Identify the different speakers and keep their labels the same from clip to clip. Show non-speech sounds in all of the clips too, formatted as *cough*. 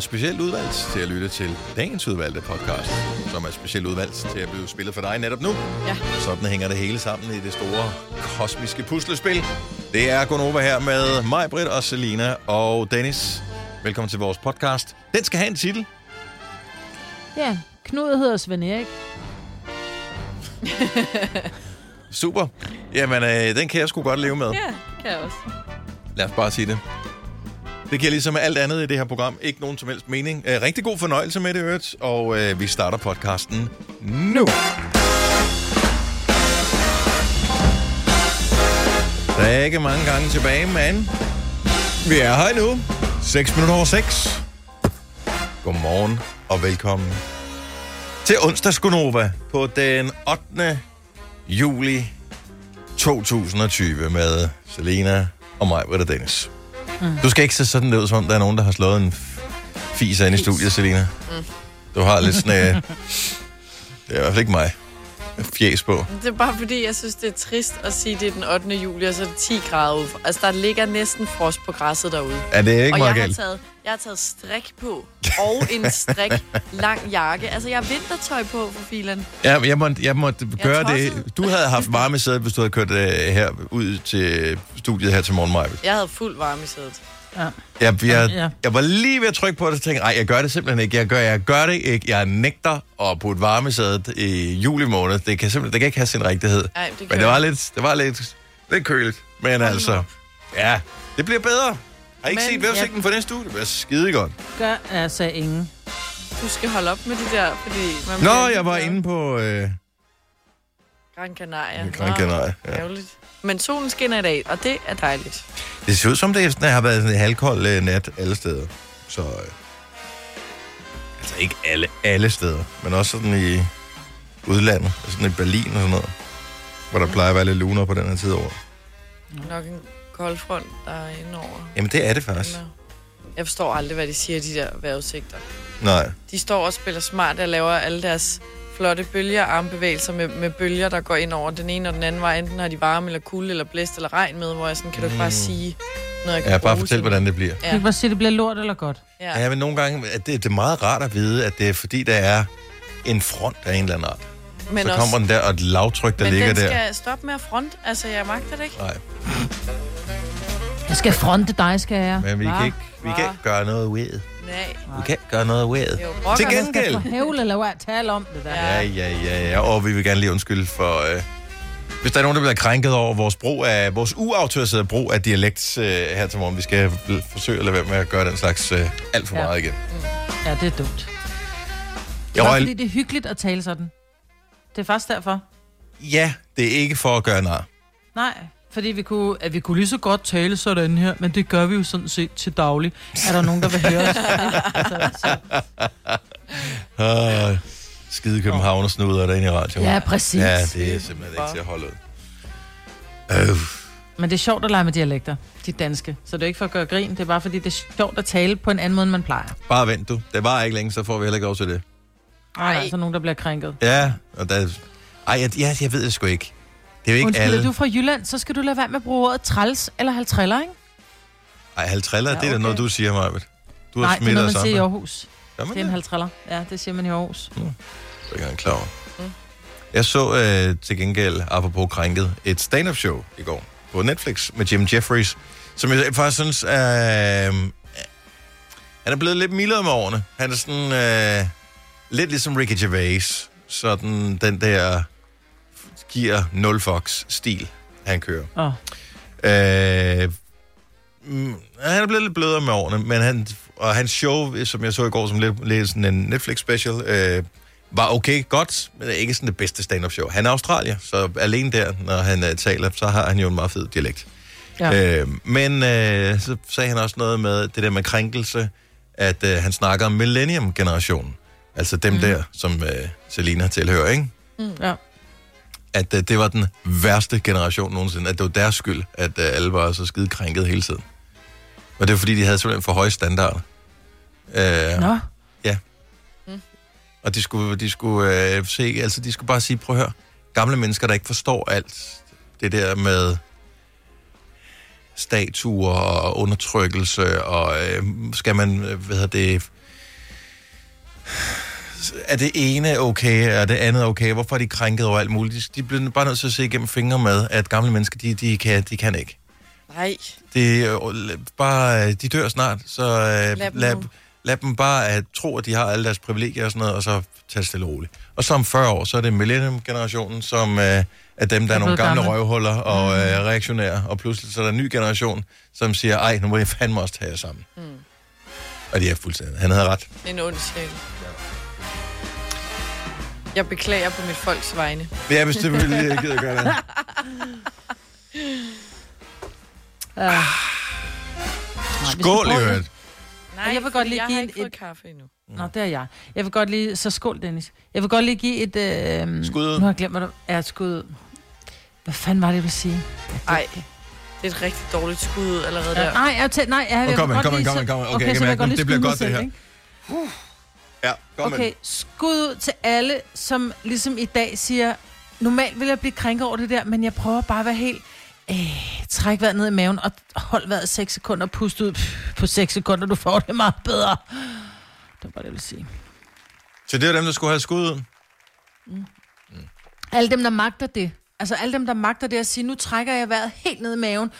Speaker 1: specielt udvalgt til at lytte til dagens udvalgte podcast, som er specielt udvalgt til at blive spillet for dig netop nu.
Speaker 2: Ja.
Speaker 1: Sådan hænger det hele sammen i det store kosmiske puslespil. Det er Gunova her med mig, Britt og Selina og Dennis. Velkommen til vores podcast. Den skal have en titel.
Speaker 3: Ja, Knud hedder Svend Erik.
Speaker 1: Super. Jamen, øh, den kan jeg sgu godt leve med.
Speaker 2: Ja, det kan jeg også.
Speaker 1: Lad os bare sige det. Det giver ligesom alt andet i det her program ikke nogen som helst mening. Øh, rigtig god fornøjelse med det, i øvrigt, og øh, vi starter podcasten nu. Der er ikke mange gange tilbage, men vi er her nu. 6 minutter over 6. Godmorgen og velkommen til onsdagsgonova på den 8. juli 2020 med Selena og mig, Britta Dennis. Mm. Du skal ikke se sådan ud, som om der er nogen, der har slået en f- fis ind i studiet, Selena. Mm. Du har lidt sådan...
Speaker 2: *laughs*
Speaker 1: Øh, det er i hvert fald ikke mig. Fjæs på.
Speaker 2: Det er bare fordi, jeg synes, det er trist at sige, det er den 8. juli, og så er det 10 grader ude. Altså, der ligger næsten frost på græsset derude.
Speaker 1: Er det ikke
Speaker 2: og
Speaker 1: meget
Speaker 2: jeg har,
Speaker 1: galt?
Speaker 2: taget, jeg har taget strik på, og en strik lang jakke. Altså, jeg har vintertøj på for filen.
Speaker 1: Ja, jeg måtte, jeg måtte gøre det.
Speaker 2: tosset.
Speaker 1: Du havde haft varme sæde, hvis du havde kørt øh, her ud til studiet her til morgen, Maja.
Speaker 2: Jeg havde fuld varme i sædet.
Speaker 3: Ja.
Speaker 1: Jeg, jeg,
Speaker 3: Ja.
Speaker 1: jeg var lige ved at trykke på det, og tænkte, nej, jeg gør det simpelthen ikke. Jeg gør, jeg gør det ikke. Jeg nægter at putte varmesædet i juli måned. Det kan simpelthen det kan ikke have sin rigtighed.
Speaker 2: Ej, det kan
Speaker 1: Men det
Speaker 2: jeg
Speaker 1: var
Speaker 2: ikke.
Speaker 1: lidt, det var lidt, lidt køligt. Men altså, ja, det bliver bedre. Har I ikke set
Speaker 3: Men,
Speaker 1: vævsigten for næste uge? Det bliver skide godt.
Speaker 3: Gør altså ingen.
Speaker 2: Du skal holde op med det der, fordi... Man
Speaker 1: Nå,
Speaker 2: bliver-
Speaker 1: jeg var inde på øh,
Speaker 2: Gran Canaria.
Speaker 1: Gran Canaria.
Speaker 2: Nå,
Speaker 1: Ja.
Speaker 2: ærgerligt. Men solen skinner i dag, og det er dejligt.
Speaker 1: Det ser ud som, det sådan, har været sådan en halvkold øh, nat alle steder. Så, øh, altså ikke alle, alle steder, men også sådan i udlandet, sådan i Berlin og sådan noget, hvor der plejer at være lidt lunere på den her tid over.
Speaker 2: Nok en kold front, der er inde over.
Speaker 1: Jamen, det er det faktisk.
Speaker 2: Jeg forstår aldrig, hvad de siger, de der vejrudsigter.
Speaker 1: Nej.
Speaker 2: De står og spiller smart og laver alle deres flotte bølger og armbevægelser med, med bølger, der går ind over den ene og den anden vej. Enten har de varme eller kulde eller blæst eller regn med, hvor jeg sådan, kan du ikke bare sige noget, jeg kan
Speaker 1: Mm. Ja, bare
Speaker 2: bruge
Speaker 1: fortæl,
Speaker 2: til-
Speaker 1: hvordan det bliver.
Speaker 3: Du kan bare sige, det bliver lort eller godt.
Speaker 2: Ja.
Speaker 1: Ja, men nogle gange er det, det er meget rart at vide, at det er fordi, der er en front af en eller anden art.
Speaker 2: men
Speaker 1: Så kommer den der, og et lavtryk, der
Speaker 2: men
Speaker 1: ligger
Speaker 2: den
Speaker 1: der.
Speaker 2: skal stoppe med at front. Altså, jeg magter det ikke.
Speaker 1: Nej,
Speaker 3: Jeg skal fronte dig, skal jeg.
Speaker 1: men vi kan, ikke, vi kan ikke gøre noget ved.
Speaker 2: Nej.
Speaker 1: Vi kan ikke gøre noget ved.
Speaker 2: Jo,
Speaker 1: Til
Speaker 2: brokkerne
Speaker 3: Jeg skal
Speaker 1: gengæld.
Speaker 3: få hævle eller hvad? Tale om det der.
Speaker 2: Ja.
Speaker 3: Ja.
Speaker 1: Ja, ja, ja, ja. Og vi vil gerne lige undskylde for... Øh, hvis der er nogen, der bliver krænket over vores brug af vores uautoriserede brug af dialekt øh, her til morgen, vi skal l- forsøge at lade være med at gøre den slags øh, alt for
Speaker 3: Ja.
Speaker 1: meget igen.
Speaker 3: ja, det er dumt.
Speaker 1: Jeg
Speaker 3: Også
Speaker 1: røg,
Speaker 3: fordi det er hyggeligt at tale sådan. Det er faktisk derfor.
Speaker 1: ja, det er ikke for at gøre nar. *laughs*
Speaker 3: Nej, fordi vi kunne, at vi kunne lige så godt tale sådan her, men det gør vi jo sådan set til daglig. Er der nogen, der vil høre os? så, så.
Speaker 1: Øh, skide København og snuder derinde i radioen.
Speaker 3: Ja, præcis.
Speaker 1: Ja, det er simpelthen ikke til at holde ud. Øh,
Speaker 3: *laughs* Men det er sjovt at lege med dialekter, de danske. Så det er ikke for at gøre grin, det er bare fordi, det er sjovt at tale på en anden måde, end man plejer.
Speaker 1: bare vent du. Det var ikke længe, så får vi heller ikke lov til det.
Speaker 3: Nej,
Speaker 2: Ej.
Speaker 3: der er altså nogen, der bliver krænket.
Speaker 1: Ja, og der... Ej, jeg, jeg, jeg ved det sgu ikke. Det er jo ikke
Speaker 3: Undskyld, er
Speaker 1: alle.
Speaker 3: du er fra Jylland, så skal du lade være med at bruge ordet træls eller halvtriller, ikke?
Speaker 1: Ej, halvtriller, ja,
Speaker 3: Ja,
Speaker 1: okay. det er da
Speaker 3: okay.
Speaker 1: noget, du siger, Marvitt. Du har
Speaker 3: Nej, det er
Speaker 1: smittet
Speaker 3: noget, man
Speaker 1: os
Speaker 3: siger i
Speaker 1: andre.
Speaker 3: Aarhus.
Speaker 1: Gør man Mm.
Speaker 3: Det er en halvtriller. Ja, det siger man i Aarhus.
Speaker 1: Det er jeg ikke klar over. Mm. Jeg så øh, til gengæld, apropos krænket, et stand-up show i går på Netflix med Jim Jeffries, som jeg faktisk synes, øh, han er blevet lidt mildere med årene. Han er sådan øh, lidt ligesom Ricky Gervais, sådan den der giver nul fox stil han kører.
Speaker 3: Åh, oh,
Speaker 1: Øh, mm, han er blevet lidt blødere med årene, men han, og hans show, som jeg så i går som lidt, lidt sådan en Netflix special, øh, var okay, godt, men det er ikke sådan det bedste stand-up show. Han er australier, så alene der, når han øh, taler, så har han jo en meget fed dialekt.
Speaker 3: ja.
Speaker 1: Ja. Øh, men øh, så sagde han også noget med det der med krænkelse, at øh, han snakker om millennium-generationen. Altså
Speaker 3: Mhm.
Speaker 1: dem mm. der, som øh, Selina tilhører, ikke? Ah.
Speaker 3: Mm, ja.
Speaker 1: at øh, det var den værste generation nogensinde. At det var deres skyld, at øh, alle var så skide krænket hele tiden. Og det var fordi, de havde simpelthen for høje standarder. Øh,
Speaker 3: Nå,
Speaker 1: og de skulle, de skulle øh, se, altså de skulle bare sige, prøv at høre, gamle mennesker, der ikke forstår alt det der med statuer og undertrykkelse, og øh, skal man, øh, hvad hedder det, er det ene okay, og det andet okay? Hvorfor er de krænket over alt muligt? De bliver bare nødt til at se igennem fingre med, at gamle mennesker, de, de, kan, de kan ikke.
Speaker 2: Nej.
Speaker 1: Det er jo- la- bare, øh, de dør snart, så øh,
Speaker 2: Lad dem
Speaker 1: lad,
Speaker 2: nu.
Speaker 1: lad dem bare øh, tro, at de har alle deres privilegier og sådan noget, og så tage det stille og roligt. Og så om 40 år, så er det millennium-generationen, som øh, er dem, der er, nogle
Speaker 3: blevet
Speaker 1: gamle,
Speaker 3: gamle. Mm.
Speaker 1: røvhuller og øh, reaktionære, og pludselig så er der en ny generation, som siger, ej, nu må I fandme også tage jer sammen. Mm. Og det er fuldstændig. Han havde ret.
Speaker 2: En ond sjæl. Jeg beklager på mit folks vegne.
Speaker 1: Ja, hvis det ville, jeg gider gøre det.
Speaker 3: Nej, vi skal
Speaker 1: Skål, i
Speaker 3: prøve det.
Speaker 1: øvrigt.
Speaker 2: Nej,
Speaker 3: jeg vil godt
Speaker 2: fordi
Speaker 3: lige
Speaker 2: jeg
Speaker 3: give
Speaker 2: har
Speaker 3: en-
Speaker 2: ikke fået
Speaker 3: et-
Speaker 2: kaffe endnu.
Speaker 3: Nå, det er jeg. Jeg vil godt lige... Så skål, Dennis. Jeg vil godt lige give et... Øh...
Speaker 1: Skud ud.
Speaker 3: Nu har jeg glemt, hvad du... Ja, et skud. ud. Hvad fanden var det, jeg ville sige?
Speaker 2: Ej, *laughs* det er et rigtig dårligt skud ud allerede
Speaker 3: Ja.
Speaker 2: der.
Speaker 3: Nej, jeg tæ... Nej, jeg
Speaker 1: Kom,
Speaker 3: jeg
Speaker 1: kom,
Speaker 3: vil godt
Speaker 1: kom,
Speaker 3: lige
Speaker 1: kom,
Speaker 3: så-
Speaker 1: kom, kom. Okay, jeg kan
Speaker 3: så vil
Speaker 1: mærke,
Speaker 3: godt
Speaker 1: det
Speaker 3: lige
Speaker 1: bliver
Speaker 3: skyde mig
Speaker 1: godt, det
Speaker 3: selv,
Speaker 1: her.
Speaker 3: ikke? Uh.
Speaker 1: Ja, kom okay.
Speaker 3: Okay, skud ud til alle, som ligesom i dag siger, normalt vil jeg blive krænket over det der, men jeg prøver bare at være helt... Øh, træk vejret ned i maven og hold vejret 6 sekunder, pust ud Pff, på 6 sekunder, du får det meget bedre. Det var bare det, jeg ville sige.
Speaker 1: Så det er dem, der skulle have skud ud.
Speaker 3: Alle dem, der magter det. Altså alle dem, der magter det at sige, nu trækker jeg vejret helt ned i maven,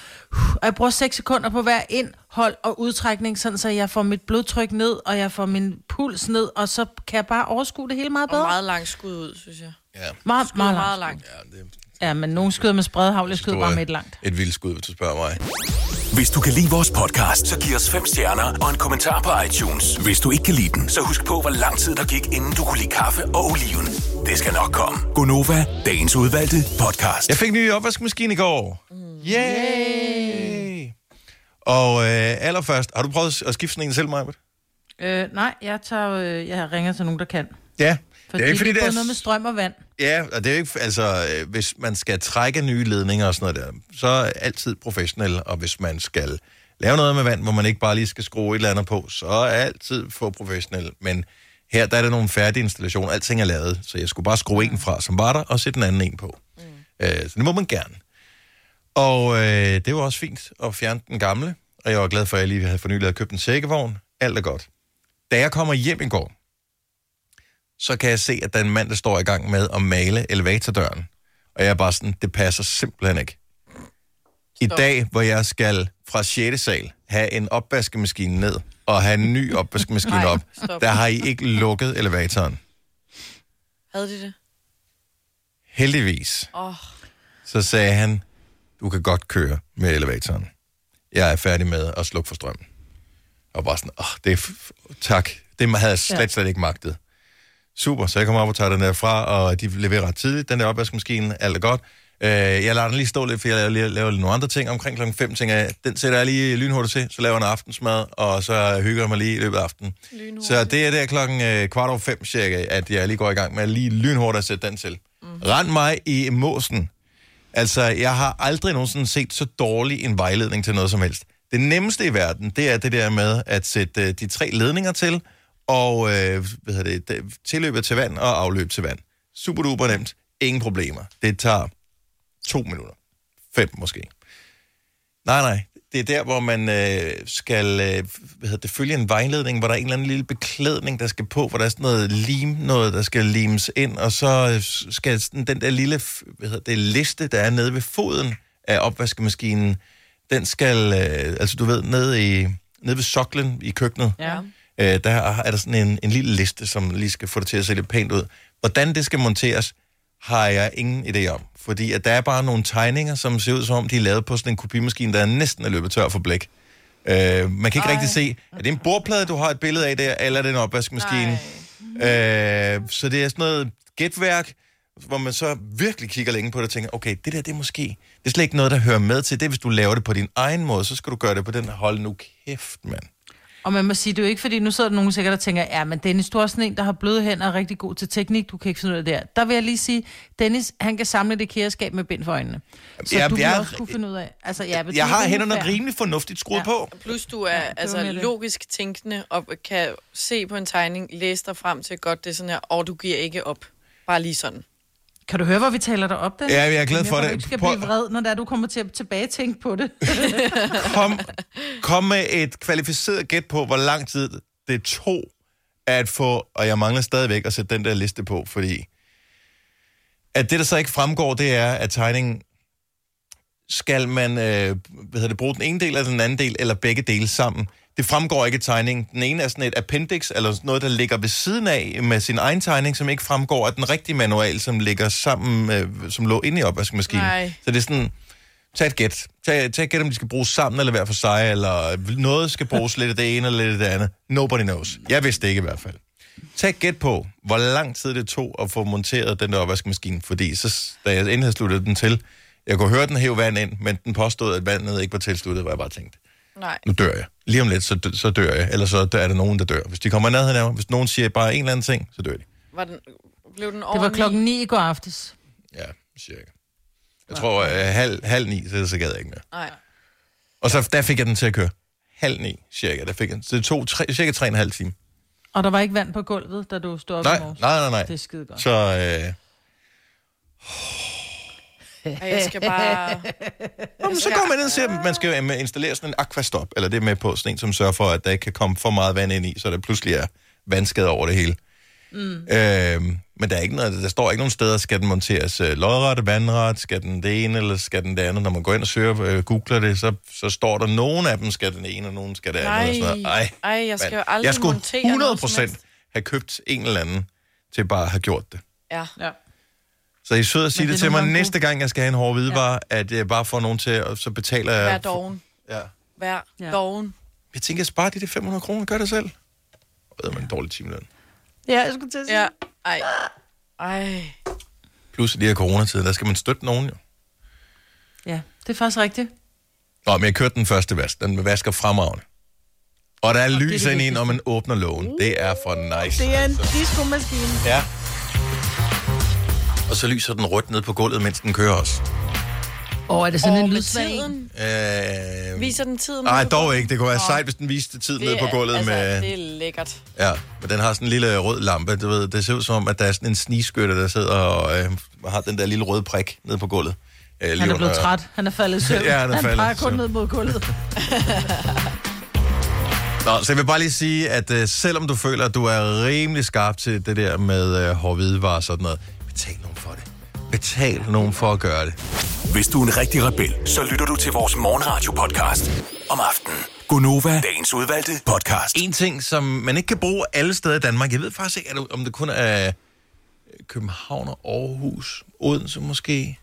Speaker 3: og jeg bruger 6 sekunder på hver indhold og udtrækning, sådan så jeg får mit blodtryk ned, og jeg får min puls ned, og så kan jeg bare overskue det hele
Speaker 2: Og
Speaker 3: meget bedre.
Speaker 2: meget langt skud ud, synes jeg.
Speaker 1: Ja,
Speaker 3: meget,
Speaker 2: Skud
Speaker 3: meget,
Speaker 2: meget
Speaker 3: meget langt.
Speaker 2: langt.
Speaker 1: ja det er
Speaker 3: Ja, men nogen skyder med spredhavl, jeg skyder
Speaker 1: Store-
Speaker 3: bare med et langt.
Speaker 1: et vildt skud, hvis du spørger mig.
Speaker 4: Hvis du kan lide vores podcast, så giv os fem stjerner og en kommentar på iTunes. Hvis du ikke kan lide den, så husk på, hvor lang tid der gik, inden du kunne lide kaffe og oliven. Det skal nok komme. Gonova, dagens udvalgte podcast.
Speaker 1: Jeg fik en ny opvaskemaskine i går. Yay! Og øh, allerførst, har du prøvet at skifte sådan en selv, Majbert?
Speaker 3: Øh, nej, jeg, tager, øh, jeg ringer til nogen, der kan.
Speaker 1: Ja.
Speaker 3: For
Speaker 1: det er ikke fordi, det er...
Speaker 3: noget med strøm og vand.
Speaker 1: Ja, og det er jo ikke... Altså, øh, hvis man skal trække nye ledninger og sådan noget der, så er altid professionel, og hvis man skal lave noget med vand, hvor man ikke bare lige skal skrue et eller andet på, så er altid for professionel. Men her, der er der nogle færdige installationer. Alting er lavet, så jeg skulle bare skrue en fra, som var der, og sætte den anden en på. Mm. Øh, så det må man gerne. Og øh, det var også fint at fjerne den gamle, og jeg var glad for, at jeg lige havde for nylig havde købt en sækkevogn. Alt er godt. Da jeg kommer hjem i går, så kan jeg se, at der er en mand, der står i gang med at male elevatordøren. Og jeg er bare sådan, det passer simpelthen ikke. I
Speaker 2: Stop.
Speaker 1: dag, hvor jeg skal fra 6. sal have en opvaskemaskine ned, og have en ny opvaskemaskine
Speaker 2: Nej,
Speaker 1: op,
Speaker 2: stop.
Speaker 1: der har I ikke lukket elevatoren.
Speaker 2: Havde de det?
Speaker 1: Heldigvis.
Speaker 2: Åh, oh,
Speaker 1: Så sagde han, du kan godt køre med elevatoren. Jeg er færdig med at slukke for strømmen. Og bare sådan, åh, oh, det er f- f- tak. Det havde jeg
Speaker 3: Ja.
Speaker 1: slet, slet ikke magtet. Super, så jeg kommer op og tager den der fra, og de leverer ret tidligt, den der opvaskemaskine, alt er godt. Øh, jeg lader den lige stå lidt, for jeg laver, lige- laver nogle andre ting. Omkring klokken 5 tænker jeg, den sætter jeg lige lynhurtigt til, så laver jeg en aftensmad, og så hygger jeg mig lige i løbet af aftenen.
Speaker 2: Lynhurtigt.
Speaker 1: Så det er der klokken øh, kvart over fem cirka, at jeg lige går i gang med at lige lynhurtigt at sætte den til. Mm. Rend mig i måsen. Altså, jeg har aldrig nogensinde set så dårlig en vejledning til noget som helst. Det nemmeste i verden, det er det der med at sætte øh, de tre ledninger til, og øh, hvad hedder det, det- tilløbet til vand og afløb til vand. Super duper nemt. Ingen problemer. Det tager to minutter. Fem måske. Nej, nej. Det er der, hvor man øh, skal øh, hvad hedder det, følge en vejledning, hvor der er en eller anden lille beklædning, der skal på, hvor der er sådan noget lim, noget, der skal limes ind, og så øh, skal sådan, den der lille f- hvad hedder det, liste, der er nede ved foden af opvaskemaskinen, den skal, øh, altså du ved, nede, i, nede ved soklen i køkkenet,
Speaker 3: Ja.
Speaker 1: Øh, der er er der sådan en, en lille liste, som lige skal få det til at se lidt pænt ud. Hvordan det skal monteres, har jeg ingen idé om. Fordi at der er bare nogle tegninger, som ser ud som om, de er lavet på sådan en kopimaskine, der næsten er løbet tør for blæk. Øh, man kan ikke Ej. rigtig se, er det en bordplade, du har et billede af der, eller er det en opvaskemaskine? Øh, så det er sådan noget gætværk, hvor man så virkelig kigger længe på det og tænker, okay, det der, det er måske, det er slet ikke noget, der hører med til. Det er, hvis du laver det på din egen måde, så skal du gøre det på den. Hold nu kæft, mand.
Speaker 3: Og man må sige, det er jo ikke fordi, nu sidder der nogen sikkert og tænker, ja, men Dennis, du er også sådan en, der har bløde hænder og er rigtig god til teknik, du kan ikke finde ud af det der. Der vil jeg lige sige, Dennis, han kan samle det kæreskab med bind for øjnene. Så
Speaker 1: jeg-
Speaker 3: jeg, du vil
Speaker 1: jeg-
Speaker 3: jeg, også kunne finde ud af. Altså, ja, men du
Speaker 1: Jeg
Speaker 3: er
Speaker 1: har
Speaker 3: rimelig
Speaker 1: hænderne
Speaker 3: fair.
Speaker 1: rimelig fornuftigt skruet ja.
Speaker 3: Ja.
Speaker 1: på.
Speaker 2: Plus du er ja, altså,
Speaker 3: var mere det.
Speaker 2: logisk tænkende og kan se på en tegning, læse dig frem til godt, det er sådan her, og du giver ikke op. Bare lige sådan.
Speaker 3: Kan du høre, hvor vi taler dig op, Dennis?
Speaker 1: Ja, jeg er glad
Speaker 3: Jamen,
Speaker 1: for
Speaker 3: håber,
Speaker 1: det.
Speaker 3: Du ikke skal
Speaker 1: Prøv-
Speaker 3: blive vred, når det er, du kommer til at tilbage tænke på det. *laughs*
Speaker 1: Kom, kom med et kvalificeret gæt på, hvor lang tid det tog at få, og jeg mangler stadigvæk at sætte den der liste på, fordi at det, der så ikke fremgår, det er, at tegningen, skal man øh, hvad hedder det, bruge den ene del eller den anden del, eller begge dele sammen. Det fremgår ikke i tegningen. Den ene er sådan et appendix, eller sådan noget, der ligger ved siden af med sin egen tegning, som ikke fremgår af den rigtige manual, som ligger sammen, øh, som lå inde i opvaskemaskinen.
Speaker 2: Nej.
Speaker 1: Så det er sådan, tag et gæt. Tag, tag et gæt, om de skal bruges sammen eller hver for sig, eller noget skal bruges lidt af det ene eller lidt af det andet. Nobody knows. Jeg vidste det ikke i hvert fald. Tag et gæt på, hvor lang tid det tog at få monteret den der opvaskemaskine, fordi så, da jeg endelig havde sluttet den til, jeg kunne høre, den hæve vand ind, men den påstod, at vandet ikke var tilsluttet, hvor jeg bare tænkte,
Speaker 2: Nej.
Speaker 1: nu dør jeg. Lige om lidt, så, dø- så dør jeg, eller så er der nogen, der dør. Hvis de kommer i nærheden af mig, hvis nogen siger bare en eller anden ting, så dør de.
Speaker 2: Var den, blev den over
Speaker 3: Det var
Speaker 2: ni?
Speaker 3: klokken 9 i går aftes.
Speaker 1: Ja, cirka. Jeg tror, øh, halv, halv ni, så, så gad jeg ikke mere.
Speaker 2: Nej.
Speaker 1: Og så der fik jeg den til at køre. Halv ni, cirka. Der fik jeg den. Så det tog tre, cirka tre og en halv time.
Speaker 3: Og der var ikke vand på gulvet, da du stod op
Speaker 1: Nej,
Speaker 3: i morges.
Speaker 1: nej, nej, nej.
Speaker 3: Det er skide godt.
Speaker 1: Så øh,
Speaker 2: Og jeg skal
Speaker 3: *laughs*
Speaker 2: bare...
Speaker 1: Jamen,
Speaker 2: Altså,
Speaker 1: så går man ind og siger, at man skal jo, øh, installere sådan en aquastop, eller det er med på sådan en, som sørger for, at der ikke kan komme for meget vand ind i, så der pludselig er vandskader over det hele. Mm. Øhm, men der, er ikke noget, der står ikke nogen steder, skal den monteres øh, lodret, vandret, skal den det ene, eller skal den det andet. Når man går ind og søger, øh, googler det, så, så står der, nogen af dem skal den ene, og nogen skal det andet. og sådan noget.
Speaker 2: Nej. Ej, jeg skal
Speaker 1: mand.
Speaker 2: jo aldrig
Speaker 1: jeg skulle
Speaker 2: montere noget
Speaker 1: 100
Speaker 2: som
Speaker 1: procent
Speaker 2: helst.
Speaker 1: have købt en eller anden til bare at have gjort det.
Speaker 2: Ja.
Speaker 3: Ja.
Speaker 1: Så I er søde at sige
Speaker 3: Men
Speaker 1: det,
Speaker 3: det er
Speaker 1: til
Speaker 3: nogle
Speaker 1: mig
Speaker 3: gange
Speaker 1: næste gang, jeg skal have en hård hvidevare, ja. at jeg bare får nogen til, og så betaler jeg...
Speaker 2: Vær doven.
Speaker 1: Ja.
Speaker 2: Vær
Speaker 3: Ja.
Speaker 2: doven.
Speaker 1: Jeg tænker, spar de der 500 kroner, gør det selv. Og man en dårlig timeløn.
Speaker 3: ja, jeg skulle til at sige.
Speaker 2: Ja. Ej. Ej.
Speaker 1: Plus i de her coronatider, der skal man støtte nogen jo.
Speaker 3: ja, det er faktisk rigtigt.
Speaker 1: Nå, men jeg kørte den første vask. Den vasker fremragende. Og der er lys
Speaker 3: det
Speaker 1: ind i, når man åbner lågen. Det er for nice.
Speaker 3: Det er en diskomaskine.
Speaker 1: Ja. Og så lyser den rødt ned på gulvet, mens den kører også.
Speaker 3: Åh, oh, er det sådan
Speaker 2: Og
Speaker 3: en
Speaker 2: med
Speaker 3: lydsvag en?
Speaker 2: tiden.
Speaker 1: Øh...
Speaker 2: Viser den tiden?
Speaker 1: Nej,
Speaker 2: nu?
Speaker 1: dog ikke. Det kunne være sejt, hvis den viste tiden
Speaker 2: Det
Speaker 1: ned på
Speaker 2: er-
Speaker 1: gulvet
Speaker 2: altså,
Speaker 1: med...
Speaker 2: Det er lækkert.
Speaker 1: Ja, men den har sådan en lille rød lampe, du ved. Det ser ud som om, at der er sådan en snigskytte, der sidder og øh, har den der lille røde prik nede på gulvet. Øh, lige
Speaker 3: Han er
Speaker 1: under-
Speaker 3: blevet træt. Han er faldet i
Speaker 1: *laughs*
Speaker 3: søvn.
Speaker 1: Ja, han er faldet
Speaker 3: han
Speaker 1: i
Speaker 3: peger kun
Speaker 1: søvn.
Speaker 3: ned mod gulvet.
Speaker 1: Nå, så jeg vil bare lige sige, at øh, selvom du føler, at du er rimelig skarp til det der med øh, hårdhvidevarer og sådan noget, betal nogen for det. Betal nogen for at gøre det.
Speaker 4: Hvis du er en rigtig rebel, så lytter du til vores morgenradio-podcast om aftenen. Gunova, dagens udvalgte podcast.
Speaker 1: Altså, En ting, som man ikke kan bruge alle steder i Danmark, jeg ved faktisk ikke, er det- om det kun er øh, København og Aarhus, Odense måske,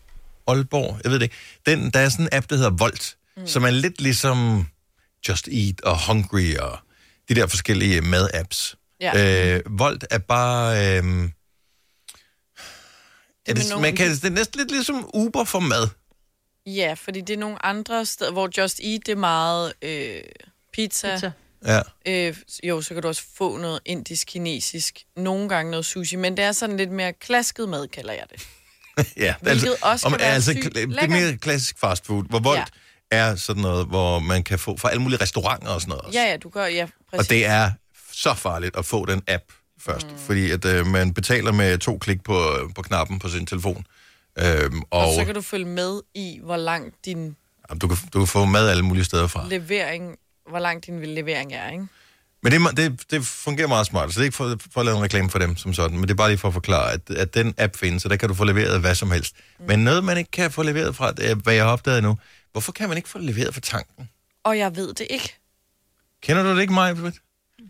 Speaker 1: Aalborg, jeg ved det ikke. Den, der er sådan en app, der hedder Volt, mm. som er lidt ligesom Just Eat og Hungry og de der forskellige mad-apps.
Speaker 2: Ja.
Speaker 1: Øh, Volt er bare... Øh, er det,
Speaker 2: nogle-
Speaker 1: man kan, det er næsten lidt ligesom Uber for mad.
Speaker 2: Ja, fordi det er nogle andre steder, hvor Just Eat, det er meget øh, pizza. pizza.
Speaker 3: Så.
Speaker 1: Ja.
Speaker 2: Øh, jo, så kan du også få noget indisk-kinesisk. Nogle gange noget sushi, men det er sådan lidt mere klasket mad, kalder jeg det.
Speaker 1: *laughs* Ja, altså,
Speaker 2: Hvilket også kan være sygt
Speaker 1: kla- Det er
Speaker 2: lækkert.
Speaker 1: mere klassisk fast food, hvor voldt ja. er sådan noget, hvor man kan få fra alle mulige restauranter og sådan noget også.
Speaker 2: Ja, ja, du gør, ja, præcis.
Speaker 1: og det er så farligt at få den app først, mm. fordi at øh, man betaler med to klik på, øh, på knappen på sin telefon. Øhm, og
Speaker 2: og
Speaker 1: og
Speaker 2: så kan du følge med i, hvor langt din
Speaker 1: jamen, du, kan, du kan få mad alle mulige steder fra.
Speaker 2: levering, hvor langt din levering er, ikke?
Speaker 1: Men det, er me- det, det fungerer meget smart, så det er ikke for, for at lave en reklame for dem som sådan, men det er bare lige for at forklare, at, at den app findes, og der kan du få leveret hvad som helst. Mm. Men noget, man ikke kan få leveret fra, det er, hvad jeg har opdaget nu, hvorfor kan man ikke få det leveret fra tanken?
Speaker 2: *laughs* Og jeg ved det ikke.
Speaker 1: Kender du det ikke, Maja?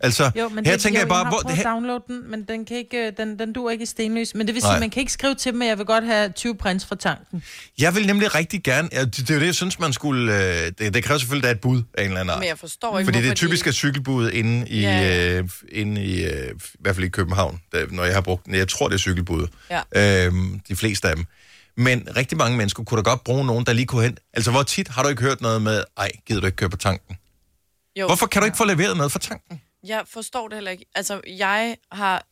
Speaker 1: Altså,
Speaker 3: Jo, men
Speaker 1: her
Speaker 3: det,
Speaker 1: tænker
Speaker 3: jo,
Speaker 1: jeg bare,
Speaker 3: har
Speaker 1: hvor,
Speaker 3: prøvet at
Speaker 1: her,
Speaker 3: downloade den, men den, kan ikke, øh, den, den dur ikke i stenløs. Men det vil sige,
Speaker 1: Nej.
Speaker 3: at man kan ikke skrive til dem, at jeg vil godt have 20 prins fra tanken.
Speaker 1: jeg vil nemlig rigtig gerne, ja, det, det er jo det, jeg synes, man skulle, øh, det, det kræver selvfølgelig, at der er et bud af en eller anden art.
Speaker 2: Men jeg forstår ikke,
Speaker 1: Fordi det
Speaker 2: hvorfor
Speaker 1: er typisk at cykelbudet inde i,
Speaker 2: Ja,
Speaker 1: ja.
Speaker 2: ja.
Speaker 1: øh, inde i, øh, i hvert fald i København, der, når jeg har brugt den. Jeg tror, det er cykelbudet. Ja. Øhm, de fleste af dem. Men rigtig mange mennesker kunne da godt bruge nogen, der lige kunne hen. Altså, hvor tit har du ikke hørt noget med, ej, gider du ikke køre på tanken?
Speaker 2: Jo,
Speaker 1: Hvorfor kan du ikke få leveret noget fra tanken?
Speaker 2: Jeg forstår det heller ikke. Altså, jeg har...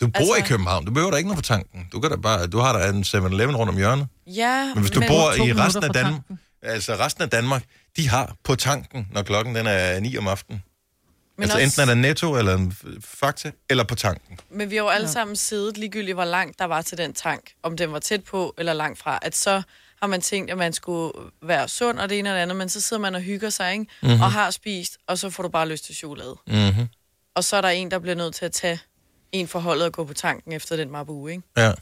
Speaker 1: Du bor altså...
Speaker 2: Altså-
Speaker 1: i København, du behøver da ikke noget på tanken. Du, kan da bare, du har da en 7-Eleven rundt om hjørnet.
Speaker 2: Ja,
Speaker 1: Men hvis du
Speaker 3: Men-
Speaker 1: bor
Speaker 3: To
Speaker 1: i
Speaker 3: minutter
Speaker 1: resten af
Speaker 3: fra
Speaker 1: Danmark,
Speaker 3: tanken.
Speaker 1: altså resten af Danmark, de har på tanken, når klokken den er 9 om aftenen. Men
Speaker 2: men
Speaker 1: altså også... enten er der netto, eller en f- fakta, eller på tanken.
Speaker 2: Men vi har jo alle sammen siddet ligegyldigt, hvor langt der var til den tank. Om den var tæt på eller langt fra. At så har man tænkt, at man skulle være sund og det
Speaker 1: Mhm.
Speaker 2: ene og det andet, men så sidder man og hygger sig, ikke? Mm-hmm. Og har spist, og så får du bare lyst til chokolade. Mm-hmm. og så er der en, der bliver nødt til at tage en for holdet og gå på tanken efter den mabu, ikke?
Speaker 1: Ja.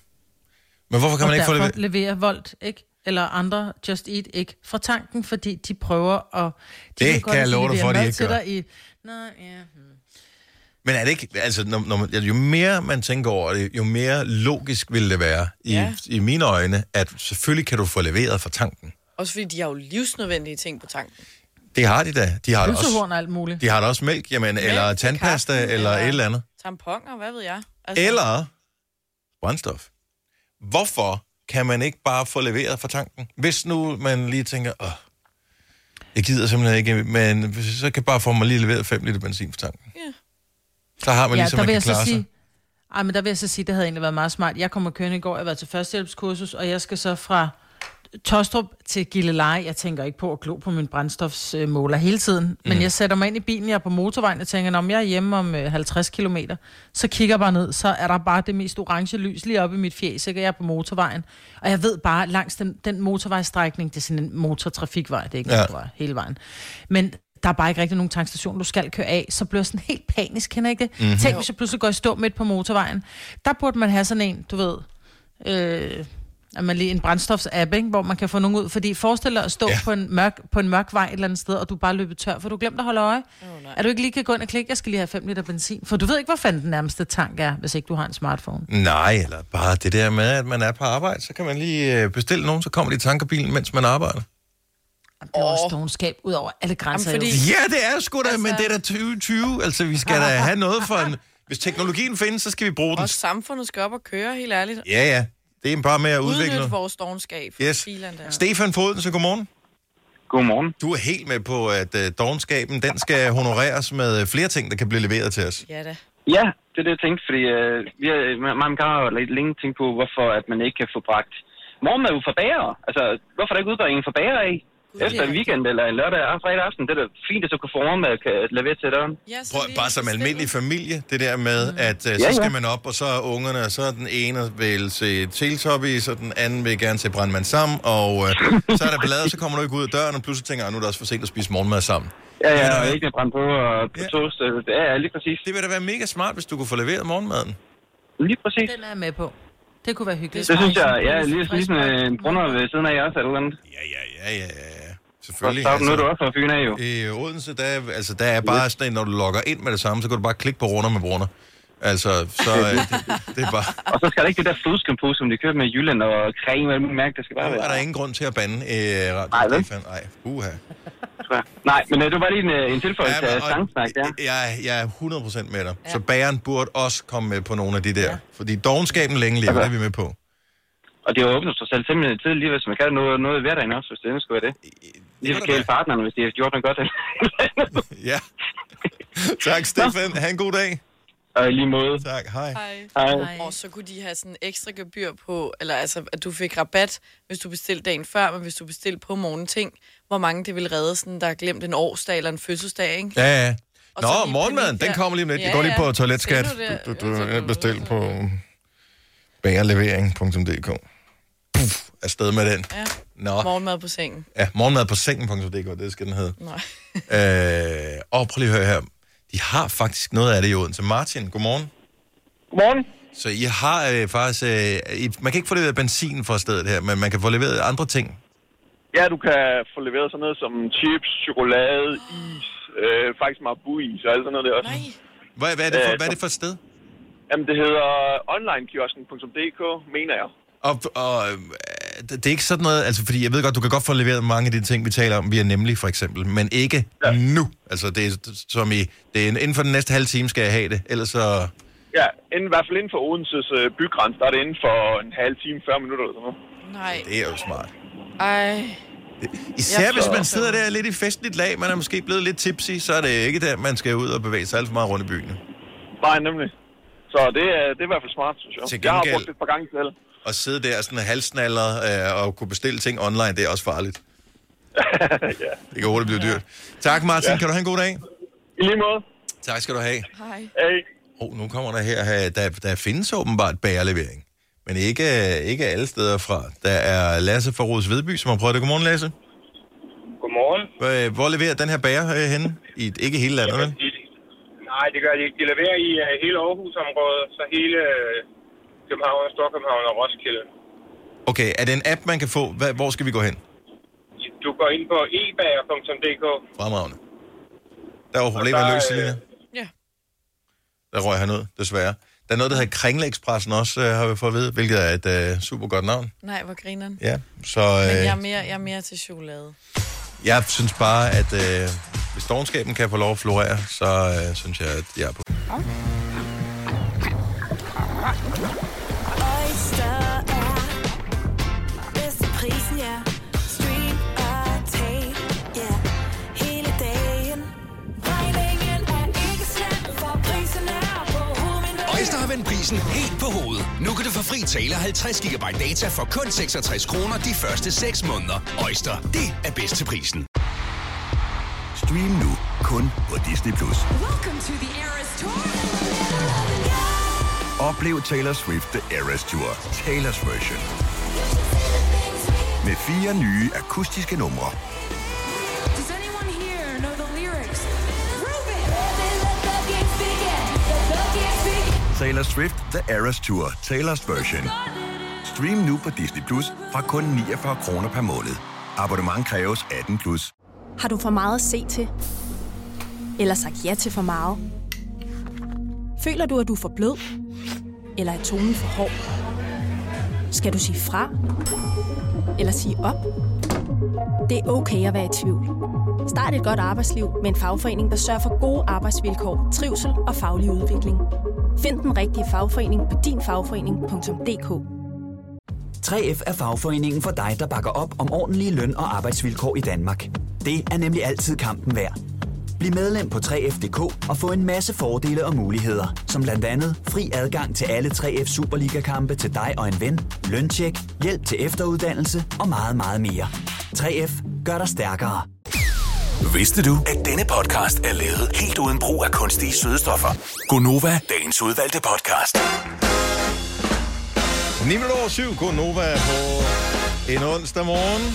Speaker 1: Men hvorfor kan man ikke få
Speaker 3: derfor
Speaker 1: det...
Speaker 3: det... leverer Volt, ikke? Eller andre Just Eat, ikke? Fra tanken, fordi de prøver at... De
Speaker 1: Det
Speaker 3: godt
Speaker 1: kan jeg
Speaker 3: lide
Speaker 1: love dig
Speaker 3: levere
Speaker 1: for, at de
Speaker 3: mad
Speaker 1: ikke
Speaker 3: til
Speaker 1: gør.
Speaker 3: dig I... Nå, ja.
Speaker 1: Men er det ikke, altså, når, når man, jo mere man tænker over det, jo mere logisk vil det være, i, ja.
Speaker 2: Ja.
Speaker 1: i mine øjne, at selvfølgelig kan du få leveret fra tanken.
Speaker 2: Også fordi de har jo livsnødvendige ting på tanken.
Speaker 1: Det har de da. De har, da også,
Speaker 3: Pølsehorn og alt muligt.
Speaker 1: de har da også mælk, jamen, mælk, eller
Speaker 2: til
Speaker 1: tandpasta,
Speaker 2: kaffen,
Speaker 1: eller
Speaker 2: eller-
Speaker 1: et eller andet.
Speaker 2: Tamponer, hvad ved jeg? Altså,
Speaker 1: Eller brændstof. Hvorfor kan man ikke bare få leveret fra tanken? Hvis nu man lige tænker, åh, jeg gider simpelthen ikke, men så kan jeg bare få mig lige leveret 5 liter benzin fra tanken.
Speaker 2: Ja.
Speaker 1: Så har man ja,
Speaker 3: Ja,
Speaker 1: ligesom,
Speaker 3: der
Speaker 1: man
Speaker 3: vil
Speaker 1: kan
Speaker 3: jeg så
Speaker 1: klare sig.
Speaker 3: sige... Ej, men der vil jeg så sige, det havde egentlig været meget smart. Jeg kommer kørende i går, jeg har været til førstehjælpskursus, og jeg skal så fra Tostrup til Gilleleje. Jeg tænker ikke på at glo på min brændstofsmåler hele tiden,
Speaker 1: Mm.
Speaker 3: men jeg sætter mig ind i bilen, jeg er på motorvejen, og tænker, om jeg er hjemme om øh, 50 km, så kigger jeg bare ned, så er der bare det mest orange lys lige oppe i mit fjes, ikke? Og jeg er på motorvejen. Og jeg ved bare, langs den, den motorvejstrækning, det er sådan en motortrafikvej, det er ikke
Speaker 1: Ja.
Speaker 3: ja. motorvej hele vejen. Men der er bare ikke rigtig nogen tankstation, du skal køre af, så bliver jeg sådan helt panisk, kender I ikke det? Mm-hmm. Tænk, hvis jeg pludselig går i stå midt på motorvejen. Der burde man have sådan en, du ved, øh, at man lige en brændstofsapp, ikke? hvor man kan få nogen ud. Fordi forestil dig at stå
Speaker 1: Ja.
Speaker 3: ja. på, en mørk, på en mørk vej et eller andet sted, og du er bare løbet tør, for du glemte at holde øje. Oh, at du ikke lige kan gå ind og klikke, jeg skal lige have 5 liter benzin. For du ved ikke, hvor fanden den nærmeste tank er, hvis ikke du har en smartphone.
Speaker 1: Nej, eller bare det der med, at man er på arbejde, så kan man lige øh, bestille nogen, så kommer de i tankerbilen, mens man arbejder.
Speaker 3: Det er også dogenskab ud over alle grænser.
Speaker 2: Jamen,
Speaker 3: Jamen,
Speaker 2: fordi-
Speaker 3: fordi...
Speaker 1: Ja, det er sgu da, altså... men det er da 2020. Altså, vi skal da have noget for en... Hvis teknologien findes, så skal vi bruge den.
Speaker 2: Og samfundet skal op og køre, helt ærligt.
Speaker 1: Ja, ja. Det er bare med at udvikle
Speaker 2: Udnyt
Speaker 1: noget.
Speaker 2: vores dogenskab.
Speaker 1: Yes.
Speaker 2: Filan der.
Speaker 1: Stefan Foden, så godmorgen.
Speaker 5: Godmorgen.
Speaker 1: Du er helt med på, at øh, dogenskaben, den skal honoreres med øh, flere ting, der kan blive leveret til os.
Speaker 2: Ja da.
Speaker 5: Ja, det er det, jeg tænkte, fordi øh, vi har, man kan jo lidt længe tænkt på, hvorfor at man ikke kan få bragt morgenmad ud fra bager. Altså, hvorfor er der ikke udbring fra bager af? Efter en weekend eller en lørdag og fredag aften, det er da fint, at så kan få morgenmad kan levere til døren.
Speaker 2: Ja, så
Speaker 1: Prøv,
Speaker 2: lige Mm.
Speaker 1: bare som
Speaker 2: bestille.
Speaker 1: almindelig familie, det der med, at øh,
Speaker 5: Ja,
Speaker 1: så
Speaker 5: ja.
Speaker 1: skal man op, og så er ungerne, og så er den ene vil se Teletubbies, og den anden vil gerne se Brandmand sammen, og øh, så er der ballade, så kommer du ikke ud af døren, og pludselig tænker jeg, nu er det også for sent at spise morgenmad sammen. øh,
Speaker 5: Ja, ja, og ikke med brændt på og på
Speaker 1: Ja.
Speaker 5: toast. øh, Ja, ja, lige præcis.
Speaker 1: Det ville da være mega smart, hvis du kunne få leveret morgenmaden.
Speaker 5: Lige præcis.
Speaker 3: Den er jeg med på. Det kunne være hyggeligt.
Speaker 5: Det synes jeg, ja, lige, lige sådan øh, en brunner ved siden af jer også, eller et eller andet.
Speaker 1: Ja, ja, ja, ja, ja.
Speaker 5: Og
Speaker 1: Selvfølgelig.
Speaker 5: så
Speaker 1: altså,
Speaker 5: nu er du også fra Fyn af, jo.
Speaker 1: I Odense, der, er- altså, der er bare sådan, en, når du logger ind med det samme, så kan du bare klikke på runder med brunder. Altså, så øh, det, det er bare...
Speaker 5: *laughs* Og så skal der ikke det der flødeskampo, som de kører med i Jylland og creme, hvad man mærke, det skal bare
Speaker 1: Nu
Speaker 5: være.
Speaker 1: er der ingen grund til at bande øh, radio,
Speaker 5: Nej, vel?
Speaker 1: Stefan. Nej, uha.
Speaker 5: tror jeg. Nej, men øh, det var lige en, øh, en tilføjelse
Speaker 1: men-
Speaker 5: af sangsnak, ja.
Speaker 1: jeg, jeg er 100% med dig. Så bageren burde også komme med på nogle af de der. Fordi dogenskaben længe lever,
Speaker 5: Altså.
Speaker 1: det er vi med på.
Speaker 5: Og det åbner sig selv fem minutter tidligere, hvis man kan noget, noget i hverdagen også, hvis det endelig skulle være det. Lige
Speaker 1: kan
Speaker 5: for
Speaker 1: det
Speaker 5: kæle partneren, hvis de har gjort noget godt.
Speaker 1: Ja. tak, Stefan. Ha' en god dag.
Speaker 5: og i lige måde.
Speaker 1: Tak, hej.
Speaker 2: Hej.
Speaker 5: Hej.
Speaker 2: Og så kunne de have sådan ekstra gebyr på, eller altså, at du fik rabat, hvis du bestilte dagen før, men hvis du bestilte på morgenen ting, hvor mange det ville redde, sådan, der har glemt en årsdag eller en fødselsdag, ikke?
Speaker 1: Ja, ja.
Speaker 2: Og så
Speaker 1: Nå,
Speaker 2: lige
Speaker 1: morgenmaden,
Speaker 2: panik der.
Speaker 1: den kommer lige om lidt. Ja,
Speaker 2: Ja,
Speaker 1: jeg går lige
Speaker 2: ja.
Speaker 1: på toiletskat.
Speaker 2: Ser du det? Altså,
Speaker 1: Du, du,
Speaker 2: Ja, så
Speaker 1: du,
Speaker 2: kan du-
Speaker 1: bestil på bagerlevering.dk. Puff, afsted med den.
Speaker 2: Ja.
Speaker 1: Nå,
Speaker 2: Morgenmad på sengen.
Speaker 1: ja, morgenmad på sengen.dk, det skal den hedde.
Speaker 2: Nej.
Speaker 1: Øh, og prøv lige at høre her. De har faktisk noget af det i Odense. Martin, godmorgen.
Speaker 6: Godmorgen.
Speaker 1: Så I har øh, faktisk... Øh, I, man kan ikke få leveret benzin fra stedet her, men man kan få leveret andre ting.
Speaker 6: Ja, du kan få leveret sådan noget som chips, chokolade, is, øh, faktisk marabu-is og alt sådan noget der også.
Speaker 2: Nej.
Speaker 1: Hvad, hvad, er, det for,
Speaker 6: Øh,
Speaker 1: hvad er det for et sted?
Speaker 6: Jamen, det hedder onlinekiosken.dk, mener jeg.
Speaker 1: Og, og øh, det det er ikke sådan noget... Altså, fordi jeg ved godt, du kan godt få leveret mange af de ting, vi taler om via Nemlig, for eksempel. Men ikke ja.
Speaker 6: Ja.
Speaker 1: nu. Altså, det er, som i, det er en- inden for den næste halve time, skal jeg have det. Ellers så...
Speaker 6: Ja, inden, i hvert fald inden for Odenses øh, bygrænse, der er det inden for en halv time, 40 minutter eller sådan noget.
Speaker 2: Nej.
Speaker 1: Det er jo smart.
Speaker 2: Ej.
Speaker 1: Især
Speaker 2: Jeg
Speaker 1: hvis man
Speaker 2: forstår.
Speaker 1: sidder der lidt i festligt lag, man er måske blevet lidt tipsy, så er det ikke der, man skal ud og bevæge sig alt for meget rundt i byen.
Speaker 6: Nej, nemlig. Så det, er, det er i hvert fald smart, synes jeg.
Speaker 1: Til
Speaker 6: Jeg har
Speaker 1: gengæld-
Speaker 6: brugt det et par gange selv.
Speaker 1: At sidde der sådan halsnaller øh, og kunne bestille ting online, det er også
Speaker 6: *laughs*
Speaker 1: farligt.
Speaker 6: ja.
Speaker 1: Det kan hurtigt blive dyrt. Tak Martin, ja. kan du have en god dag?
Speaker 6: I lige måde.
Speaker 1: Tak skal du have.
Speaker 2: Hej.
Speaker 6: Hey.
Speaker 1: Oh, nu kommer der her, øh, der, der findes åbenbart bagerlevering. Men ikke, øh, ikke alle steder fra. Der er Lasse fra Rods Vedby, som har prøvet det. Godmorgen, Lasse.
Speaker 6: Godmorgen.
Speaker 1: Hvor, øh, hvor leverer den her bager øh, henne? I, ikke hele landet, vel?
Speaker 6: I,
Speaker 7: Nej, det gør de ikke. De leverer i øh, hele Aarhus-området, så hele øh, København, Storkøbenhavn og Roskilde.
Speaker 1: Okay, er det en app, man kan få? Hvad, hvor skal vi gå hen?
Speaker 7: Du går ind på ebager.dk.
Speaker 1: Fremragende. Der var problemet
Speaker 7: Og der,
Speaker 1: løst,
Speaker 7: øh,
Speaker 1: Selina.
Speaker 2: Ja.
Speaker 1: Der røg han ud, desværre. Der er noget, der hedder Kringleekspressen også, øh, har vi fået at vide, hvilket er et øh, super godt navn.
Speaker 2: Nej, hvor grineren.
Speaker 1: Ja, så
Speaker 2: Men jeg er,
Speaker 1: øh,
Speaker 2: mere, jeg er mere til chokolade.
Speaker 1: jeg synes bare, at øh, hvis dogenskaben kan få lov at florere, så øh, synes jeg, at jeg er på.
Speaker 8: Oyster er bedst til prisen, ja. Stream og tag, ja. Hele dagen. Regningen er ikke slem, for prisen er på hovedet.
Speaker 9: Øjster har vendt prisen helt på hovedet. Nu kan du få fri tale og 50 GB data for kun 66 kroner de første 6 måneder. Øjster, det er bedst til prisen.
Speaker 10: Stream nu kun på Disney+. Plus.
Speaker 8: Welcome to the Eras Tour.
Speaker 10: Oplev Taylor Swift The Eras Tour, Taylor's version. Med fire nye akustiske numre.
Speaker 8: Does anyone here know the lyrics? Ruben! Let the game begin. Let the game begin.
Speaker 10: Taylor Swift The Eras Tour, Taylor's version. Stream nu på Disney Plus fra kun 49 kroner per måned. Abonnement kræves 18 plus.
Speaker 11: Har du for meget at se til? Eller sagt ja til for meget? Føler du, at du er for blød? Eller er tonen for hård? Skal du sige fra? Eller sige op? Det er okay at være i tvivl. Start et godt arbejdsliv med en fagforening, der sørger for gode arbejdsvilkår, trivsel og faglig udvikling. Find den rigtige fagforening på dinfagforening.dk
Speaker 9: 3F er fagforeningen for dig, der bakker op om ordentlige løn- og arbejdsvilkår i Danmark. Det er nemlig altid kampen værd. Bliv medlem på 3F.dk og få en masse fordele og muligheder, som blandt andet fri adgang til alle 3F Superliga-kampe til dig og en ven, løntjek, hjælp til efteruddannelse og meget, meget mere. 3F gør dig stærkere.
Speaker 4: Vidste du, at denne podcast er lavet helt uden brug af kunstige sødestoffer?
Speaker 9: Gonova,
Speaker 4: Dagens udvalgte podcast.
Speaker 1: 9 minutter over 7, god Nova på en onsdag morgen.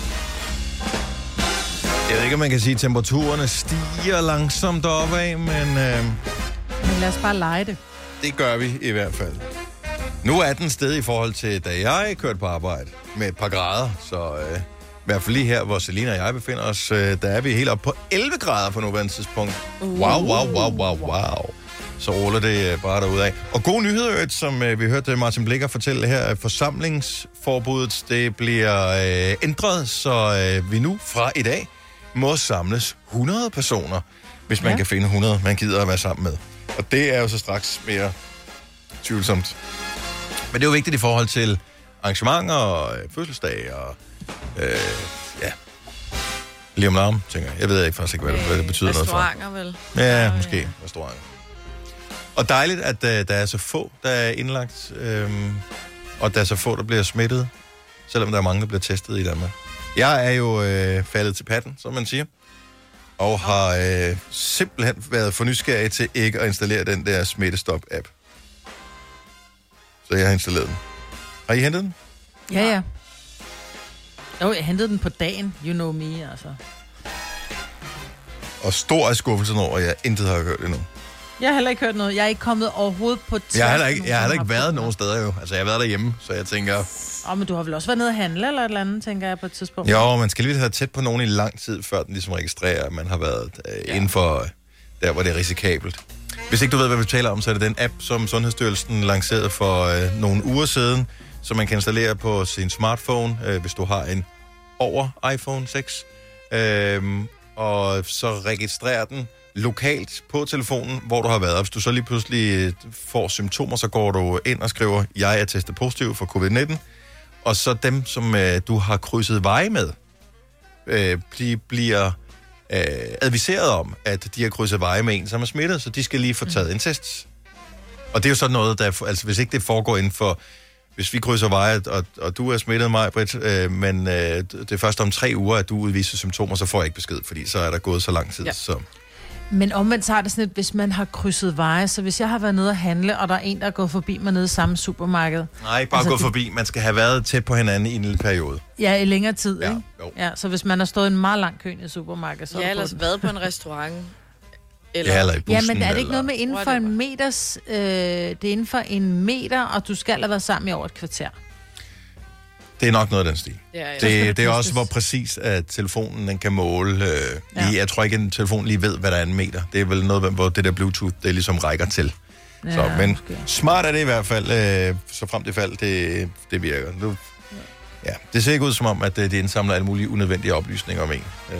Speaker 1: Jeg ved ikke, om man kan sige, at temperaturerne stiger langsomt deroppe af, men øh,
Speaker 3: Men lad os bare lege det.
Speaker 1: det gør vi i hvert fald. Nu er den sted i forhold til, da jeg kørte på arbejde med et par grader, så øh, i hvert fald lige her, hvor Selina og jeg befinder os, øh, der er vi helt oppe på 11 grader på nuværende tidspunkt. Wow, wow, wow, wow, wow. Så ruller det øh, bare derudad. Og gode nyheder, øh, som øh, vi hørte Martin Blikker fortælle her, at forsamlingsforbuddet det bliver øh, ændret, så øh, vi nu fra i dag må samles 100 personer, hvis man ja. kan finde 100, man gider at være sammen med. Og det er jo så straks mere tvivlsomt. Men det er jo vigtigt i forhold til arrangementer og øh, fødselsdage og øh, ja, lige om larm, tænker jeg. Jeg ved ikke faktisk ikke, hvad det, hvad det betyder noget for.
Speaker 2: Restauranter, vel?
Speaker 1: Ja, måske restauranter. Og dejligt, at øh, der er så få, der er indlagt, øh, og der er så få, der bliver smittet, selvom der er mange, der bliver testet i Danmark. Jeg er jo øh, faldet til patten, som man siger, og har øh, simpelthen været for nysgerrig til ikke at installere den der smittestop-app. Så jeg har installeret den. Har I hentet den?
Speaker 3: Ja, ja. Jo, jeg hentede den på dagen. You know me, altså.
Speaker 1: Og stor er skuffelsen over, at jeg intet har hørt endnu.
Speaker 3: Jeg har heller ikke hørt noget. Jeg er ikke kommet overhovedet på
Speaker 1: Jeg har heller ikke, jeg har heller ikke været nogen steder jo. Altså, jeg har været derhjemme, så jeg tænker,
Speaker 3: Åh, oh, men du har vel også været nede og handle eller et eller andet, tænker jeg på et tidspunkt.
Speaker 1: Jo, man skal lige have tæt på nogen i lang tid, før den ligesom registrerer, at man har været øh, ja. inden for øh, der, hvor det er risikabelt. Hvis ikke du ved, hvad vi taler om, så er det den app, som Sundhedsstyrelsen lancerede for øh, nogle uger siden, som man kan installere på sin smartphone, øh, hvis du har en over iPhone 6. Øhm, og så registrerer den lokalt på telefonen, hvor du har været. Og Hvis du så lige pludselig øh, får symptomer, så går du ind og skriver, jeg er testet positiv for covid-19 og så dem, som øh, du har krydset veje med, øh, bli, bliver øh, adviseret om, at de har krydset veje med en, som er smittet, så de skal lige få taget en test. Og det er jo sådan noget, der, altså hvis ikke det foregår inden for, hvis vi krydser veje, og, og du er smittet mig, Britt, øh, men øh, det er først om tre uger, at du udviser symptomer, så får jeg ikke besked, fordi så er der gået så lang tid. Ja.
Speaker 2: Ja.
Speaker 1: Så.
Speaker 3: Men omvendt så er det sådan lidt, hvis man har krydset veje, så hvis jeg har været nede og handle, og der er en, der er gået forbi mig nede i samme supermarked,
Speaker 1: Nej, bare altså,
Speaker 3: Altså,
Speaker 1: gå
Speaker 3: det-
Speaker 1: forbi. Man skal have været tæt på hinanden i en lille periode.
Speaker 3: ja, i længere tid,
Speaker 1: Ja,
Speaker 3: ikke?
Speaker 1: jo.
Speaker 3: Ja, så hvis man har stået i en meget lang kø i et supermarked, så er
Speaker 2: Ja,
Speaker 3: du på
Speaker 2: ellers
Speaker 3: den.
Speaker 2: været på en restaurant.
Speaker 1: Eller- Ja, eller i bussen,
Speaker 3: ja, men er det ikke
Speaker 1: eller-
Speaker 3: noget med inden for en meters... Øh, det er inden for en meter, og du skal have været sammen i over et kvarter.
Speaker 1: Det er nok noget af den stil.
Speaker 3: Ja, ja. Så skal
Speaker 1: Det,
Speaker 3: det
Speaker 1: det er også, hvor præcis at telefonen den kan måle. Øh, lige, Jeg tror ikke, at en telefon lige ved, hvad der er en meter. Det er vel noget, hvor det der Bluetooth, det ligesom rækker til. Ja, så, men smart er det i hvert fald, øh, så frem til fald, det, det virker. Nu, ja, det ser ikke ud som om, at øh, det indsamler alle mulige unødvendige oplysninger om en. Øh,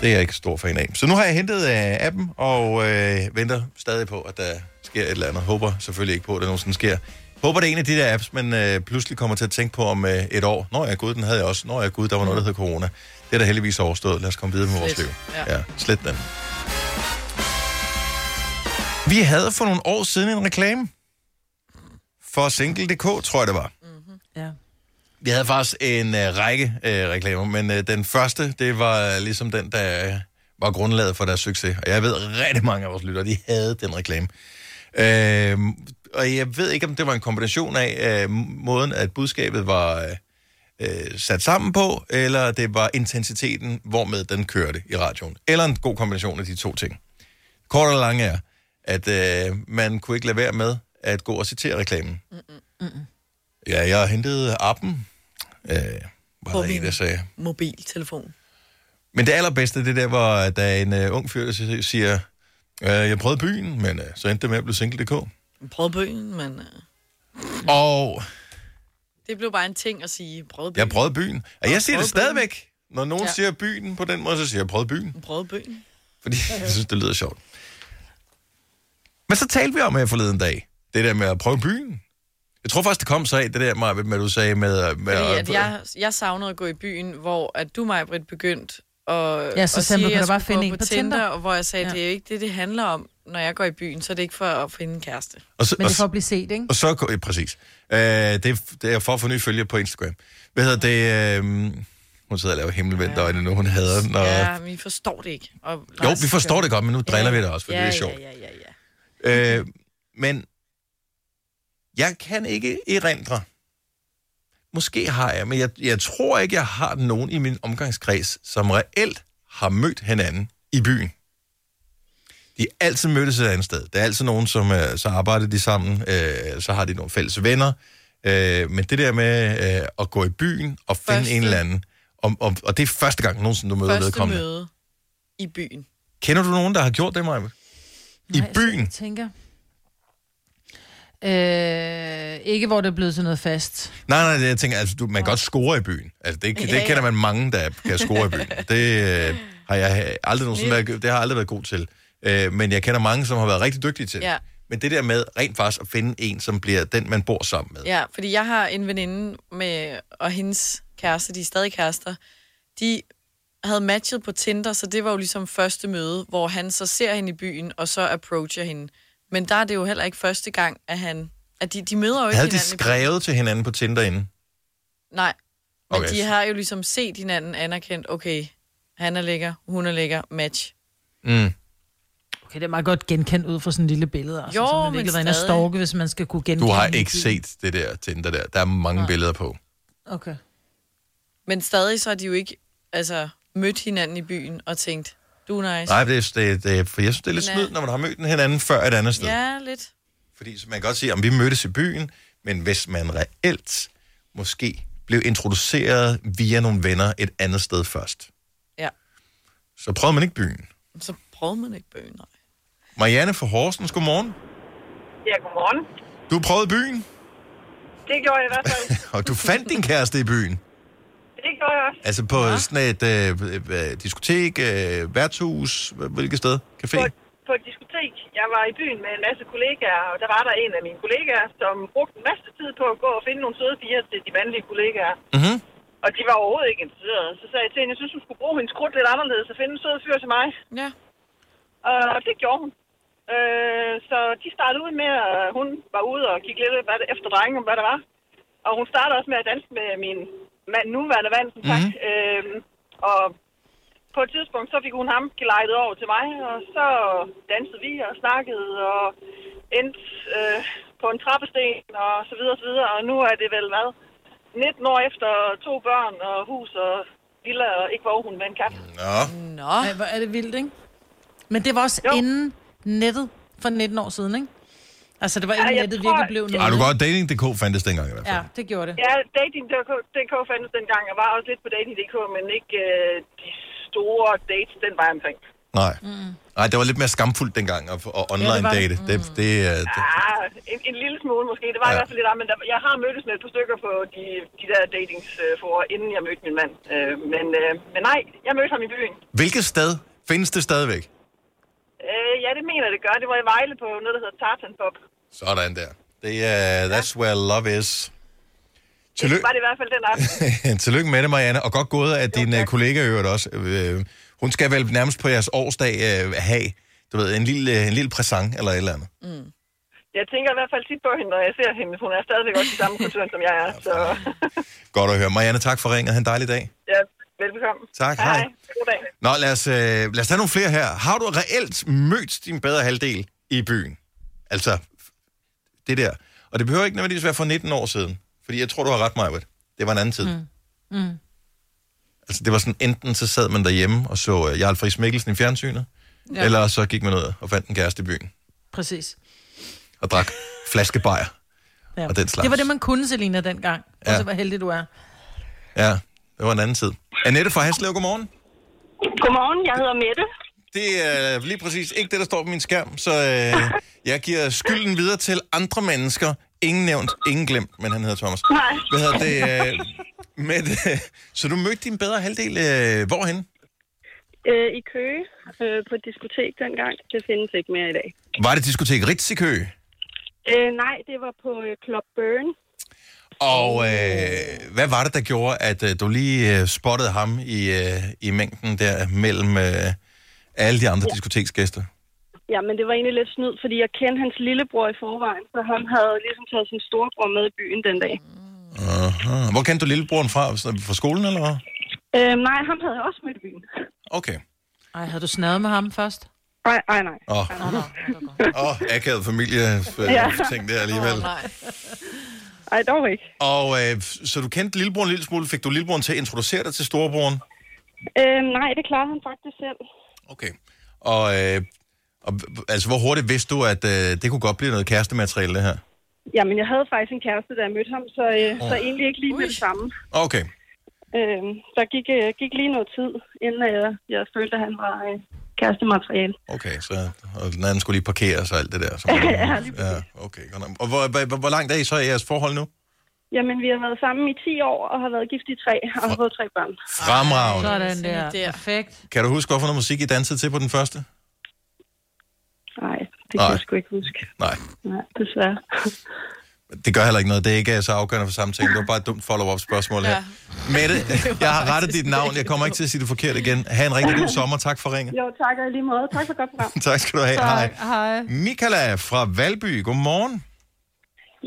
Speaker 1: det er jeg ikke stor fan af. Så nu har jeg hentet øh, appen og øh, venter stadig på, at der sker et eller andet. Håber selvfølgelig ikke på, at det nogensinde sker. Håber det er en af de der apps, man øh, pludselig kommer til at tænke på om øh, et år. Nå ja, gud, den havde jeg også. Nå ja, gud, der var noget, der hed corona. Det er da heldigvis overstået. Lad os komme videre med vores liv.
Speaker 12: Slet.
Speaker 1: Ja.
Speaker 12: Ja.
Speaker 1: ja, slet den. Vi havde for nogle år siden en reklame for Single.dk, tror jeg det var.
Speaker 3: Ja.
Speaker 1: Vi havde faktisk en øh, række øh, reklamer, men øh, den første, det var ligesom den, der øh, var grundlaget for deres succes. Og jeg ved, rigtig mange af vores lyttere, de havde den reklame. Øh, og jeg ved ikke, om det var en kombination af øh, måden, at budskabet var øh, øh, sat sammen på, eller det var intensiteten, hvormed den kørte i radioen. Eller en god kombination af de to ting. Kort og lang er, at øh, man kunne ikke lade være med at gå og citere reklamen. Ja, jeg hentede appen, øh, var
Speaker 2: På
Speaker 1: der en,
Speaker 2: min-
Speaker 1: der sagde.
Speaker 2: Mobiltelefon.
Speaker 1: Men det allerbedste, det er der, hvor der er en øh, ung fyr, der si- siger, øh, jeg prøvede byen, men øh, så endte det med at blive single.dk.
Speaker 2: Brødbøen, men... øh,
Speaker 1: Og
Speaker 2: Det blev bare en ting at sige. Brødbøen.
Speaker 1: jeg prøvede byen. Og jeg siger det
Speaker 2: prøvede byen.
Speaker 1: stadigvæk. Når nogen ja.
Speaker 2: Ja.
Speaker 1: siger byen på den måde, så siger jeg, prøvede byen.
Speaker 2: Brødbøen. *laughs*
Speaker 1: Fordi jeg synes, det lyder sjovt. Men så talte vi om her forleden dag. Det der med at prøve byen. Jeg tror faktisk, det kom så af, det der, Maja, med, du sagde med... øh, med
Speaker 2: Fordi at jeg, jeg savnede at gå i byen, hvor at du, mig, Britt, begyndt og,
Speaker 3: Ja, så
Speaker 2: og
Speaker 3: sagde man,
Speaker 2: sige,
Speaker 3: kan du
Speaker 2: jeg
Speaker 3: bare
Speaker 2: skulle
Speaker 3: finde
Speaker 2: gå
Speaker 3: en
Speaker 2: på
Speaker 3: på
Speaker 2: Tinder,
Speaker 3: Tinder?
Speaker 2: og hvor jeg sagde,
Speaker 3: Ja.
Speaker 2: ja. det er jo ikke det, det handler om, når jeg går i byen, så er det ikke for at finde en kæreste.
Speaker 1: Og så-
Speaker 3: Men
Speaker 1: og
Speaker 3: det er for
Speaker 1: så-
Speaker 3: at blive set, ikke?
Speaker 1: Og så, går- ja, præcis. Øh, det, er, det er for at få nye følgere på Instagram. Hvad hedder det? Øh, hun sidder og laver himmelvendt øjne nu, hun hader den. Og,
Speaker 2: Ja, men vi forstår det ikke. Og
Speaker 1: jo,
Speaker 2: Lars
Speaker 1: vi forstår
Speaker 2: gør
Speaker 1: det godt, men nu driller vi det også, fordi
Speaker 2: ja,
Speaker 1: det er sjovt.
Speaker 2: Ja, ja, ja, ja.
Speaker 1: Øh, men jeg kan ikke erindre. Måske har jeg, men jeg, jeg tror ikke, jeg har nogen i min omgangskreds, som reelt har mødt hinanden i byen. De er altid mødtes et andet sted. Der er altid nogen, som øh, så arbejder de sammen, øh, så har de nogle fælles venner. Øh, men det der med øh, at gå i byen og finde
Speaker 2: Første-
Speaker 1: en eller anden, og, og, og det er første gang nogensinde, du møder
Speaker 2: Første
Speaker 1: vedkommende.
Speaker 2: møde i byen.
Speaker 1: Kender du nogen, der har gjort det, Maja? I
Speaker 3: Nej,
Speaker 1: byen?
Speaker 3: Jeg tænker... Øh, ikke hvor det er blevet sådan noget fast.
Speaker 1: Nej, nej, det- jeg tænker, altså, du, man kan godt score i byen. Altså, det, det
Speaker 3: Ja, ja.
Speaker 1: kender man mange, der kan score i byen. Det, øh, har jeg aldrig nogensinde været, det har jeg aldrig været god til. Øh, men jeg kender mange, som har været rigtig dygtige til det.
Speaker 2: Ja.
Speaker 1: Men det der med rent faktisk at finde en, som bliver den, man bor sammen med.
Speaker 2: Ja, fordi jeg har en veninde med, og hendes kæreste, de er stadig kærester, de havde matchet på Tinder, så det var jo ligesom første møde, hvor han så ser hende i byen, og så approacher hende. Men der er det jo heller ikke første gang, at han... At de, de møder jo ikke
Speaker 1: Havde de
Speaker 2: hinanden. i byen.
Speaker 1: skrevet til hinanden på Tinder inden?
Speaker 2: Nej. Men
Speaker 1: Okay,
Speaker 2: okay. de
Speaker 1: så-
Speaker 2: har jo ligesom set hinanden anerkendt, okay, han er lækker, hun er lækker, match.
Speaker 1: Mm.
Speaker 3: Okay, det er meget godt genkendt ud fra sådan en lille billede. Altså,
Speaker 2: Jo,
Speaker 3: så man
Speaker 2: men
Speaker 3: ikke har været inde og
Speaker 2: stadig.
Speaker 3: stalke, hvis man skal kunne genkende
Speaker 1: Du har
Speaker 3: hende i
Speaker 1: ikke
Speaker 3: byen.
Speaker 1: set det der Tinder der. Der er mange billeder på.
Speaker 3: Okay.
Speaker 2: Men stadig så har de jo ikke altså, mødt hinanden i byen og tænkt, du er nice.
Speaker 1: Nej, det, er- det, det, for jeg synes, det er lidt
Speaker 2: Nej.
Speaker 1: snydt, når man har mødt hinanden før et andet sted.
Speaker 2: Ja, lidt.
Speaker 1: Fordi så man kan godt sige, om vi mødtes i byen, men hvis man reelt måske blev introduceret via nogle venner et andet sted først,
Speaker 2: Ja.
Speaker 1: så prøvede man ikke byen.
Speaker 2: Så prøvede man ikke byen, nej.
Speaker 1: Marianne fra Horsens, godmorgen.
Speaker 13: Ja, godmorgen.
Speaker 1: Du prøvede byen, *laughs*
Speaker 13: Det gjorde jeg i hvert fald.
Speaker 1: og du fandt din kæreste i byen.
Speaker 13: Det gjorde jeg også.
Speaker 1: Altså på ja. sådan et øh, øh, diskotek, øh, værtshus, h- hvilket sted? Café?
Speaker 13: På et diskotek. Jeg var i byen med en masse kollegaer, og der var der en af mine kollegaer, som brugte en masse tid på at gå og finde nogle søde piger til de mandlige kollegaer.
Speaker 1: Mhm.
Speaker 8: Mm-hmm.
Speaker 13: Og de var overhovedet ikke interesserede. Så sagde jeg til hende, jeg synes, hun skulle bruge hendes krudt lidt anderledes og finde en sød fyr til mig.
Speaker 2: Ja.
Speaker 13: Og det gjorde hun. Øh, så de startede ud med, at hun var ude og gik lidt hvad det, efter drenge, om hvad der var. Og hun startede også med at danse med min mand, nuværende mand, som sagt.
Speaker 14: Mhm.
Speaker 13: Mm-hmm. Øh, og på et tidspunkt, så fik hun ham gelejtet over til mig, og så dansede vi og snakkede og endte øh, på en trappesten og så videre og så videre. Og nu er det vel hvad? 19 år efter to børn
Speaker 3: Mm.
Speaker 13: og hus og villa og ikke hvor hun med en kat.
Speaker 1: Nå.
Speaker 2: Nå.
Speaker 3: Ej, hvor er det vildt, ikke? Men det var også jo. inden nettet for 19 år siden, ikke? Altså, det var inden
Speaker 13: Ja,
Speaker 3: ja,
Speaker 13: jeg
Speaker 3: nettet
Speaker 13: tror-
Speaker 3: virkelig blev
Speaker 13: Ja.
Speaker 3: noget.
Speaker 1: Har Ah, du godt, dating.dk fandtes dengang i hvert fald.
Speaker 3: Ja, det gjorde det.
Speaker 13: Ja, dating.dk fandtes dengang. Jeg var også lidt på dating.dk, men ikke øh, de store dates den vej omkring.
Speaker 1: Nej. Mm. Nej, det var lidt mere skamfuldt dengang at, at
Speaker 13: Ja, det
Speaker 1: online
Speaker 13: var det. Mm.
Speaker 1: date. Det, det, det, øh, er- det,
Speaker 13: Ah, en, en lille smule måske. Det var ja. i
Speaker 1: Ja.
Speaker 13: hvert fald lidt af, men der, jeg har mødtes med et par stykker på de, de der datingsforer, inden jeg mødte min mand. Øh, men, øh, men nej, jeg mødte ham i byen.
Speaker 1: hvilket sted findes det stadigvæk?
Speaker 13: Øh, ja, det mener jeg, det gør. Det var i Vejle på noget, der hedder Tartan Pop.
Speaker 1: Sådan der. Det er, that's where love is.
Speaker 13: Det
Speaker 1: Tillykke,
Speaker 13: var det i hvert fald den aften.
Speaker 1: *laughs* tillykke med det, Marianne, og godt gået af din øh, kollega i øvrigt også. Øh, Hun skal vel nærmest på jeres årsdag øh, have, du ved, en lille, øh, en lille præsang eller et eller andet.
Speaker 13: Jeg tænker i hvert fald tit på hende, når jeg ser hende. Hun er stadigvæk også i samme kultur, som jeg er. Så
Speaker 1: Godt at høre. Marianne, tak for ringet. Ha' en dejlig dag.
Speaker 13: *laughs* ja, velbekomme.
Speaker 1: Tak, hej.
Speaker 13: God dag.
Speaker 1: Nå, lad os, øh, lad os tage nogle flere her. Har du reelt mødt din bedre halvdel i byen? Altså, det der. Og det behøver ikke nødvendigvis være for 19 år siden. Fordi jeg tror, du har ret, Majbert. Det var en anden tid. Mm.
Speaker 3: Mm.
Speaker 1: Altså, det var sådan, enten så sad man derhjemme og så øh, Jarl Friis Mikkelsen i fjernsynet, ja.
Speaker 3: Ja.
Speaker 1: eller så gik man ud og fandt en kæreste i byen
Speaker 3: Præcis.
Speaker 1: og drak flaskebajer.
Speaker 3: Ja.
Speaker 1: Og den slags.
Speaker 3: Det var det, man kunne, Selina, dengang. Ja. Og
Speaker 1: Ja.
Speaker 3: så hvor heldig du er.
Speaker 1: Ja, det var en anden tid. Annette fra Haslev, godmorgen.
Speaker 12: Godmorgen, jeg hedder Mette.
Speaker 1: Det er lige præcis ikke det, der står på min skærm, så øh, jeg giver skylden videre til andre mennesker. Ingen nævnt, ingen glemt, men han hedder Thomas.
Speaker 12: Nej.
Speaker 1: Hvad hedder det? Øh, med, øh, så du mødte din bedre halvdel øh, hvorhen?
Speaker 12: Øh, I Køge øh, på et diskotek dengang. Det findes ikke mere i dag.
Speaker 1: Var det diskotek Ritz i Kø?
Speaker 12: Øh, nej, det var på øh, Club Burn.
Speaker 1: Og øh, hvad var det, der gjorde, at øh, du lige øh, spottede ham i, øh, i mængden der mellem øh, alle de andre diskoteksgæster?
Speaker 12: Ja, men det var egentlig lidt snyd, fordi jeg kendte hans lillebror i forvejen, så han havde ligesom taget sin storebror med i byen den dag.
Speaker 1: Aha. Hvor kendte du lillebroren fra? Sådan Fra skolen, eller hvad?
Speaker 12: Øh, nej, ham havde jeg også mødt i byen.
Speaker 1: Okay.
Speaker 3: Ej, havde du snadet med ham først?
Speaker 12: Nej, nej, nej.
Speaker 1: Åh, oh. oh, akavet familie øh,
Speaker 12: Ja.
Speaker 1: ting der alligevel.
Speaker 12: Ej, dog ikke.
Speaker 1: Og øh, så du kendte lillebroren en lille smule. Fik du lillebroren til at introducere dig til storebroren?
Speaker 12: Øh, nej, det klarede han faktisk selv.
Speaker 1: Okay. Og, øh, og h- altså, hvor hurtigt vidste du, at øh, det kunne godt blive noget kærestemateriale, det her?
Speaker 12: Jamen, jeg havde faktisk en kæreste, da jeg mødte ham, så, øh,
Speaker 1: Åh.
Speaker 12: så egentlig ikke lige med det samme.
Speaker 1: Okay.
Speaker 12: Øh, der gik, øh, gik lige noget tid, inden øh, jeg følte, at han var øh, kærestemateriale.
Speaker 1: Okay, så og den anden skulle lige parkere sig alt det
Speaker 12: *laughs*
Speaker 1: der. Som, ja,
Speaker 12: lige
Speaker 1: ja, okay. godt nok. Og hvor, hvor, hvor, hvor langt er I så i jeres forhold nu?
Speaker 12: Jamen, vi har været sammen i 10 år og har været gift i 3 og har fået tre børn.
Speaker 1: Fremragende.
Speaker 3: Sådan der. Perfekt.
Speaker 1: Kan du huske, hvorfor noget musik I dansede til på den første?
Speaker 12: Nej, det kan
Speaker 1: Nej.
Speaker 12: jeg sgu ikke huske.
Speaker 1: Nej,
Speaker 12: Nej, desværre.
Speaker 1: det gør heller ikke noget. Det er ikke øh, så afgørende for samtalen. Det var bare et dumt follow-up spørgsmål her.
Speaker 12: Ja. *laughs*
Speaker 1: Mette, jeg har rettet dit navn. Jeg kommer ikke til at sige det forkert igen. Ha' en rigtig god sommer. Tak for ringet.
Speaker 12: Jo, tak og i lige måde. Tak for godt program.
Speaker 1: *laughs* Tak skal du have. Hej.
Speaker 3: Hej.
Speaker 1: Michaela fra Valby, godmorgen.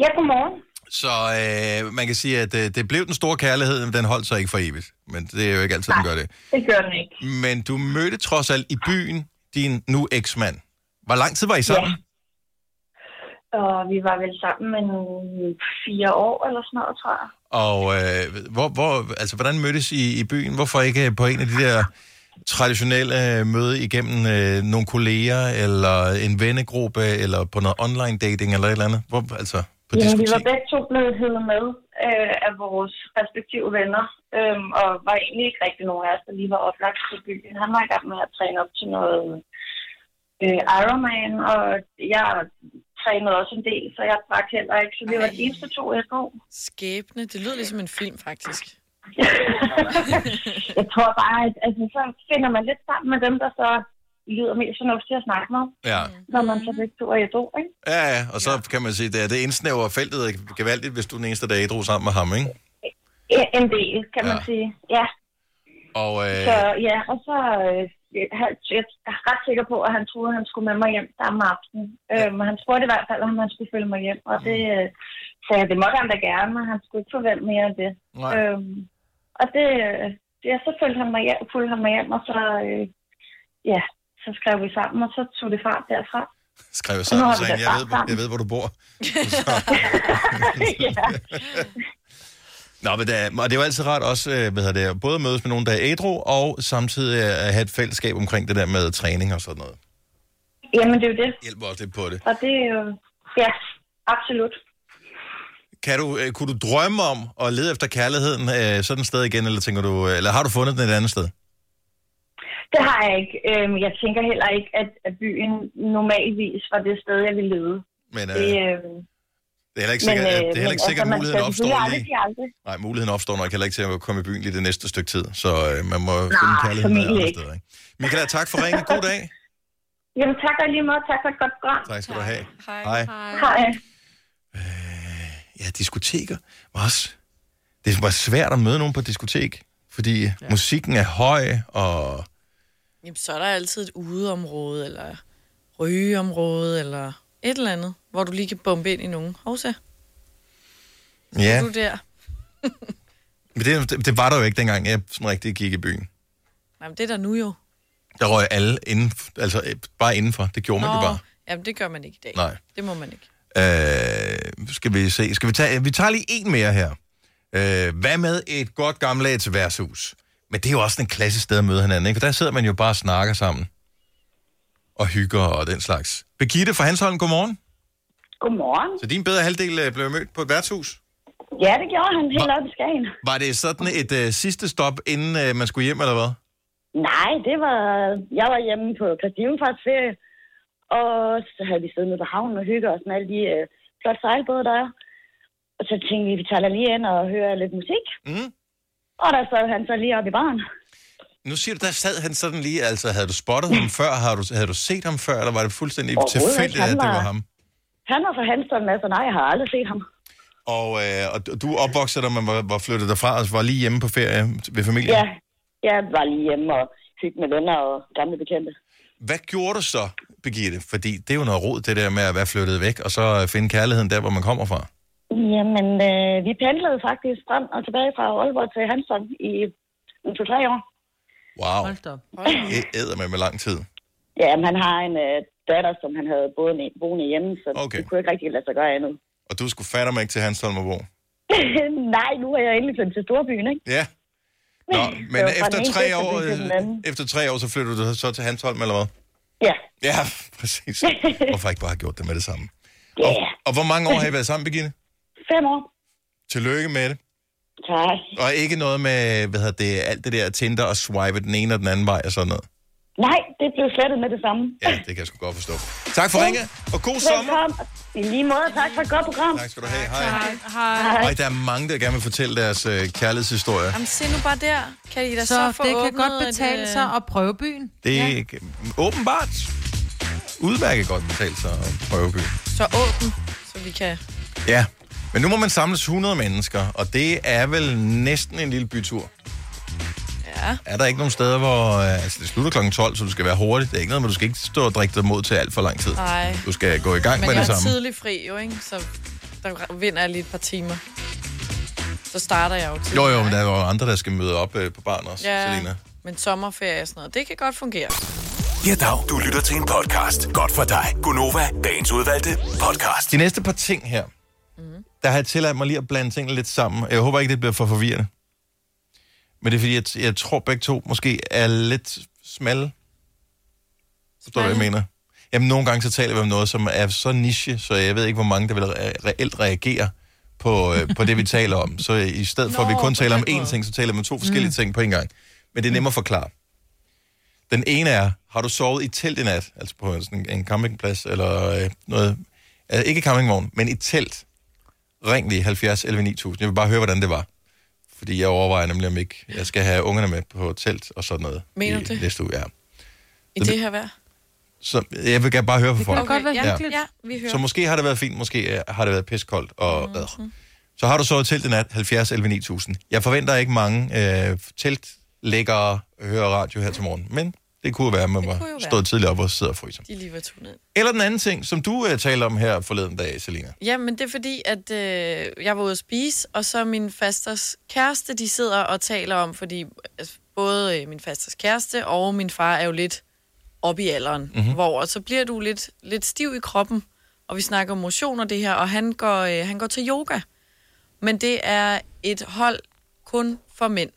Speaker 14: Ja, godmorgen.
Speaker 1: Så øh, man kan sige, at øh, det blev den store kærlighed, men den holdt sig ikke for evigt. Men det er jo ikke altid, den gør det.
Speaker 14: Det gør den ikke.
Speaker 1: Men du mødte trods alt i byen din nu eksmand. Hvor lang tid var I sammen?
Speaker 14: Og vi var vel sammen en fire år eller sådan noget, tror jeg.
Speaker 1: Og øh, hvor, hvor, altså, hvordan mødtes I i byen? Hvorfor ikke på en af de der traditionelle øh, møde igennem øh, nogle kolleger, eller en vennegruppe, eller på noget online dating, eller et eller andet? Hvor, altså, på
Speaker 14: Jamen,
Speaker 1: diskotek?
Speaker 14: vi var begge to blevet hævet med øh, af vores respektive venner, øh, og var egentlig ikke rigtig nogen af os, der lige var oplagt til byen. Han var i gang med at træne op til noget øh, Ironman, og jeg trænede også en del, så jeg drak heller ikke, så vi var de eneste to SO.
Speaker 2: Skæbne, det lyder ligesom en film, faktisk.
Speaker 14: Jeg tror bare, at altså, så finder man lidt sammen med dem, der så lyder mest fornuftige at snakke med,
Speaker 1: Ja.
Speaker 14: når man så begge to er SO, ikke?
Speaker 1: Ja, ja, og så ja. kan man sige, det, er- det indsnæver feltet gevaldigt, hvis du er den eneste, der er ædru sammen med ham, ikke?
Speaker 14: Ja, En del, kan man
Speaker 1: Ja.
Speaker 14: sige. Ja.
Speaker 1: Og, øh,
Speaker 14: Så ja, og så øh, han- jeg er ret sikker på, at han troede, at han skulle med mig hjem samme aften. Øhm, og han spurgte i hvert fald, om han skulle følge mig hjem, og det øh, sagde jeg, det måtte han da gerne, men han skulle ikke forvente mere end det.
Speaker 1: Nej.
Speaker 14: Øhm, og det, øh, det, så følte han mig hjem, fulgte han mig hjem, og så, øh, ja, så skrev vi sammen, og så tog det fart derfra.
Speaker 1: skrev jeg
Speaker 14: Nu
Speaker 1: sammen,
Speaker 14: har
Speaker 1: så
Speaker 14: vi
Speaker 1: jeg
Speaker 14: da
Speaker 1: ved, hvor-
Speaker 14: sammen.
Speaker 1: jeg ved, hvor du bor.
Speaker 14: *laughs* ja.
Speaker 1: Nå, men det er, og det er jo altid rart også, øh, hvad hedder det, både at mødes med nogen, der er ædru, og samtidig øh, at have et fællesskab omkring det der med træning og sådan noget.
Speaker 14: Jamen, det er jo det.
Speaker 1: Hjælp mig også lidt på det.
Speaker 14: Og det er jo... Ja, absolut.
Speaker 1: Kan du, øh, kunne du drømme om at lede efter kærligheden øh, sådan et sted igen, eller, tænker du, øh, eller har du fundet den et andet sted?
Speaker 14: Det har jeg ikke. Øhm, jeg tænker heller ikke, at, at byen normalvis var det sted, jeg ville lede.
Speaker 1: Men, øh,
Speaker 14: det,
Speaker 1: det
Speaker 14: øhm,
Speaker 1: er heller ikke sikkert,
Speaker 14: men,
Speaker 1: at,
Speaker 14: øh,
Speaker 1: det er heller
Speaker 14: men
Speaker 1: ikke sikkert
Speaker 14: man
Speaker 1: at muligheden
Speaker 14: skal
Speaker 1: opstår
Speaker 14: selvfølgelig
Speaker 1: lige.
Speaker 14: aldrig sige aldrig.
Speaker 1: Nej, muligheden opstår nok heller ikke til at komme i byen lige det næste stykke tid, så øh, man må Nej, finde
Speaker 14: Nej,
Speaker 1: kærligheden
Speaker 14: formentlig
Speaker 1: andre
Speaker 14: ikke.
Speaker 1: steder. Ikke? Michaela, tak for ringen. God dag.
Speaker 14: Jamen, tak og i lige måde. Tak for et godt program.
Speaker 1: Tak skal du have. Hej.
Speaker 14: Hej.
Speaker 1: Ja, diskoteker var også... Det var svært at møde nogen på et diskotek, fordi ja. musikken er høj, og
Speaker 2: Jamen, så er der altid et udeområde, eller rygeområde, eller et eller andet, hvor du lige kan bombe ind i nogen. Hov, så.
Speaker 1: ja,
Speaker 2: Du er der.
Speaker 1: men det, det var der jo ikke dengang, jeg sådan rigtig gik i byen.
Speaker 2: Nej, men det er der nu jo.
Speaker 1: Der røg alle inden, altså øh, bare indenfor. Det gjorde man jo bare.
Speaker 2: jamen, det gør man ikke i dag.
Speaker 1: Nej.
Speaker 2: Det må man ikke.
Speaker 1: Øh, skal vi se. Skal vi tage, vi tager lige en mere her. Øh, hvad med et godt gammeldags værtshus? Men det er jo også en klassisk sted at møde hinanden, ikke? For der sidder man jo bare og snakker sammen. Og hygger og den slags. Birgitte fra Hansholm, godmorgen.
Speaker 15: Godmorgen.
Speaker 1: Så din bedre halvdel øh, blev mødt på et værtshus.
Speaker 15: Ja, det gjorde han helt op i Skagen.
Speaker 1: Var det sådan et øh, sidste stop, inden øh, man skulle hjem, eller hvad?
Speaker 15: Nej, det var... Jeg var hjemme på Kristinefarts ferie, og så havde vi siddet nede på havnen og hygget os med alle de øh, flotte sejlbåde, der er. Og så tænkte vi, vi tager da lige ind og hører lidt musik.
Speaker 1: Mm.
Speaker 15: Og der sad han så lige oppe i baren.
Speaker 1: Nu siger du, der sad han sådan lige, altså havde du spottet
Speaker 15: *laughs*
Speaker 1: ham før? Havde du, havde du set ham før, eller var det fuldstændig
Speaker 15: Overhovedet ikke.
Speaker 1: tilfældigt, at
Speaker 15: Han
Speaker 1: det var
Speaker 15: var-
Speaker 1: ham?
Speaker 15: Han var fra Hanstholm, altså nej, jeg har aldrig set ham.
Speaker 1: Og, øh, og du opvoksede dig, man var, var flyttet derfra, og var lige hjemme på ferie ved familien.
Speaker 15: Ja, jeg var lige hjemme og hyggede med venner og gamle bekendte.
Speaker 1: Hvad gjorde du så, Birgitte? Fordi det er jo noget rod, det der med at være flyttet væk, og så øh, finde kærligheden der, hvor man kommer fra.
Speaker 15: Jamen, øh, vi pendlede faktisk frem og tilbage fra Aalborg til Hanstholm i en to-tre år.
Speaker 1: Wow,
Speaker 3: Stop.
Speaker 1: det æder man med lang tid.
Speaker 15: Ja, men han har en øh, datter, som han havde boende, boende hjemme, så okay. det kunne ikke rigtig lade sig gøre andet. *laughs*
Speaker 1: Og du skulle fatte mig ikke til Hansholm og Bo.
Speaker 15: Nej, nu er jeg endelig flyttet til storbyen, ikke?
Speaker 1: Ja. Nå, men
Speaker 15: Det var fra den
Speaker 1: efter
Speaker 15: ene
Speaker 1: tre,
Speaker 15: fest,
Speaker 1: år,
Speaker 15: og det til den anden.
Speaker 1: øh, efter tre år, så flyttede du så til Hansholm, eller hvad?
Speaker 15: Ja.
Speaker 1: Ja, *laughs*
Speaker 15: *laughs*
Speaker 1: præcis. Hvorfor ikke bare have gjort det med det samme? Og, og hvor mange år har I været sammen, Birgitte?
Speaker 15: Fem år.
Speaker 1: Tillykke med det.
Speaker 15: Tak.
Speaker 1: Og ikke noget med, hvad hedder det, alt det der Tinder og swipe den ene og den anden vej og sådan noget.
Speaker 15: Nej, det blev slettet med det samme.
Speaker 1: Ja, det kan jeg sgu godt forstå. Tak for ringet, og god sommer.
Speaker 15: Velkommen. I lige måde, tak for et godt program.
Speaker 1: Tak skal du have. Hej.
Speaker 3: Hej.
Speaker 1: Og der er mange, der gerne vil fortælle deres øh, kærlighedshistorie.
Speaker 2: Jamen, se nu bare der. Kan I da så,
Speaker 3: Så
Speaker 2: få
Speaker 3: det kan
Speaker 2: åbnet
Speaker 3: godt betale
Speaker 2: et, øh,
Speaker 3: sig at prøve byen.
Speaker 1: Det er ikke- åbenbart udmærket godt betalt sig at prøve by.
Speaker 2: Så åben, så vi kan...
Speaker 1: Ja, men nu må man samles 100 mennesker, og det er vel næsten en lille bytur.
Speaker 2: Ja.
Speaker 1: Er der ikke nogen steder, hvor... øh, Altså, det slutter kl. 12, så du skal være hurtig. Det er ikke noget, men du skal ikke stå og drikke dig mod til alt for lang tid.
Speaker 2: Nej.
Speaker 1: Du skal gå i gang
Speaker 2: Men
Speaker 1: med
Speaker 2: jeg
Speaker 1: det
Speaker 2: er
Speaker 1: samme.
Speaker 2: tidlig fri jo, ikke? Så der vinder jeg lige et par timer. Så starter jeg jo tidligt.
Speaker 1: Jo, jo, men der er jo andre, der skal møde op øh, på barn også,
Speaker 2: Ja,
Speaker 1: Selina.
Speaker 2: men sommerferie og sådan noget, det kan godt fungere.
Speaker 4: Ja, dag. Du lytter til en podcast. Godt for dig. Gunova, dagens udvalgte podcast.
Speaker 1: Altså, De næste par ting her, mm.
Speaker 16: Mhm.
Speaker 1: der har jeg tilladt mig lige at blande tingene lidt sammen. Jeg håber ikke, det bliver for forvirrende. Men det er fordi, jeg, jeg tror begge to måske er lidt smalle. Forstår du, hvad jeg mener? Jamen, nogle gange så taler vi om noget, som er så niche, så jeg ved ikke, hvor mange, der vil re- reelt reagere på, øh, på
Speaker 16: *laughs*
Speaker 1: det, vi taler om. Så i stedet for, at vi
Speaker 16: Nå,
Speaker 1: kun
Speaker 16: på
Speaker 1: taler om
Speaker 16: den
Speaker 1: én
Speaker 16: måde.
Speaker 1: ting, så taler vi om to forskellige
Speaker 16: Mm.
Speaker 1: ting på en gang. Men det er nemmere at forklare. Den ene er, har du sovet i telt i nat? Altså på sådan en campingplads eller øh, noget. Altså, ikke campingvogn, men i telt. Ring lige 70 11 9000. Jeg vil bare høre, hvordan det var. Fordi jeg overvejer nemlig, om ikke jeg skal have ungerne med på telt og sådan noget.
Speaker 2: Mener
Speaker 1: i
Speaker 2: du det?
Speaker 1: Næste uge, ja.
Speaker 2: I det her vejr.
Speaker 1: Så jeg vil gerne bare høre fra folk.
Speaker 2: ja, ja, vi hører.
Speaker 1: Så måske har det været fint, måske øh, har det været piskoldt
Speaker 2: Mhm.
Speaker 1: og mm-hmm. Så har du sovet telt i nat, 70 11 9000. Jeg forventer ikke mange øh, teltlæggere hører radio her til morgen, men det kunne være, at man
Speaker 2: kunne jo
Speaker 1: var
Speaker 2: være.
Speaker 1: stået tidligt op og sidder og fryser.
Speaker 2: De er lige var tunet.
Speaker 1: Eller den anden ting, som du øh, talte om her forleden dag, Selina.
Speaker 2: Ja, men det er fordi, at øh, jeg var ude at spise, og så min fasters kæreste, de sidder og taler om, fordi altså, både øh, min fasters kæreste og min far er jo lidt op i alderen,
Speaker 17: Mhm.
Speaker 2: mm-hmm. hvor og så bliver du lidt, lidt stiv i kroppen, og vi snakker om motion og det her, og han går, øh, han går til yoga. Men det er et hold kun for mænd.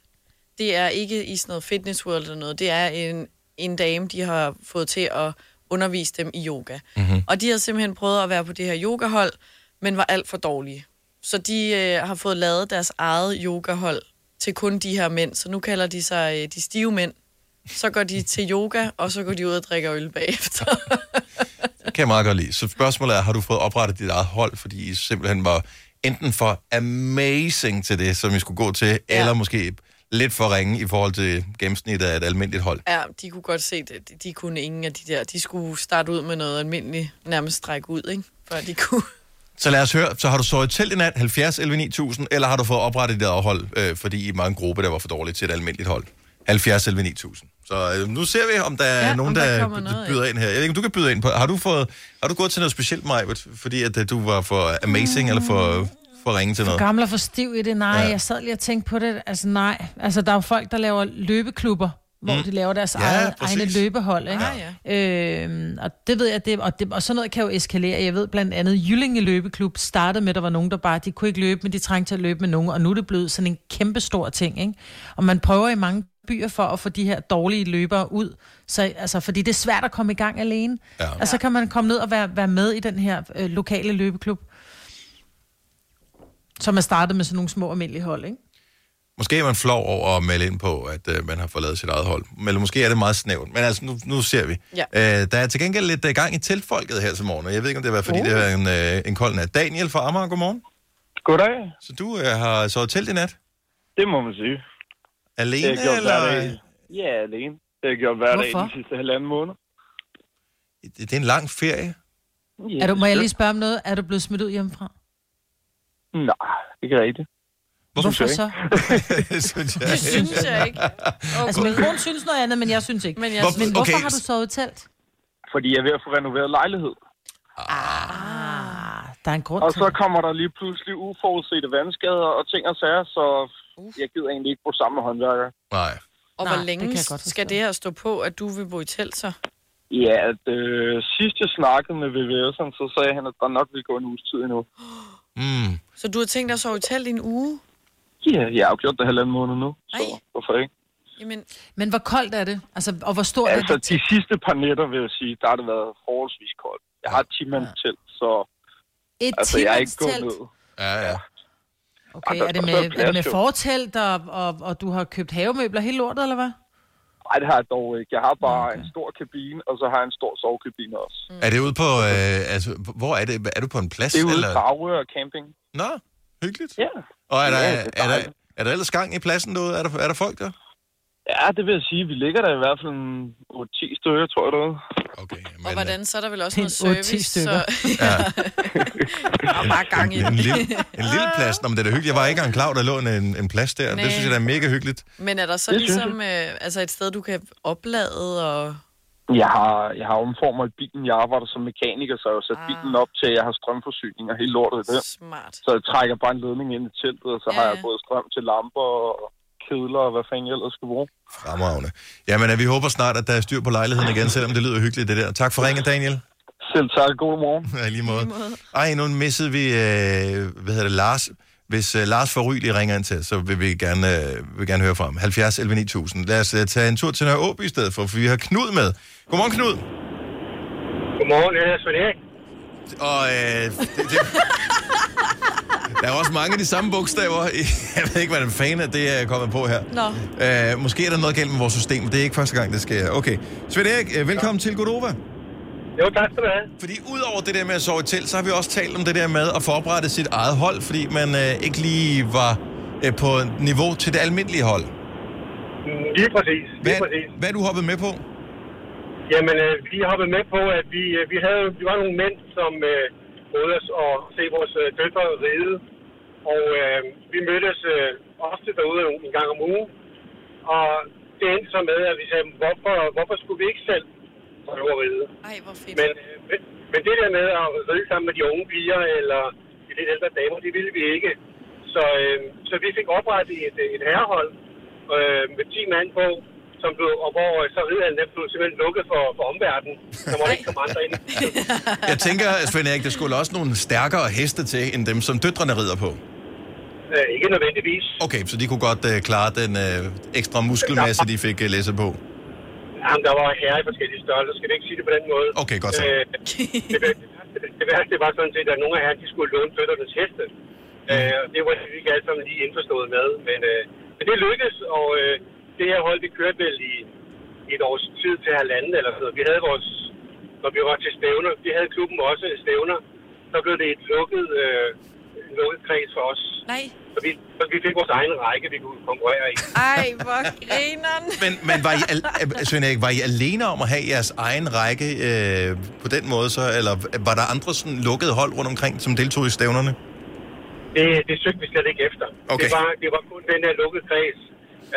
Speaker 2: Det er ikke i sådan noget fitness world eller noget. Det er en, en dame, de har fået til at undervise dem i yoga. Mm-hmm. Og de havde simpelthen prøvet at være på det her yogahold, men var alt for dårlige. Så de øh, har fået lavet deres eget yogahold til kun de her mænd, så nu kalder de sig øh, de stive mænd. Så går de til yoga, og så går de ud og drikker øl bagefter. *laughs*
Speaker 1: Det kan jeg meget godt lide. Så spørgsmålet er, har du fået oprettet dit eget hold, fordi I simpelthen var enten for amazing til det, som I skulle gå til, ja. eller måske lidt for ringe i forhold til gennemsnittet af et almindeligt hold.
Speaker 2: ja, de kunne godt se, at de- de kunne ingen af de der. De skulle starte ud med noget almindeligt, nærmest strække ud, ikke? Før de kunne.
Speaker 1: Så lad os høre, så har du sovet i telt i nat, 70 11 9000, eller har du fået oprettet dit eget hold, øh, fordi I var en gruppe, der var for dårlig til et almindeligt hold? 70 11 9000. Så øh, nu ser vi, om der er
Speaker 2: Ja,
Speaker 1: ja,
Speaker 2: om
Speaker 1: nogen,
Speaker 2: der
Speaker 1: der,
Speaker 2: kommer
Speaker 1: der
Speaker 2: noget
Speaker 1: byder ind her. Jeg ved ikke, om du kan byde ind på. Har du, fået, har du gået til noget specielt, Majbert, fordi at, øh, du var for amazing, mm. eller for, for ringe til
Speaker 3: For
Speaker 1: noget?
Speaker 3: gammel og for stiv i det, nej.
Speaker 1: Ja.
Speaker 3: Ja. Jeg sad lige og tænkte på det, altså nej. Altså, der er jo folk, der laver løbeklubber, hvor
Speaker 1: Mm.
Speaker 3: mm. de laver deres
Speaker 1: Ja,
Speaker 3: ja, eget,
Speaker 1: præcis.
Speaker 3: egne løbehold, ikke?
Speaker 2: Ja,
Speaker 3: ja. Øhm, og det ved jeg, det, og, det, og sådan noget kan jo eskalere. Jeg ved blandt andet, Jyllinge Løbeklub startede med, at der var nogen, der bare, de kunne ikke løbe, men de trængte til at løbe med nogen, og nu er det blevet sådan en kæmpe stor ting, ikke? Og man prøver i mange byer for at få de her dårlige løbere ud, så, altså, fordi det er svært at komme i gang alene.
Speaker 1: Ja.
Speaker 3: Og så kan man komme ned og være, være med i den her øh, lokale løbeklub som er startet med sådan nogle små almindelige hold, ikke?
Speaker 1: Måske er man flov over at melde ind på, at øh, man har forladet sit eget hold. Eller måske er det meget snævert, men altså, nu, nu ser vi.
Speaker 2: Ja.
Speaker 1: Øh, der er til gengæld lidt øh, gang i teltfolket her til morgen, og jeg ved ikke, om det har været, fordi uh. det er en, øh, en kold nat. Daniel fra Amager, godmorgen.
Speaker 16: Goddag.
Speaker 1: Så du øh, har sovet telt i nat?
Speaker 16: Det må man sige.
Speaker 1: Alene,
Speaker 16: Det har jeg gjort hver
Speaker 1: eller?
Speaker 16: dag. Ja, alene. Det har jeg gjort hver dag
Speaker 3: Hvorfor?
Speaker 16: de sidste halvanden måned.
Speaker 1: Det, det er en lang ferie.
Speaker 3: er du, må jeg lige spørge om noget? Er du blevet smidt ud hjemmefra?
Speaker 16: Nej, ikke rigtigt.
Speaker 3: Hvorfor så?
Speaker 1: det synes
Speaker 3: Det synes jeg ikke. Okay. Altså, min kone synes noget andet, men jeg synes ikke. Men,
Speaker 16: jeg Hvorfor-
Speaker 3: men hvorfor
Speaker 16: okay.
Speaker 3: har du sovet i telt?
Speaker 16: Fordi jeg er ved at få renoveret lejlighed.
Speaker 3: Ah, Der er en grund
Speaker 16: Og
Speaker 3: til
Speaker 16: så
Speaker 3: det.
Speaker 16: kommer der lige pludselig uforudsete vandskader og ting og sager, så jeg gider egentlig ikke bruge sammen med håndværker.
Speaker 1: Nej.
Speaker 2: *laughs* Og
Speaker 16: Nej,
Speaker 2: hvor
Speaker 16: det
Speaker 2: længe
Speaker 16: kan
Speaker 2: det
Speaker 16: jeg godt
Speaker 2: skal det her stå på, at du vil bo i telt så?
Speaker 16: Ja, at, øh, sidst jeg snakkede med VVS'eren, så sagde han, at der nok ville gå en uges tid endnu.
Speaker 1: Mm.
Speaker 2: Så du har tænkt dig at sove i telt i en uge?
Speaker 16: Ja, jeg har jo gjort det halvanden måned nu, så hvorfor ikke?
Speaker 2: Jamen,
Speaker 3: Men hvor koldt er det? Altså, og hvor stort
Speaker 16: Altså,
Speaker 3: er det?
Speaker 16: de sidste par nætter, vil jeg sige, der har det været forholdsvis koldt. Jeg har et 10 telt, så...
Speaker 3: Et
Speaker 16: altså, jeg er ikke gået
Speaker 3: timandstelt?
Speaker 16: ned.
Speaker 1: Ja, ja.
Speaker 3: Okay, er det med, er det med fortelt, og, og, og du har købt havemøbler hele lortet, eller hvad?
Speaker 16: Nej, det har jeg dog ikke. Jeg har bare okay. en stor kabine, og så har jeg en stor sovekabine også.
Speaker 1: Er det ude på, øh, altså, hvor er det? Er du på en plads?
Speaker 16: Mm. Det er ude i
Speaker 1: eller?
Speaker 16: Dragør og camping.
Speaker 1: Nå, hyggeligt.
Speaker 16: Ja.
Speaker 1: Og er der,
Speaker 16: Ja,
Speaker 1: er,
Speaker 16: det er
Speaker 1: er, der, er der ellers gang i pladsen derude? Er der, er der folk der?
Speaker 16: Ja, det vil jeg sige. Vi ligger der i hvert fald en 8-10 stykker, tror jeg derude.
Speaker 2: og hvordan, så er der vel også
Speaker 16: Det er
Speaker 2: noget
Speaker 16: otte, ti
Speaker 2: service, så...
Speaker 16: stykker. *laughs*
Speaker 2: ja.
Speaker 1: Der er
Speaker 2: bare gang i
Speaker 1: en, en,
Speaker 2: den.
Speaker 1: lille, en lille plads. Nå, men det er da hyggeligt. Jeg var ikke engang klar, over, der lå en, en en plads der.
Speaker 2: Næ.
Speaker 1: Det synes jeg, der er mega hyggeligt.
Speaker 2: *laughs* Men er der så
Speaker 1: Det synes
Speaker 2: ligesom øh, altså et sted, du kan oplade og...
Speaker 16: Jeg har, jeg har omformet bilen. Jeg arbejder som mekaniker, så jeg har sat bilen op til, at jeg har strømforsyning og hele lortet i det.
Speaker 2: Smart.
Speaker 16: Så jeg trækker bare en ledning ind i teltet, og så ja. har jeg både strøm til lamper og kedler og hvad fanden jeg ellers skal bruge.
Speaker 1: Ah, Fremragende. Jamen, øh, vi håber snart, at der er styr på lejligheden igen, selvom det lyder hyggeligt, det der. Tak for ringen, Daniel.
Speaker 16: Selv tak. God morgen.
Speaker 1: Ja, i lige måde. Ej, nu missede vi, øh, hvad hedder det, Lars. Hvis øh, Lars Forry lige ringer ind til, så vil vi gerne, øh, vil gerne høre fra ham. 70 11 9000. Lad os øh, tage en tur til Nørre Åby i stedet for, for vi har Knud med. Godmorgen, Knud.
Speaker 7: Godmorgen, jeg hedder Svend Erik.
Speaker 1: Og øh, det, det,
Speaker 7: *laughs*
Speaker 1: der er også mange af de samme bogstaver. *laughs* Jeg ved ikke, hvad en fan af det er kommet på her.
Speaker 2: Nå.
Speaker 1: Øh, måske er der noget galt med vores system, men det er ikke første gang, det sker. Okay. Svend Erik, øh, velkommen ja. til Godova.
Speaker 7: Jo, tak skal du have.
Speaker 1: Fordi udover det der med at sove i telt, så har vi også talt om det der med at forberede sit eget hold, fordi man øh, ikke lige var øh, på niveau til det almindelige hold.
Speaker 7: Mm, Lige præcis. Lige
Speaker 1: Hvad,
Speaker 7: præcis.
Speaker 1: hvad er du hoppet med på?
Speaker 7: Jamen, øh, vi hoppede med på, at vi, øh, vi, havde, vi var nogle mænd, som øh, prøvede os at se vores øh, døtre ride. Og øh, vi mødtes øh, ofte derude en- en gang om ugen. Og det endte så med, at vi sagde, hvorfor, hvorfor skulle vi ikke selv prøve at ride?
Speaker 2: Ej, hvor fedt.
Speaker 7: Men, øh, men, men det der med at ride sammen med de unge piger eller de lidt ældre damer, det ville vi ikke. Så, øh, så vi fik oprettet et, et herrehold øh, med 10 mand på, som blev, og hvor øh, så ridderen den blev simpelthen lukket for, for omverdenen. Der måtte ikke komme andre ind.
Speaker 1: Jeg
Speaker 7: *laughs*
Speaker 1: tænker, Svend Erik, der skulle også nogle stærkere heste til, end dem, som døtrene rider på.
Speaker 7: Øh, ikke nødvendigvis.
Speaker 1: Okay, så de kunne godt øh, klare den øh, ekstra muskelmasse, de fik øh, læse på.
Speaker 7: Jamen, der var herrer i forskellige størrelser. Skal vi ikke sige det på den måde?
Speaker 1: Okay, godt så.
Speaker 7: Øh, det, værste- det værste var sådan set, at nogle af herrerne, de skulle låne føddernes heste.
Speaker 1: Mm.
Speaker 7: Øh, og det var vi ikke alle sammen lige indforstået med. Men, øh, men det lykkedes, og øh, det her hold, det kørte vel i et års tid til halvanden eller sådan noget. Vi havde vores, når vi var til stævner, vi havde klubben også stævner. Så blev det et lukket, øh, en lukket kreds for os.
Speaker 2: Nej.
Speaker 7: Så vi, så vi fik vores egen række, vi kunne konkurrere i.
Speaker 2: Ej, hvor grineren.
Speaker 1: Men, men var, I al- Søren Erik, var I alene om at have jeres egen række øh, på den måde så, eller var der andre sådan lukkede hold rundt omkring, som deltog i stævnerne?
Speaker 7: Det, det søgte vi slet ikke efter.
Speaker 1: Okay.
Speaker 7: Det, var, det var kun den der lukkede kreds.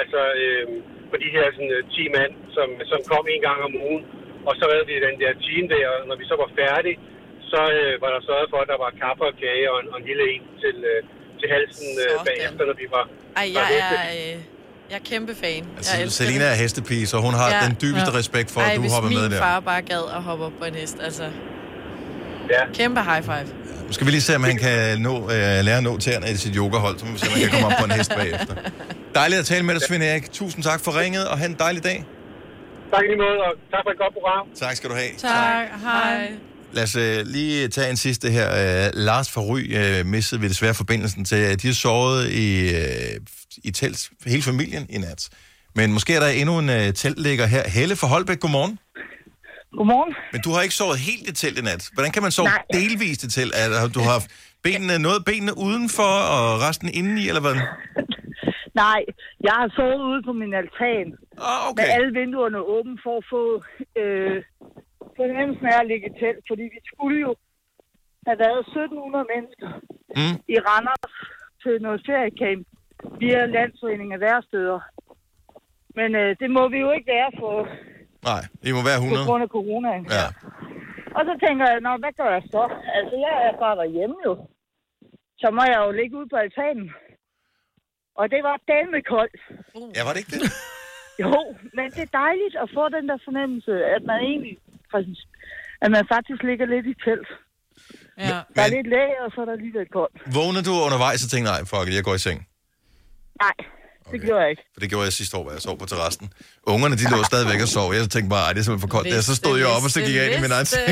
Speaker 7: Altså øh, for de her sådan, øh, 10 mand, som, som kom en gang om ugen. Og så havde vi den der team der, og når vi så var færdige, så øh, var der sørget for, at der var kaffe og kage og en, og en lille en til, øh, til halsen øh, bagefter, når vi var...
Speaker 2: Ej,
Speaker 7: var
Speaker 2: jeg
Speaker 7: væk.
Speaker 2: er, øh, jeg er kæmpe fan. Jeg
Speaker 1: Altså,
Speaker 2: elsker
Speaker 1: Selina er hestepige, så hun har ja. den dybeste ja. respekt for, at du hopper med
Speaker 2: hvis
Speaker 1: der.
Speaker 2: min far bare gad at hoppe op på en hest, altså.
Speaker 7: Ja.
Speaker 2: Kæmpe high five.
Speaker 1: Nu skal vi lige se, om han kan nå, øh, lære at nå tæerne i sit yogahold, så må vi se, om han kan komme op på en
Speaker 2: *laughs*
Speaker 1: hest bagefter. Dejligt at tale med dig, Svend Erik. Tusind tak for ringet, og have en dejlig dag.
Speaker 7: Tak i lige måde, og tak for et godt program.
Speaker 1: Tak skal du have.
Speaker 3: Tak, hej.
Speaker 1: Lad os øh, lige tage en sidste her. Øh, Lars fra Ry øh, missede ved desværre forbindelsen til, at de har sovet i, øh, i telt hele familien i nat. Men måske er der endnu en øh, teltlægger her. Helle fra Holbæk, godmorgen.
Speaker 17: Godmorgen.
Speaker 1: Men du har ikke sovet helt i telt i nat. Hvordan kan man sove
Speaker 17: Nej.
Speaker 1: Nej. delvist i telt? Altså, du har haft benene, noget af benene udenfor og resten indeni, eller hvad?
Speaker 17: Nej, jeg har sovet ude på min altan.
Speaker 1: Ah,
Speaker 17: okay. Med alle vinduerne åbne for at få øh, fornemmelsen af at ligge i telt, fordi vi skulle jo have været 1700 mennesker
Speaker 1: mm.
Speaker 17: i Randers til noget feriecamp via Landsforeningen af Værsteder. Men øh, det må vi jo ikke være for,
Speaker 1: Nej, I må være
Speaker 17: på
Speaker 1: 100.
Speaker 17: grund af coronaen.
Speaker 1: Ja.
Speaker 17: Og så tænker jeg, nå, hvad gør jeg så? Altså, jeg er bare derhjemme jo. Så må jeg jo ligge ude på altanen. Og det var dalme koldt.
Speaker 1: ja, var det ikke det?
Speaker 17: Jo, men det er dejligt at få den der fornemmelse, at man egentlig, præcis, at man faktisk ligger lidt i telt.
Speaker 3: Ja.
Speaker 17: Der er lidt læg, og så er der lige lidt koldt.
Speaker 1: Vågner du undervejs og tænker, nej, fuck it, jeg går i seng.
Speaker 17: Nej, okay. det gjorde jeg ikke.
Speaker 1: For det gjorde jeg sidste år, hvor jeg sov på terrassen. Ungerne, de lå stadigvæk og sov. Jeg tænkte bare, "Ej, det er simpelthen for koldt. Der. Så stod jeg op, og så gik jeg ind i min egen seng.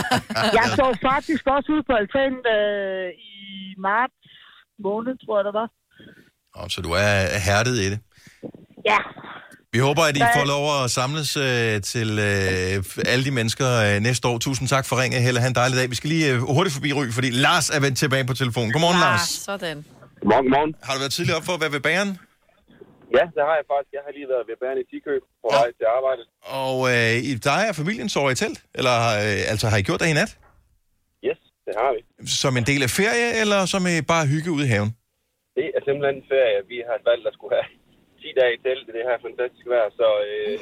Speaker 17: *laughs* jeg så faktisk også ude på altanen øh, i marts måned, tror jeg, der var.
Speaker 1: Nå, Så du er hærdet i det.
Speaker 17: Ja,
Speaker 1: Vi håber, at I
Speaker 17: Der er-
Speaker 1: får lov at samles øh, til øh, alle de mennesker øh, næste år. Tusind tak for ringet, Helle. Ha' en dejlig dag. Vi skal lige øh, hurtigt forbi Ry, fordi Lars er vendt tilbage på telefonen. Godmorgen,
Speaker 2: Ah,
Speaker 1: Lars.
Speaker 2: Sådan.
Speaker 1: Godmorgen, godmorgen. Har du været tidligere op for at være ved bageren?
Speaker 18: Ja, det har jeg faktisk. Jeg har lige været ved Bærende i Tikøb på vej til arbejde.
Speaker 1: Og øh, I- dig og familien sover i telt? Eller øh, altså, har I gjort det i nat?
Speaker 18: Yes, det har vi.
Speaker 1: Som en del af ferie, eller som øh, bare hygge ude i haven?
Speaker 18: Det er simpelthen en ferie. Vi har valgt at skulle have 10 dage i telt i det her fantastiske vejr, så øh,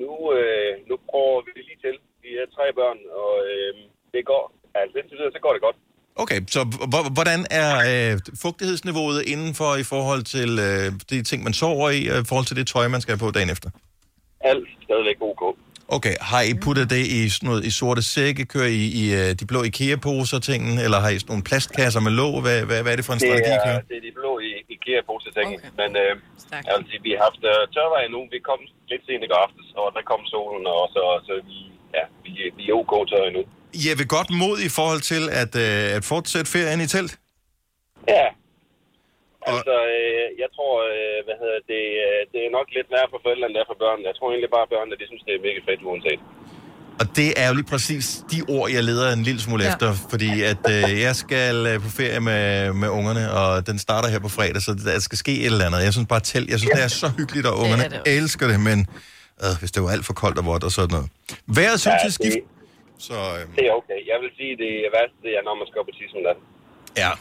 Speaker 18: nu, øh, nu prøver vi det lige til. Vi er tre børn, og øh, det går. Altså indtil videre, så går det godt.
Speaker 1: Okay, så h- hvordan er øh, fugtighedsniveauet indenfor i forhold til øh, de ting, man sover i, og i forhold til det tøj, man skal have på dagen efter?
Speaker 18: Alt stadigvæk ok.
Speaker 1: Okay, har I puttet det i sådan noget, i sorte sække, kører I i øh, de blå IKEA-poser tingen, eller har I sådan nogle plastkasser med låg? Hvad, hvad, hvad er det for en strategi, I
Speaker 18: det
Speaker 1: kører?
Speaker 18: er, det er de blå i IKEA-poser, okay. men øh, jeg vil sige, vi har haft øh, tørvejr nu. Vi kom lidt sent i går aftes, og der kom solen, og så, så vi, ja, vi, vi er ok tørre endnu.
Speaker 1: Jeg vil godt mod i forhold til at, øh, at fortsætte ferien i telt.
Speaker 18: Ja. Altså, øh, jeg tror, øh, hvad hedder det, øh, det er nok lidt værre for forældrene, end det er for børnene. Jeg tror egentlig bare, at børnene, de synes, det er mega fedt uanset.
Speaker 1: Og det er jo lige præcis de ord, jeg leder en lille smule
Speaker 18: Ja.
Speaker 1: ja. efter, fordi at øh, jeg skal øh, på ferie med, med ungerne, og den starter her på fredag, så der skal ske et eller andet. Jeg synes bare, telt, jeg synes, det er så hyggeligt, og ungerne
Speaker 19: er
Speaker 1: det
Speaker 19: det
Speaker 1: elsker det, men øh, hvis det var alt for koldt og vådt og sådan noget. Vejret synes jeg skift... Så, øh,
Speaker 18: Altså, det er okay. Jeg vil sige, det er værst, det er, når man skal op på tidsmiddag.
Speaker 1: Ja,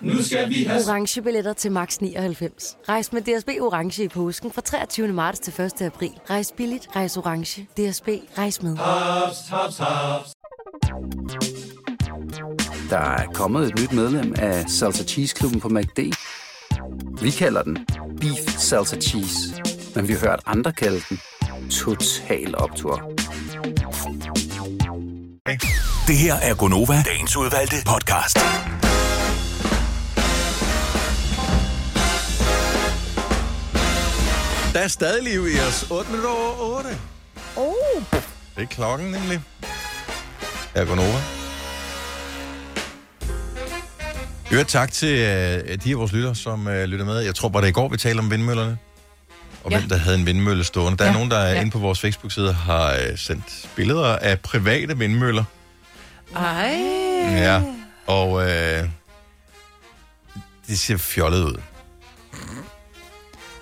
Speaker 20: Nu skal vi have...
Speaker 21: orange billetter til max 99. Rejs med DSB orange i påsken fra 23. marts til 1. april. Rejs billigt, rejs orange. DSB rejs med.
Speaker 20: Haps, haps, haps.
Speaker 22: Der er kommet et nyt medlem af Salsa Cheese Klubben på MACD. Vi kalder den Beef Salsa Cheese, men vi har hørt andre kalde den Total Optor.
Speaker 4: Det her er Gonova, dagens udvalgte podcast.
Speaker 1: Der er stadig liv i os. 8 minutter over 8.
Speaker 11: Oh.
Speaker 1: Det er klokken nemlig. Her er Gunova. Jo, tak til øh, de af vores lytter, som øh, lytter med. Jeg tror bare, det er i går, vi talte om vindmøllerne. Og ja. hvem der havde en vindmølle stående. Der er ja. nogen, der ja. inde på vores Facebook-side har øh, sendt billeder af private vindmøller.
Speaker 3: Ej.
Speaker 1: Ja. Og øh, det ser fjollet ud.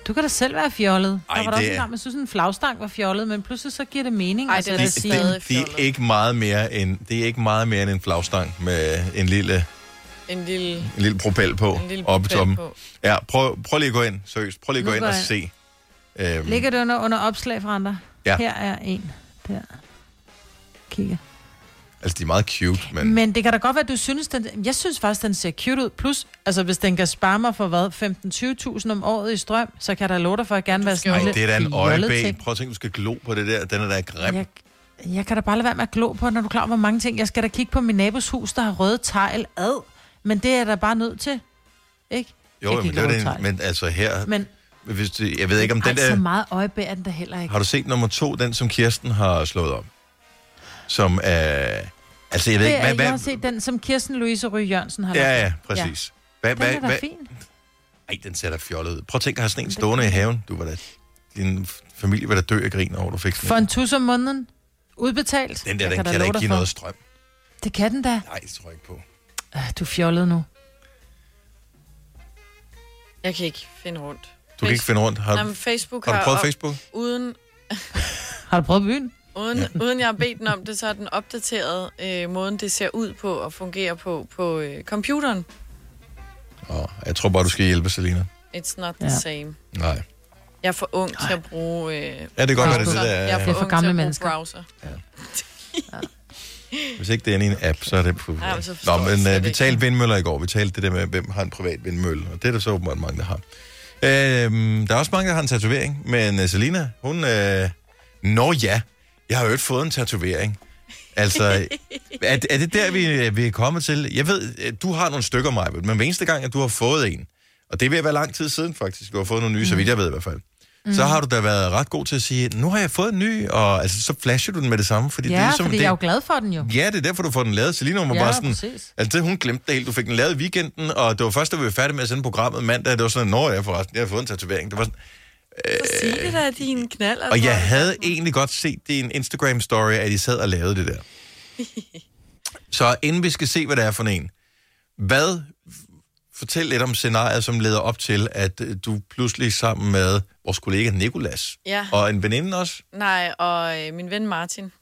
Speaker 3: Du kan da selv være fjollet. Ej,
Speaker 1: Ej,
Speaker 3: der var der
Speaker 1: det
Speaker 3: også
Speaker 1: er-
Speaker 3: engang, man synes, en flagstang var fjollet, men pludselig så giver det mening. Ej,
Speaker 1: de, de, de er ikke meget mere end, det er ikke meget mere end en flagstang med en lille,
Speaker 2: En lille...
Speaker 1: en lille propel på
Speaker 2: En lille
Speaker 1: oppe i
Speaker 2: propel
Speaker 1: toppen.
Speaker 2: på.
Speaker 1: Ja, prøv, prøv lige at gå ind, seriøst. Prøv lige at
Speaker 3: Nu
Speaker 1: gå ind
Speaker 3: går
Speaker 1: og
Speaker 3: jeg.
Speaker 1: se. Øhm,
Speaker 3: Ligger det under, under opslag fra andre?
Speaker 1: Ja.
Speaker 3: Her er en. Der. Kigger.
Speaker 1: altså, de er meget cute, men...
Speaker 3: Men, men det kan da godt være, at du synes, den, jeg synes faktisk, den ser cute ud. Plus, altså hvis den kan spare mig for hvad, 15-20.000 om året i strøm, så kan der love dig for, at jeg gerne være sådan
Speaker 1: Ej,
Speaker 3: en lille
Speaker 1: det er da en
Speaker 3: fjollet
Speaker 1: øjebæ.
Speaker 3: ting.
Speaker 1: Prøv at tænke, du skal glo på det der. Den er da grim.
Speaker 3: Jeg, jeg kan da bare lade være med at glo på, når du er klar over, hvor mange ting. Jeg skal da kigge på min nabos hus, der har røde tegl ad. Men det er jeg da bare nødt til. Ikke?
Speaker 1: Jo,
Speaker 3: Jeg
Speaker 1: jo, men
Speaker 3: gik
Speaker 1: det var
Speaker 3: over
Speaker 1: det,
Speaker 3: tegl.
Speaker 1: men altså her...
Speaker 3: Men
Speaker 1: Hvis det, jeg ved ikke, om
Speaker 3: ej,
Speaker 1: den
Speaker 3: så
Speaker 1: der...
Speaker 3: meget øjebæ er den der heller ikke.
Speaker 1: Har du set nummer to, den som Kirsten har slået op? Som er... Altså, jeg ved
Speaker 3: det
Speaker 1: ikke,
Speaker 3: er,
Speaker 1: hvad...
Speaker 3: jeg
Speaker 1: hvad
Speaker 3: har set den, som Kirsten Louise Ry Jørgensen har
Speaker 1: ja,
Speaker 3: lavet.
Speaker 1: ja, præcis. Hvad,
Speaker 3: Den
Speaker 1: hvad,
Speaker 3: er da
Speaker 1: hvad-
Speaker 3: fin.
Speaker 1: Ej, den ser da fjollet ud. Prøv at tænke at have sådan en stående i haven. Du var da... Din familie var da dø af grin over, du fik sådan
Speaker 3: For
Speaker 1: en.
Speaker 3: en tus om måneden. Udbetalt.
Speaker 1: Den
Speaker 3: Jeg
Speaker 1: der, den kan
Speaker 3: da
Speaker 1: da
Speaker 3: love
Speaker 1: ikke
Speaker 3: dig
Speaker 1: give
Speaker 3: for.
Speaker 1: noget strøm.
Speaker 3: Det kan den da.
Speaker 1: Nej, det tror jeg ikke på.
Speaker 3: Øh, Du er fjollet nu.
Speaker 2: Jeg kan ikke finde rundt.
Speaker 1: Du kan ikke finde rundt. Har,
Speaker 2: Har, Jamen, Facebook
Speaker 1: har du
Speaker 2: har
Speaker 1: prøvet
Speaker 2: op-
Speaker 1: Facebook?
Speaker 2: Uden,
Speaker 3: Har du prøvet byen?
Speaker 2: uden, ja. uden jeg har bedt den om det, så har den opdateret øh, måden, det ser ud på og fungerer på på øh, computeren.
Speaker 1: Åh, jeg tror bare, du skal hjælpe, Selina.
Speaker 2: It's not the
Speaker 1: Ja.
Speaker 2: ja. same.
Speaker 1: Nej.
Speaker 2: Jeg er for ung til at bruge øh,
Speaker 1: Ja, det kan godt være, det er det,
Speaker 2: browser.
Speaker 1: der er-
Speaker 2: Jeg
Speaker 1: Det
Speaker 2: er
Speaker 1: er
Speaker 2: for,
Speaker 1: for
Speaker 2: ung
Speaker 1: gamle
Speaker 2: til at bruge
Speaker 1: mennesker.
Speaker 2: browser. *laughs*
Speaker 1: Hvis ikke det er inde i en app, så er det... Puh.
Speaker 2: Ej, men så forstår
Speaker 1: Nå,
Speaker 2: jeg det
Speaker 1: men
Speaker 2: slet
Speaker 1: øh, vi
Speaker 2: ikke.
Speaker 1: talte vindmøller i går. Vi talte det der med, hvem har en privat vindmølle. Og det er der så åbenbart mange, der har. Øhm, der er også mange, der har en tatovering. Men øh, Selina, hun... Øh, Nå ja, jeg har jo ikke fået en tatovering.
Speaker 18: *laughs*
Speaker 1: Altså, *laughs* er, er det der, vi, vi er kommet til? Jeg ved, at du har nogle stykker, mig, men hver eneste gang, at du har fået en, og det er ved at være lang tid siden faktisk, du har fået nogle nye, mm. så vidt jeg ved i hvert fald, mm. så har du da været ret god til at sige, nu har jeg fået en ny, og altså, så flasher du den med det samme. Fordi
Speaker 3: Ja,
Speaker 1: det er,
Speaker 3: fordi jeg er jo glad for den jo.
Speaker 1: Ja, det er derfor, du får den lavet. Selina, hun var
Speaker 3: Ja,
Speaker 1: bare sådan...
Speaker 3: præcis.
Speaker 1: Altså, hun glemte det helt. Du fik den lavet i weekenden, og det var først, da vi var færdige med at sende programmet mandag, det var sådan, når jeg forresten, jeg har fået en tatovering. Det var sådan,
Speaker 2: Sig det da, din altså. knaller.
Speaker 1: og jeg havde egentlig godt set din Instagram-story, at I sad og lavede det der. Så inden vi skal se, hvad det er for en, hvad, fortæl lidt om scenariet, som leder op til, at øh, du pludselig sammen med vores kollega Nikolas
Speaker 2: Ja.
Speaker 1: og en veninde også,
Speaker 2: Nej, og øh, min ven Martin.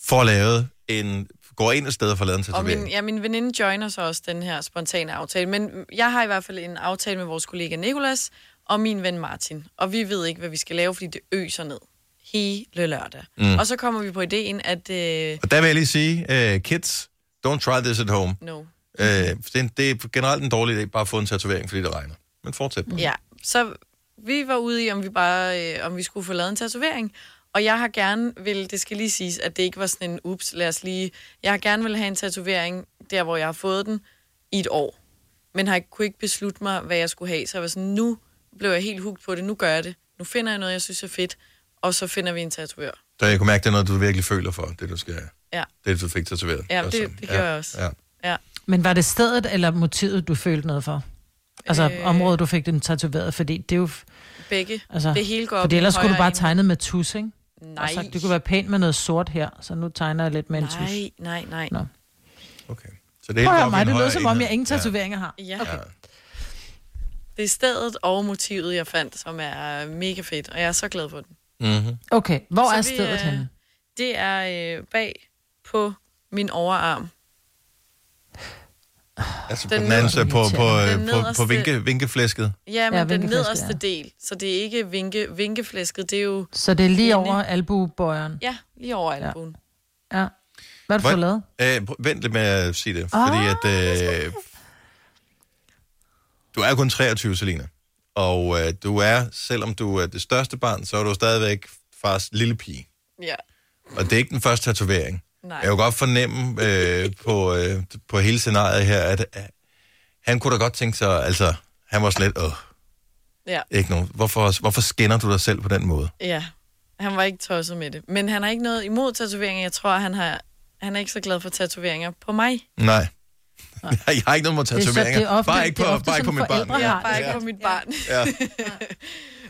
Speaker 1: får lavet en, går ind et sted og får lavet en
Speaker 2: Og min,
Speaker 1: tatovering.
Speaker 2: ja, min veninde joiner så også den her spontane aftale. Men jeg har i hvert fald en aftale med vores kollega Nikolas og min ven Martin. Og vi ved ikke, hvad vi skal lave, fordi det øser ned hele lørdag.
Speaker 1: Mm.
Speaker 2: Mm. Og så kommer vi på ideen, at... Øh,
Speaker 1: Og der vil jeg lige sige, uh, kids, don't try this at home.
Speaker 2: no.
Speaker 1: Øh, det, er en- det er generelt en dårlig idé, bare at få en tatovering, fordi det regner. Men fortsæt.
Speaker 3: Mm.
Speaker 2: Ja, så vi var ude i, om vi bare øh, om vi skulle få lavet en tatovering. Og jeg har gerne vil, det skal lige siges, at det ikke var sådan en ups, lad os lige... Jeg har gerne vil have en tatovering, der hvor jeg har fået den, i et år. Men har ikke, kunne ikke beslutte mig, hvad jeg skulle have. Så jeg var sådan, nu blev jeg helt hugt på det, nu gør jeg det. Nu finder jeg noget, jeg synes er fedt, og så finder vi en tatovør.
Speaker 1: Så jeg kunne mærke, det er noget, du virkelig føler for, det du skal
Speaker 2: Ja,
Speaker 1: det du fik tatoveret.
Speaker 2: ja det,
Speaker 1: Altså,
Speaker 2: det gjorde jeg også.
Speaker 1: Ja.
Speaker 2: Ja.
Speaker 3: Men var det stedet eller motivet, du følte noget for? Altså øh... området, du fik den tatoveret? Fordi det er jo... f-
Speaker 2: Begge. Altså, det hele går op i
Speaker 3: Fordi ellers
Speaker 2: den
Speaker 3: kunne du
Speaker 2: højre
Speaker 3: bare tegne med tus, ikke?
Speaker 2: Nej.
Speaker 3: Og sagt, det kunne være pænt med noget sort her, så nu tegner jeg lidt med en tus.
Speaker 2: Nej, nej, nej.
Speaker 3: Nå.
Speaker 1: Så
Speaker 3: Det Prøv at høre mig, det
Speaker 1: lød
Speaker 3: lød som om, jeg ingen tatoveringer har.
Speaker 2: Ja. Okay. Det er stedet og motivet, jeg fandt, som er mega fedt, og jeg er så glad for den.
Speaker 1: Mm-hmm.
Speaker 3: Okay, hvor
Speaker 2: så
Speaker 3: er
Speaker 2: vi,
Speaker 3: stedet
Speaker 2: øh,
Speaker 3: henne?
Speaker 2: Det er øh, bag på min overarm.
Speaker 1: Altså på
Speaker 2: Den
Speaker 1: den anden
Speaker 2: nederste-
Speaker 1: side, på, på,
Speaker 2: Den
Speaker 1: øh, på, på
Speaker 2: nederste-
Speaker 1: vinke, vinkeflæsket.
Speaker 2: Ja, men ja, den
Speaker 3: vinkeflæsket,
Speaker 2: nederste ja. del, så det er ikke vinke, vinkeflæsket, det er jo...
Speaker 3: Så det er lige
Speaker 2: inde-
Speaker 3: over albuebøjeren.
Speaker 2: Ja, lige over albuen.
Speaker 3: Ja. Hvad har du fået lavet? Ah.
Speaker 1: Øh, pr- vent lidt med at sige det, fordi at... Øh, du er kun 23, Selina. Og øh, du er, selvom du er det største barn, så er du stadigvæk fars lille pige.
Speaker 2: Ja. ja.
Speaker 1: Og det er ikke den første tatovering.
Speaker 2: Nej.
Speaker 1: Jeg kan godt fornemme øh, på, øh, på hele scenariet her, at øh, han kunne da godt tænke sig, altså, han var sådan lidt, åh,
Speaker 2: Ja.
Speaker 1: ikke nogen, hvorfor, hvorfor skinner du dig selv på den måde?
Speaker 2: Ja, han var ikke tosset med det. Men han har ikke noget imod tatoveringer. Jeg tror, han, har, han er ikke så glad for tatoveringer på mig.
Speaker 1: Nej. *laughs* Jeg har ikke noget mod
Speaker 2: Det er så-
Speaker 1: tatoveringer.
Speaker 2: det er ofte-
Speaker 1: bare ikke
Speaker 2: det er
Speaker 1: på,
Speaker 2: ofte
Speaker 1: bare ikke på
Speaker 2: som
Speaker 1: mit barn.
Speaker 2: forældre har det. Bare ikke på mit barn.
Speaker 1: Ja.
Speaker 2: *laughs*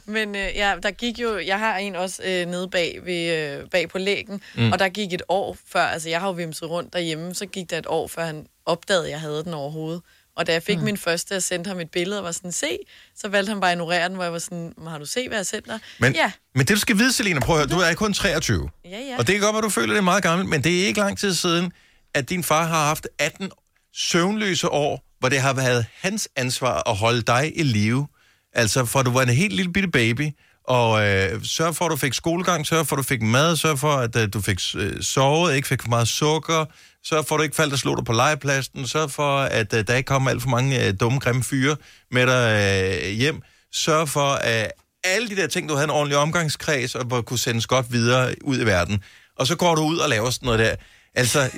Speaker 2: Men øh, ja, der gik jo... Jeg har en også øh, nede bag, ved, øh, bag på lægen,
Speaker 1: Mm.
Speaker 2: mm. og der gik et år før... Altså, jeg har jo vimset rundt derhjemme, så gik der et år, før han opdagede, at jeg havde den overhovedet. Og da jeg fik
Speaker 3: Mm.
Speaker 2: mm. min første, og sendte ham et billede og var sådan, se, så valgte han bare at ignorere den, hvor jeg var sådan, "Men har du set, hvad jeg sendte dig?
Speaker 1: Men,
Speaker 2: ja,
Speaker 1: men det, du skal vide, Selina, prøv at høre, du er kun 23.
Speaker 2: ja, ja.
Speaker 1: Og det kan godt være, du føler, det er meget gammelt, men det er ikke lang tid siden, at din far har haft 18 søvnløse år, hvor det har været hans ansvar at holde dig i live. Altså, for du var en helt lille bitte baby, og øh, sørg for, at du fik skolegang, sørg for, at du fik mad, sørg for, at øh, du fik øh, sovet, ikke fik for meget sukker, sørg for, at du ikke faldt og slog dig på legepladsen, sørg for, at øh, der ikke kom alt for mange øh, dumme, grimme fyre med dig øh, hjem, sørg for, at alle de der ting, du havde en ordentlig omgangskreds, og hvor kunne sendes godt videre ud i verden. Og så går du ud og laver sådan noget der.
Speaker 2: *laughs*
Speaker 1: Altså,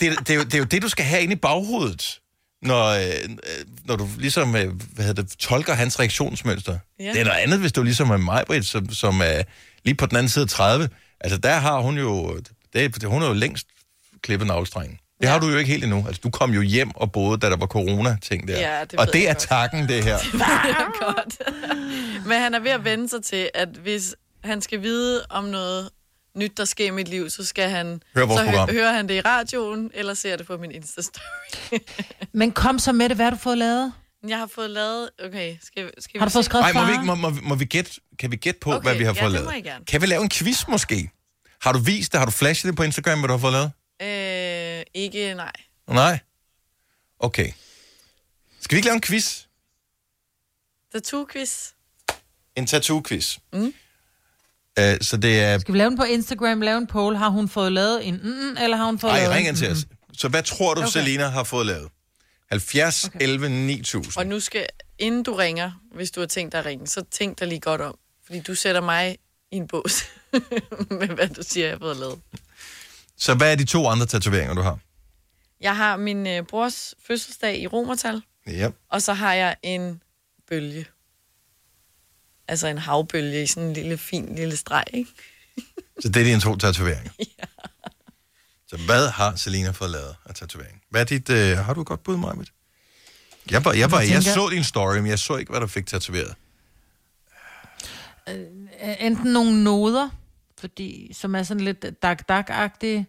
Speaker 1: det, det, er jo, det er jo det, du skal have inde i baghovedet, når, øh, øh, når du ligesom øh, hvad hedder det, tolker hans reaktionsmønster.
Speaker 5: Ja.
Speaker 1: Ja. Det er noget andet, hvis du ligesom er mig, som, som er lige på den anden side af 30. Altså, der har hun jo... Det, er- hun er jo længst klippet navlstrengen. Det har du jo ikke helt endnu. Altså, du kom jo hjem og boede, da der var corona-ting der.
Speaker 2: Ja, det
Speaker 1: og
Speaker 2: ved
Speaker 1: det
Speaker 2: jeg
Speaker 1: er
Speaker 2: godt.
Speaker 1: takken, det
Speaker 2: *laughs*
Speaker 1: her.
Speaker 2: Det ved jeg godt. Men han er ved at vende sig til, at hvis han skal vide om noget nyt, der sker i mit liv, så skal han...
Speaker 1: Hør vores
Speaker 2: så hø-
Speaker 1: program.
Speaker 2: hører han det i radioen, eller ser det på min Insta-story.
Speaker 3: Men kom så med det. Hvad har du fået lavet?
Speaker 2: Jeg har fået lavet... Okay, skal, skal
Speaker 3: Har du
Speaker 2: vi
Speaker 3: fået
Speaker 2: se-
Speaker 3: skrevet
Speaker 1: Nej, må vi, ikke, må, må, må vi gætte, kan vi gætte på, okay,
Speaker 2: Okay,
Speaker 1: hvad vi har
Speaker 2: ja,
Speaker 1: fået
Speaker 2: det
Speaker 1: lavet?
Speaker 2: må I gerne.
Speaker 1: Kan vi lave en quiz måske? Har du vist det? Har du flashet det på Instagram, hvad du har fået lavet?
Speaker 2: Øh, ikke, nej.
Speaker 1: Nej? Okay. Skal vi ikke lave en quiz?
Speaker 2: Tattoo-quiz.
Speaker 1: En tattoo-quiz.
Speaker 2: Mm.
Speaker 1: Uh, så det er...
Speaker 3: Skal vi lave den på Instagram, lave en poll? Har hun fået lavet en mm, eller har hun fået lavet
Speaker 1: Ej,
Speaker 3: en
Speaker 1: ring ind til os. Så hvad tror du,
Speaker 3: Okay.
Speaker 1: okay. Selina har fået lavet? 70, okay. 11, 9000.
Speaker 2: Og nu skal... Inden du ringer, hvis du har tænkt dig at ringe, så tænk dig lige godt om. Fordi du sætter mig i en bås *laughs* med, hvad du siger, jeg har fået lavet.
Speaker 1: Så hvad er de to andre tatoveringer, du har?
Speaker 2: Jeg har min øh, brors fødselsdag i romertal.
Speaker 1: Ja.
Speaker 2: Og så har jeg en bølge. Altså en havbølge i sådan en lille, fin lille streg, ikke?
Speaker 1: Så det er dine to tatoveringer. ja. Så hvad har Selina fået lavet af tatovering? Hvad er dit... Øh, har du et godt bud, Marvitt? Jeg, var, jeg, var,
Speaker 3: Jeg
Speaker 1: jeg, jeg
Speaker 3: tænker-
Speaker 1: så din story, men jeg så ikke, hvad du fik tatoveret.
Speaker 3: Øh, Enten nogle noder, fordi, som er sådan lidt dak dak agtige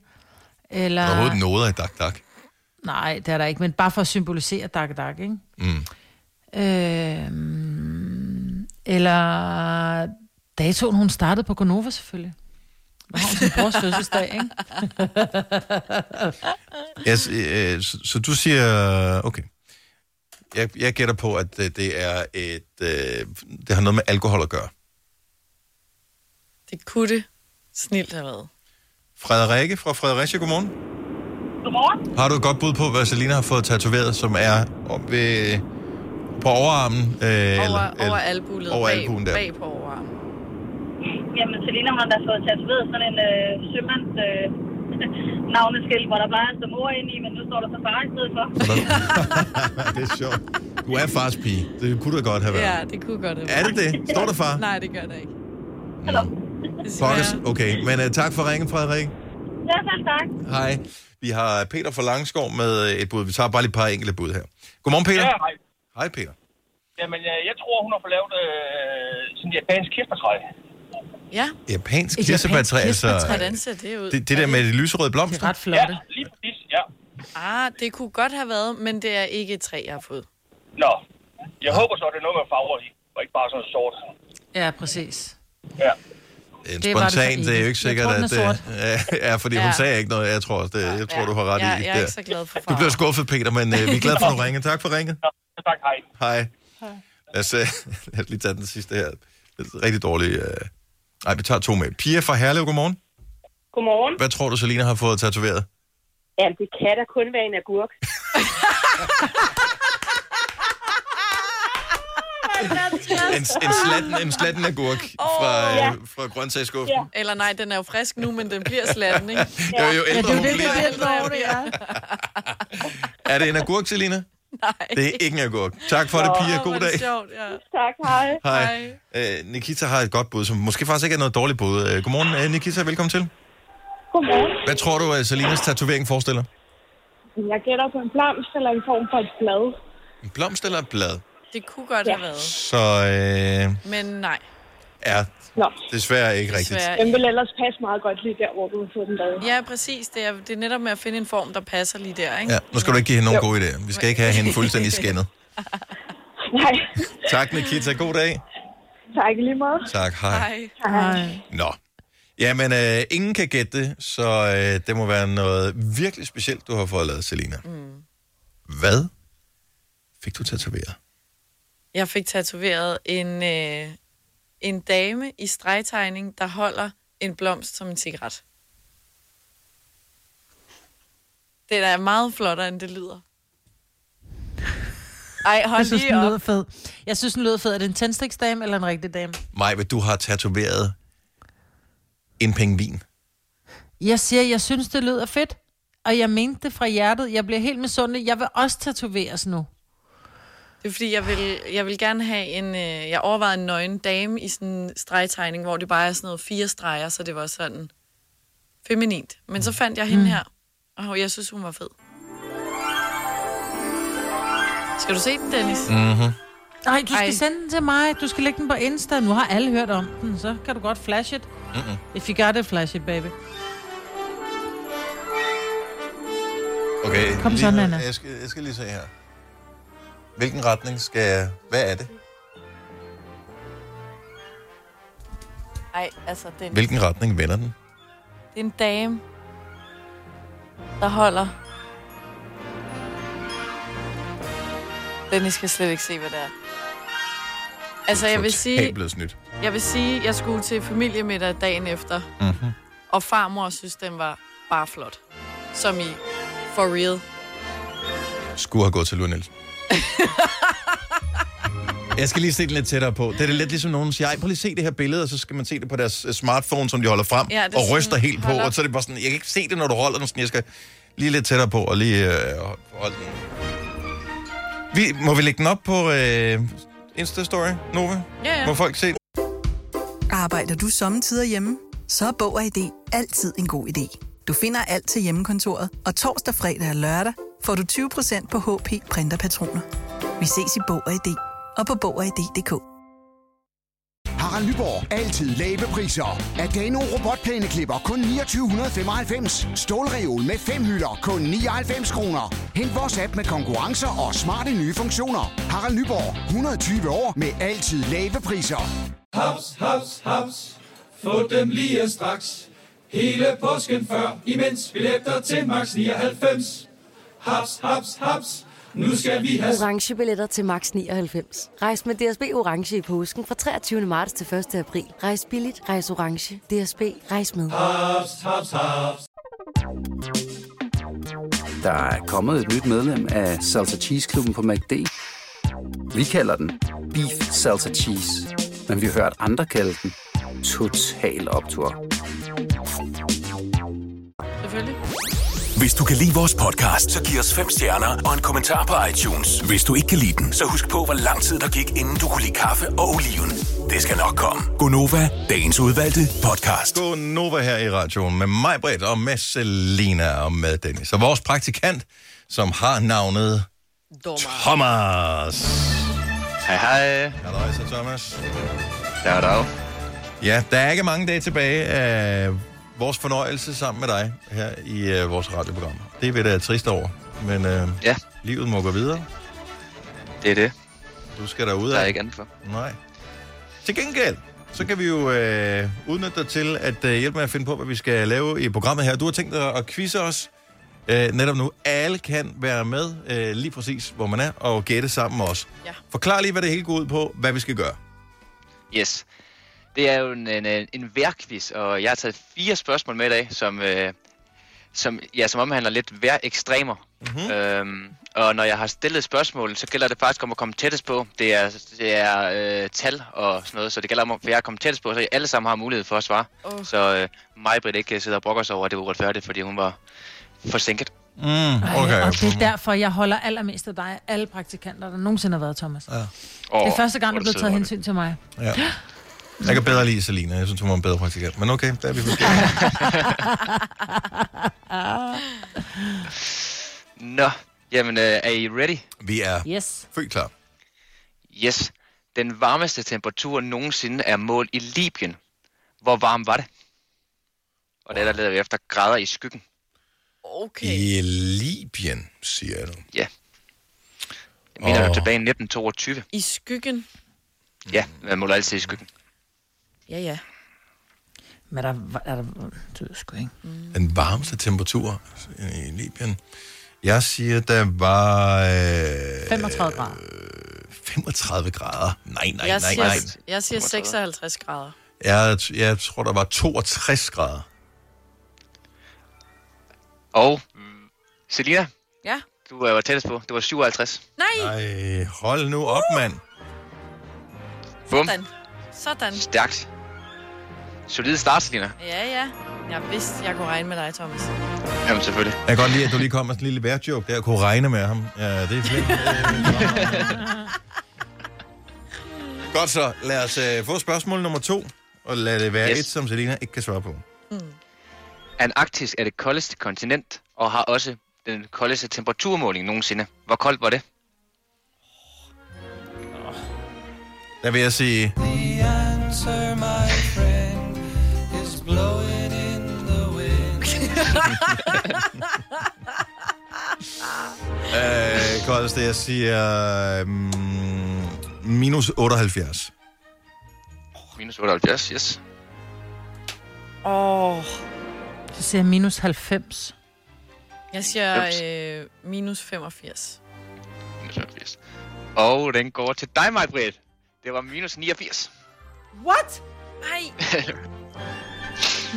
Speaker 1: Der
Speaker 3: eller...
Speaker 1: er overhovedet noget af dak, dak.
Speaker 3: Nej, det er der ikke, men bare for at symbolisere dak dak, ikke?
Speaker 1: Mm.
Speaker 3: Øh, Øhm, eller datoen, hun startede på Gonova selvfølgelig. Hvor har hun sin brors fødselsdag, ikke?
Speaker 1: Ja, så, øh, så, så du siger... Okay. Jeg, jeg gætter på, at øh, det er et... Øh, det har noget med alkohol at gøre.
Speaker 2: Det kunne det snilt have været.
Speaker 1: Frederikke fra Fredericia, godmorgen.
Speaker 6: Godmorgen.
Speaker 1: Har du et godt bud på, hvad Selina har fået tatoveret, som er op ved, på overarmen? Øh,
Speaker 2: Over, over albulet,
Speaker 1: Over
Speaker 2: bag,
Speaker 1: albuen der.
Speaker 2: bag på overarmen.
Speaker 6: Jamen, Selina har da fået tatoveret sådan en øh, sømands øh, *laughs* navneskilt, hvor der plejer at stå mor ind i, men nu står der så far i stedet for.
Speaker 1: *laughs* det er sjovt. Du er fars pige. Det kunne du godt have været.
Speaker 2: Ja, det kunne godt have
Speaker 1: Er det det? Står der far?
Speaker 2: Nej, det gør der ikke.
Speaker 1: Hallo?
Speaker 2: Desværre.
Speaker 1: Pokkers. Okay, men uh, tak for ringen, Frederik.
Speaker 6: Ja, selv tak.
Speaker 1: Hej. Vi har Peter fra Langskov med øh, et bud. Vi tager bare lige et par enkelte bud her. Godmorgen, Peter.
Speaker 8: Ja, hej.
Speaker 1: Hej, Peter.
Speaker 5: Jamen, øh, jeg tror, hun har fået lavet øh, sådan et japansk kirsebærtræ.
Speaker 2: Ja.
Speaker 1: Japansk kirsebærtræ, altså...
Speaker 2: Hvordan ser det ud?
Speaker 1: Det, det der med de lyserøde blomster.
Speaker 3: ret flotte.
Speaker 2: Ja, lige præcis, ja. Ah, det kunne godt have været, men det er ikke et træ, jeg har fået.
Speaker 5: Nå, jeg håber så, det er noget med farver i, og ikke bare sådan sort.
Speaker 3: Ja, præcis.
Speaker 5: Ja.
Speaker 1: En
Speaker 3: Det var det for
Speaker 1: spontan, det, er jo ikke
Speaker 3: evigt. Jeg
Speaker 1: sikkert,
Speaker 3: tror, den
Speaker 1: at...
Speaker 3: er
Speaker 1: øh, *laughs* ja, fordi hun
Speaker 2: Ja.
Speaker 1: sagde ikke noget. Jeg tror, også, det, jeg tror du har ret
Speaker 2: jeg,
Speaker 1: i.
Speaker 2: Jeg er
Speaker 1: der.
Speaker 2: ikke så glad for
Speaker 1: Du
Speaker 2: farver.
Speaker 1: bliver skuffet, Peter, men øh, vi er glade for, at du ringede. Tak for ringet.
Speaker 5: Tak, hej.
Speaker 1: Hej. Lad os, øh, *laughs* lad os lige tage den sidste her. Det er rigtig dårlig... Øh. Ej, vi tager to med. Pia fra Herlev, godmorgen.
Speaker 8: Godmorgen.
Speaker 1: Hvad tror du, Selina har fået tatoveret?
Speaker 8: Ja, det kan da kun være en agurk.
Speaker 1: En, en, slatten, en slatten agurk fra, øh, fra grøntsagsskuffen.
Speaker 2: Ja. Eller nej, den er jo frisk nu, men den bliver slatten, ikke?
Speaker 1: *laughs* Jo, jo, ældre Ja, det er jo hun det, bliver. jo
Speaker 2: ældre hun bliver.
Speaker 1: Er det en agurk, Selina?
Speaker 2: Nej.
Speaker 1: Det er ikke en agurk. Tak for det, Pia. God dag.
Speaker 2: ja.
Speaker 8: Tak, hej.
Speaker 1: Hej. Øh, Nikita har et godt bud, som måske faktisk ikke er noget dårligt bud. Øh, godmorgen, øh, Nikita. Velkommen til.
Speaker 8: Godmorgen.
Speaker 1: Hvad tror du, at Selinas tatovering forestiller?
Speaker 8: Jeg gætter på en blomst eller en form for et blad.
Speaker 1: En blomst eller et blad?
Speaker 2: Det kunne godt ja. have været.
Speaker 1: Så øh,
Speaker 2: Men nej.
Speaker 1: er
Speaker 8: Nå.
Speaker 1: desværre ikke rigtigt.
Speaker 2: desværre
Speaker 8: Den
Speaker 2: ikke.
Speaker 8: vil ellers passe meget godt lige der, hvor du har fået den lavet.
Speaker 2: Ja, præcis. Det er, det er netop med at finde en form, der passer lige der, ikke?
Speaker 1: Ja, nu skal du ikke give hende nogen gode idéer. Vi skal ikke have hende *laughs* fuldstændig skændet.
Speaker 8: Nej,
Speaker 1: Tak, Nikita. God dag.
Speaker 8: tak i lige meget.
Speaker 1: Tak. Hej.
Speaker 8: Hej.
Speaker 1: Nå. Jamen, øh, ingen kan gætte det, så øh, det må være noget virkelig specielt, du har fået lavet, Selina. Mm. Hvad fik du tatoveret?
Speaker 2: Jeg fik tatoveret en, øh, en dame i stregtegning, der holder en blomst som en cigaret. Den er meget flottere, end det lyder. Ej, hold
Speaker 3: jeg synes,
Speaker 2: lige
Speaker 3: den
Speaker 2: op.
Speaker 3: lyder fed. Jeg synes, den lyder fed. Er det en tændstiksdame eller en rigtig dame?
Speaker 1: Maja, du har tatoveret en pingvin.
Speaker 3: Jeg siger, jeg synes, det lyder fedt. Og jeg mente det fra hjertet. Jeg bliver helt misundelig. Jeg vil også tatoveres nu.
Speaker 2: Det er fordi, jeg vil, jeg vil gerne have en... Øh, jeg overvejede en nøgen dame i sådan en stregtegning, hvor det bare er sådan noget fire streger, så det var sådan feminint. Men så fandt jeg hende
Speaker 3: Mm.
Speaker 2: her, og jeg synes, hun var fed. Skal du se den, Dennis?
Speaker 1: Mm-hmm.
Speaker 3: Nej, du skal
Speaker 2: Ej.
Speaker 3: Ej. sende den til mig. Du skal lægge den på Insta. Nu har alle hørt om den. Så kan du godt flash it.
Speaker 1: Mm-mm.
Speaker 3: If you got it, flash it, baby.
Speaker 1: Okay,
Speaker 3: Kom
Speaker 1: lige
Speaker 3: så,
Speaker 1: nu-
Speaker 3: Nana.
Speaker 1: Jeg skal, jeg skal lige se her. Hvilken retning skal jeg... Hvad er det?
Speaker 2: Nej, altså, den,
Speaker 1: Hvilken retning vender den?
Speaker 2: det er en dame, der holder... Dennis kan slet ikke se, hvad det er. Altså, jeg vil sige...
Speaker 1: Totalt blevet snydt.
Speaker 2: Jeg vil sige, jeg skulle til familiemiddag dagen efter,
Speaker 1: Mm-hmm.
Speaker 2: og farmor synes, den var bare flot. Som i for real.
Speaker 1: Skulle have gået til Lua Nielsen. Jeg skal lige se den lidt tættere på. Det er lidt ligesom nogen siger, ej, prøv lige at se det her billede, og så skal man se det på deres øh, smartphone, som de holder frem,
Speaker 2: Ja,
Speaker 1: ja,
Speaker 2: det er
Speaker 1: og
Speaker 2: sådan,
Speaker 1: ryster helt på,
Speaker 2: hold op.
Speaker 1: og så er det bare sådan, jeg kan ikke se det, når du holder den, sådan, jeg skal lige lidt tættere på, og lige øh, hold- holde den. Vi, må vi lægge den op på øh, Insta-story, Nova?
Speaker 23: Ja, ja.
Speaker 1: Må folk se den?
Speaker 23: Arbejder du sommetider hjemme? Så er Bog og ID altid en god idé. Du finder alt til hjemmekontoret, og torsdag, fredag og lørdag får du 20% på HP Printerpatroner. Vi ses i Bog og ID og på Bog og ID.dk.
Speaker 19: Harald Nyborg. Altid lave priser. Adano robotplæneklipper kun 2995. Stålreol med fem hylder kun 99 kroner. Hent vores app med konkurrencer og smarte nye funktioner. Harald Nyborg. 120 år med altid lave priser.
Speaker 20: Haps, haps, haps. Få dem lige straks. Hele påsken før, imens billetter til max 99. Haps, haps, haps. Nu skal vi have
Speaker 21: orange billetter til max 99. Rejs med DSB orange i påsken fra 23. marts til 1. april. Rejs billigt, rejs orange. DSB rejs med.
Speaker 20: haps, haps, haps.
Speaker 22: Der er kommet et nyt medlem af Salsa Cheese Klubben på MACD. Vi kalder den Beef Salsa Cheese, men vi har hørt andre kalde den Total Optor.
Speaker 2: Selvfølgelig.
Speaker 4: Hvis du kan lide vores podcast, så giv os fem stjerner og en kommentar på iTunes. Hvis du ikke kan lide den, så husk på, hvor lang tid der gik, inden du kunne lide kaffe og oliven. Det skal nok komme.
Speaker 1: Gonova, dagens udvalgte podcast. Gonova her i radioen med mig, Britt, og med Selina og med Dennis. Og vores praktikant, som har navnet Thomas. Hej, hej. Halløj, så Thomas. Dag, dag. Ja, der er ikke mange dage tilbage af vores fornøjelse sammen med dig her i øh, vores radioprogram. Det er vi da trist over, men øh, ja. livet må gå videre. Det er det. Du skal derud Der er ikke andet for. Nej. Til gengæld, så kan vi jo øh, udnytte dig til at øh, hjælpe med at finde på, hvad vi skal lave i programmet her. Du har tænkt dig at quizze os øh, netop nu. Alle kan være med øh, lige præcis, hvor man er, og gætte sammen med os.
Speaker 9: Ja.
Speaker 1: Forklar lige, hvad det hele går ud på, hvad vi skal gøre.
Speaker 9: Yes. Det er jo en, en, øh, en værkvis, og jeg har taget fire spørgsmål med i dag, som, øh, som, ja, som omhandler lidt vejr ekstremer. Mm-hmm. Øhm, og når jeg har stillet spørgsmål, så gælder det faktisk om at komme tættest på. Det er, det er øh, tal og sådan noget, så det gælder om at være at komme tættest på, så I alle sammen har mulighed for at svare.
Speaker 2: Oh.
Speaker 9: Så øh, Majbrit ikke sidder og brokker sig over, at det var uretfærdigt, fordi hun var forsinket.
Speaker 1: Mm,
Speaker 3: Okay, og det er derfor, jeg holder allermest af dig, af alle praktikanter, der nogensinde har været, Thomas. Ja. Det er
Speaker 1: Åh,
Speaker 3: første gang,
Speaker 1: hvor
Speaker 3: der
Speaker 1: er du sød,
Speaker 3: blev taget
Speaker 1: Lotte.
Speaker 3: hensyn til mig.
Speaker 1: Ja. *gasps* Jeg kan bedre lide Selina. Jeg synes, hun var en bedre praktikant. Men okay, der er vi
Speaker 9: *laughs*
Speaker 1: forskellige.
Speaker 9: Nå, jamen øh, er I ready?
Speaker 1: Vi er
Speaker 3: yes.
Speaker 1: født klar.
Speaker 9: Yes. Den varmeste temperatur nogensinde er målt i Libyen. Hvor varm var det? Og det der leder vi efter grader i skyggen.
Speaker 2: Okay.
Speaker 1: I Libyen, siger du.
Speaker 9: Ja. Jeg mener oh.
Speaker 1: Åh.
Speaker 9: du tilbage i 1922?
Speaker 2: I skyggen.
Speaker 9: Ja, man måler altid i skyggen.
Speaker 2: Ja, ja.
Speaker 3: Men der, var- er der, det ved jeg sgu ikke.
Speaker 1: Den varmeste temperatur i Libyen. Jeg siger, der var... Øh,
Speaker 3: 35 grader.
Speaker 1: 35 grader. Nej, nej,
Speaker 2: jeg,
Speaker 1: nej,
Speaker 2: siger,
Speaker 1: nej.
Speaker 2: jeg siger 56 grader.
Speaker 1: Jeg, jeg tror, der var 62 grader.
Speaker 9: Og Selina,
Speaker 2: Ja.
Speaker 9: du øh, var tættest på. Det var 57.
Speaker 2: Nej!
Speaker 1: Ej, hold nu op, mand.
Speaker 9: Bum.
Speaker 2: Sådan. Sådan.
Speaker 9: Stærkt. Solid start, Selina.
Speaker 2: Ja, ja. Jeg vidste, jeg kunne regne med dig, Thomas.
Speaker 1: *laughs*
Speaker 9: Jamen, selvfølgelig.
Speaker 1: Jeg kan godt lide, at du lige kom med sådan en lille værtjoke der. Jeg kunne regne med ham. Ja, det er flink. *laughs* Godt så. Lad os øh, få spørgsmål nummer to. Og lad det være yes. et, som Selina ikke kan svare på.
Speaker 9: Antarktis er det koldeste kontinent, og har også den koldeste temperaturmåling nogensinde. Hvor koldt var det?
Speaker 1: Der vil jeg sige...
Speaker 10: The answer, my friend, is blowing in the
Speaker 2: *laughs*
Speaker 10: wind.
Speaker 1: Øh, koldeste, jeg siger... Mm, minus 78.
Speaker 9: Minus 78, yes.
Speaker 2: Åh. Oh.
Speaker 3: Så siger jeg minus 90.
Speaker 2: Jeg siger øh, minus 85.
Speaker 9: Minus 78. Og den går til dig, Majbrit. Det var minus 89.
Speaker 3: What?
Speaker 1: *laughs*
Speaker 2: Nej.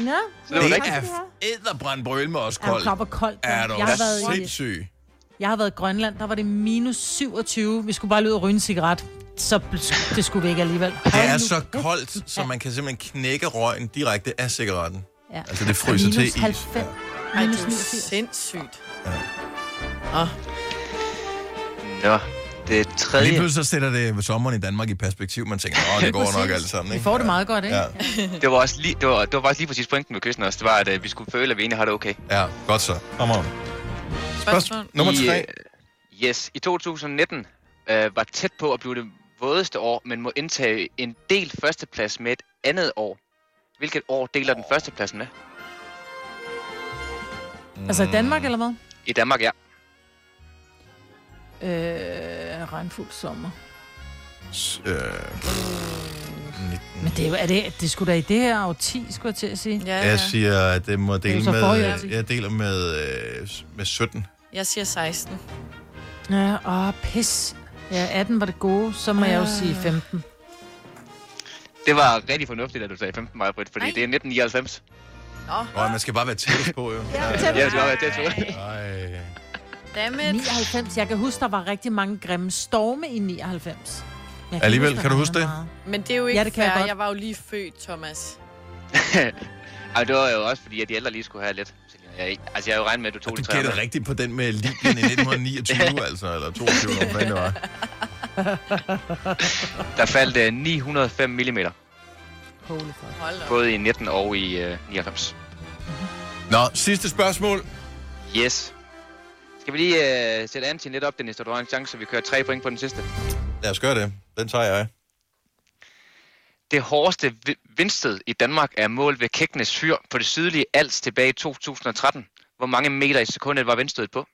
Speaker 3: Nå.
Speaker 1: det er æderbrandbrøl med os
Speaker 3: Ja,
Speaker 1: koldt.
Speaker 3: klar, hvor koldt det er.
Speaker 1: er du
Speaker 3: Jeg har været i-
Speaker 1: sindssyg?
Speaker 3: Jeg har været i Grønland, der var det minus 27. Vi skulle bare lige ud og ryge en cigaret. Så det skulle vi ikke alligevel.
Speaker 1: Det er så koldt, så man kan simpelthen knække røgen direkte af cigaretten.
Speaker 3: Ja.
Speaker 1: Altså, det fryser til
Speaker 3: minus
Speaker 1: is.
Speaker 3: 90. Ja.
Speaker 2: Ej, det er jo sindssygt. Åh.
Speaker 9: Nå, det tredje...
Speaker 1: Lige pludselig så sætter det sommeren i Danmark i perspektiv. Man tænker, åh,
Speaker 3: *laughs*
Speaker 1: det går nok
Speaker 9: Præcis.
Speaker 1: alt sammen,
Speaker 3: Vi
Speaker 1: ikke?
Speaker 3: får det meget godt, ikke?
Speaker 1: Ja.
Speaker 9: *laughs* Det var, også lige, det, var, det var faktisk lige præcis pointen med kysten også. Det var, at øh, vi skulle føle, at vi egentlig har det okay.
Speaker 1: Ja, godt så. Kom on. Spørgsmål nummer
Speaker 9: I,
Speaker 1: tre.
Speaker 9: øh, yes, i 2019 øh, var tæt på at blive det vådeste år, men må indtage en del førsteplads med et andet år. Hvilket år deler den førstepladsen med?
Speaker 3: Altså
Speaker 1: Mm.
Speaker 3: i Danmark, eller hvad?
Speaker 9: I Danmark, ja.
Speaker 3: Øh, regnfuld sommer.
Speaker 1: S- øh,
Speaker 3: Øh. Men det er, jo- er det, det skulle da i det her årti, skulle jeg til at sige.
Speaker 2: Ja,
Speaker 1: Jeg siger, at det må
Speaker 3: er jo
Speaker 1: dele
Speaker 3: så forrige
Speaker 1: med...
Speaker 3: år.
Speaker 1: Jeg deler med, øh, med 17.
Speaker 2: Jeg siger 16.
Speaker 3: Ja, åh, pis. Ja, 18 var det gode, så må
Speaker 2: Øh.
Speaker 3: jeg jo sige 15.
Speaker 9: Det var rigtig fornuftigt, at du sagde 15 maj, Britt, fordi det er 1999.
Speaker 1: Nå, man skal bare være tæt på, jo.
Speaker 9: Ja, det skal bare være tæt på.
Speaker 1: Ej.
Speaker 3: Dammit. 99. Jeg kan huske, der var rigtig mange grimme storme i 99. Men jeg
Speaker 1: Alligevel,
Speaker 3: huske,
Speaker 1: kan du
Speaker 3: der
Speaker 1: huske
Speaker 3: var
Speaker 1: det?
Speaker 3: meget.
Speaker 2: Men det er jo ikke
Speaker 3: Ja,
Speaker 2: ja,
Speaker 3: det
Speaker 2: det
Speaker 3: kan jeg
Speaker 2: fair. Jeg,
Speaker 3: godt.
Speaker 2: jeg var jo lige født, Thomas.
Speaker 9: Ej, det var jo også fordi, at de ældre lige skulle have lidt. Selina. Jeg, altså, jeg havde jo regnet med, at du tog
Speaker 1: Du
Speaker 9: det
Speaker 1: gætter rigtigt på den med Libyen i
Speaker 9: *laughs*
Speaker 1: 1929, altså, eller 22, eller hvad fanden det var.
Speaker 9: Der faldt øh, 905 mm,
Speaker 3: Holy fuck.
Speaker 2: Hold op.
Speaker 9: både i 19 og i øh, 99.
Speaker 1: Nå, sidste spørgsmål.
Speaker 9: Yes. Skal vi lige øh, sætte Antin lidt op, Dennis, så du har en chance, så vi kører tre point på den sidste.
Speaker 1: Lad os gøre det. Den tager jeg.
Speaker 9: Det hårdeste vi- vindsted i Danmark er mål ved Kæknes Fyr på det sydlige Als tilbage i 2013. Hvor mange meter i sekundet var vindstødet på?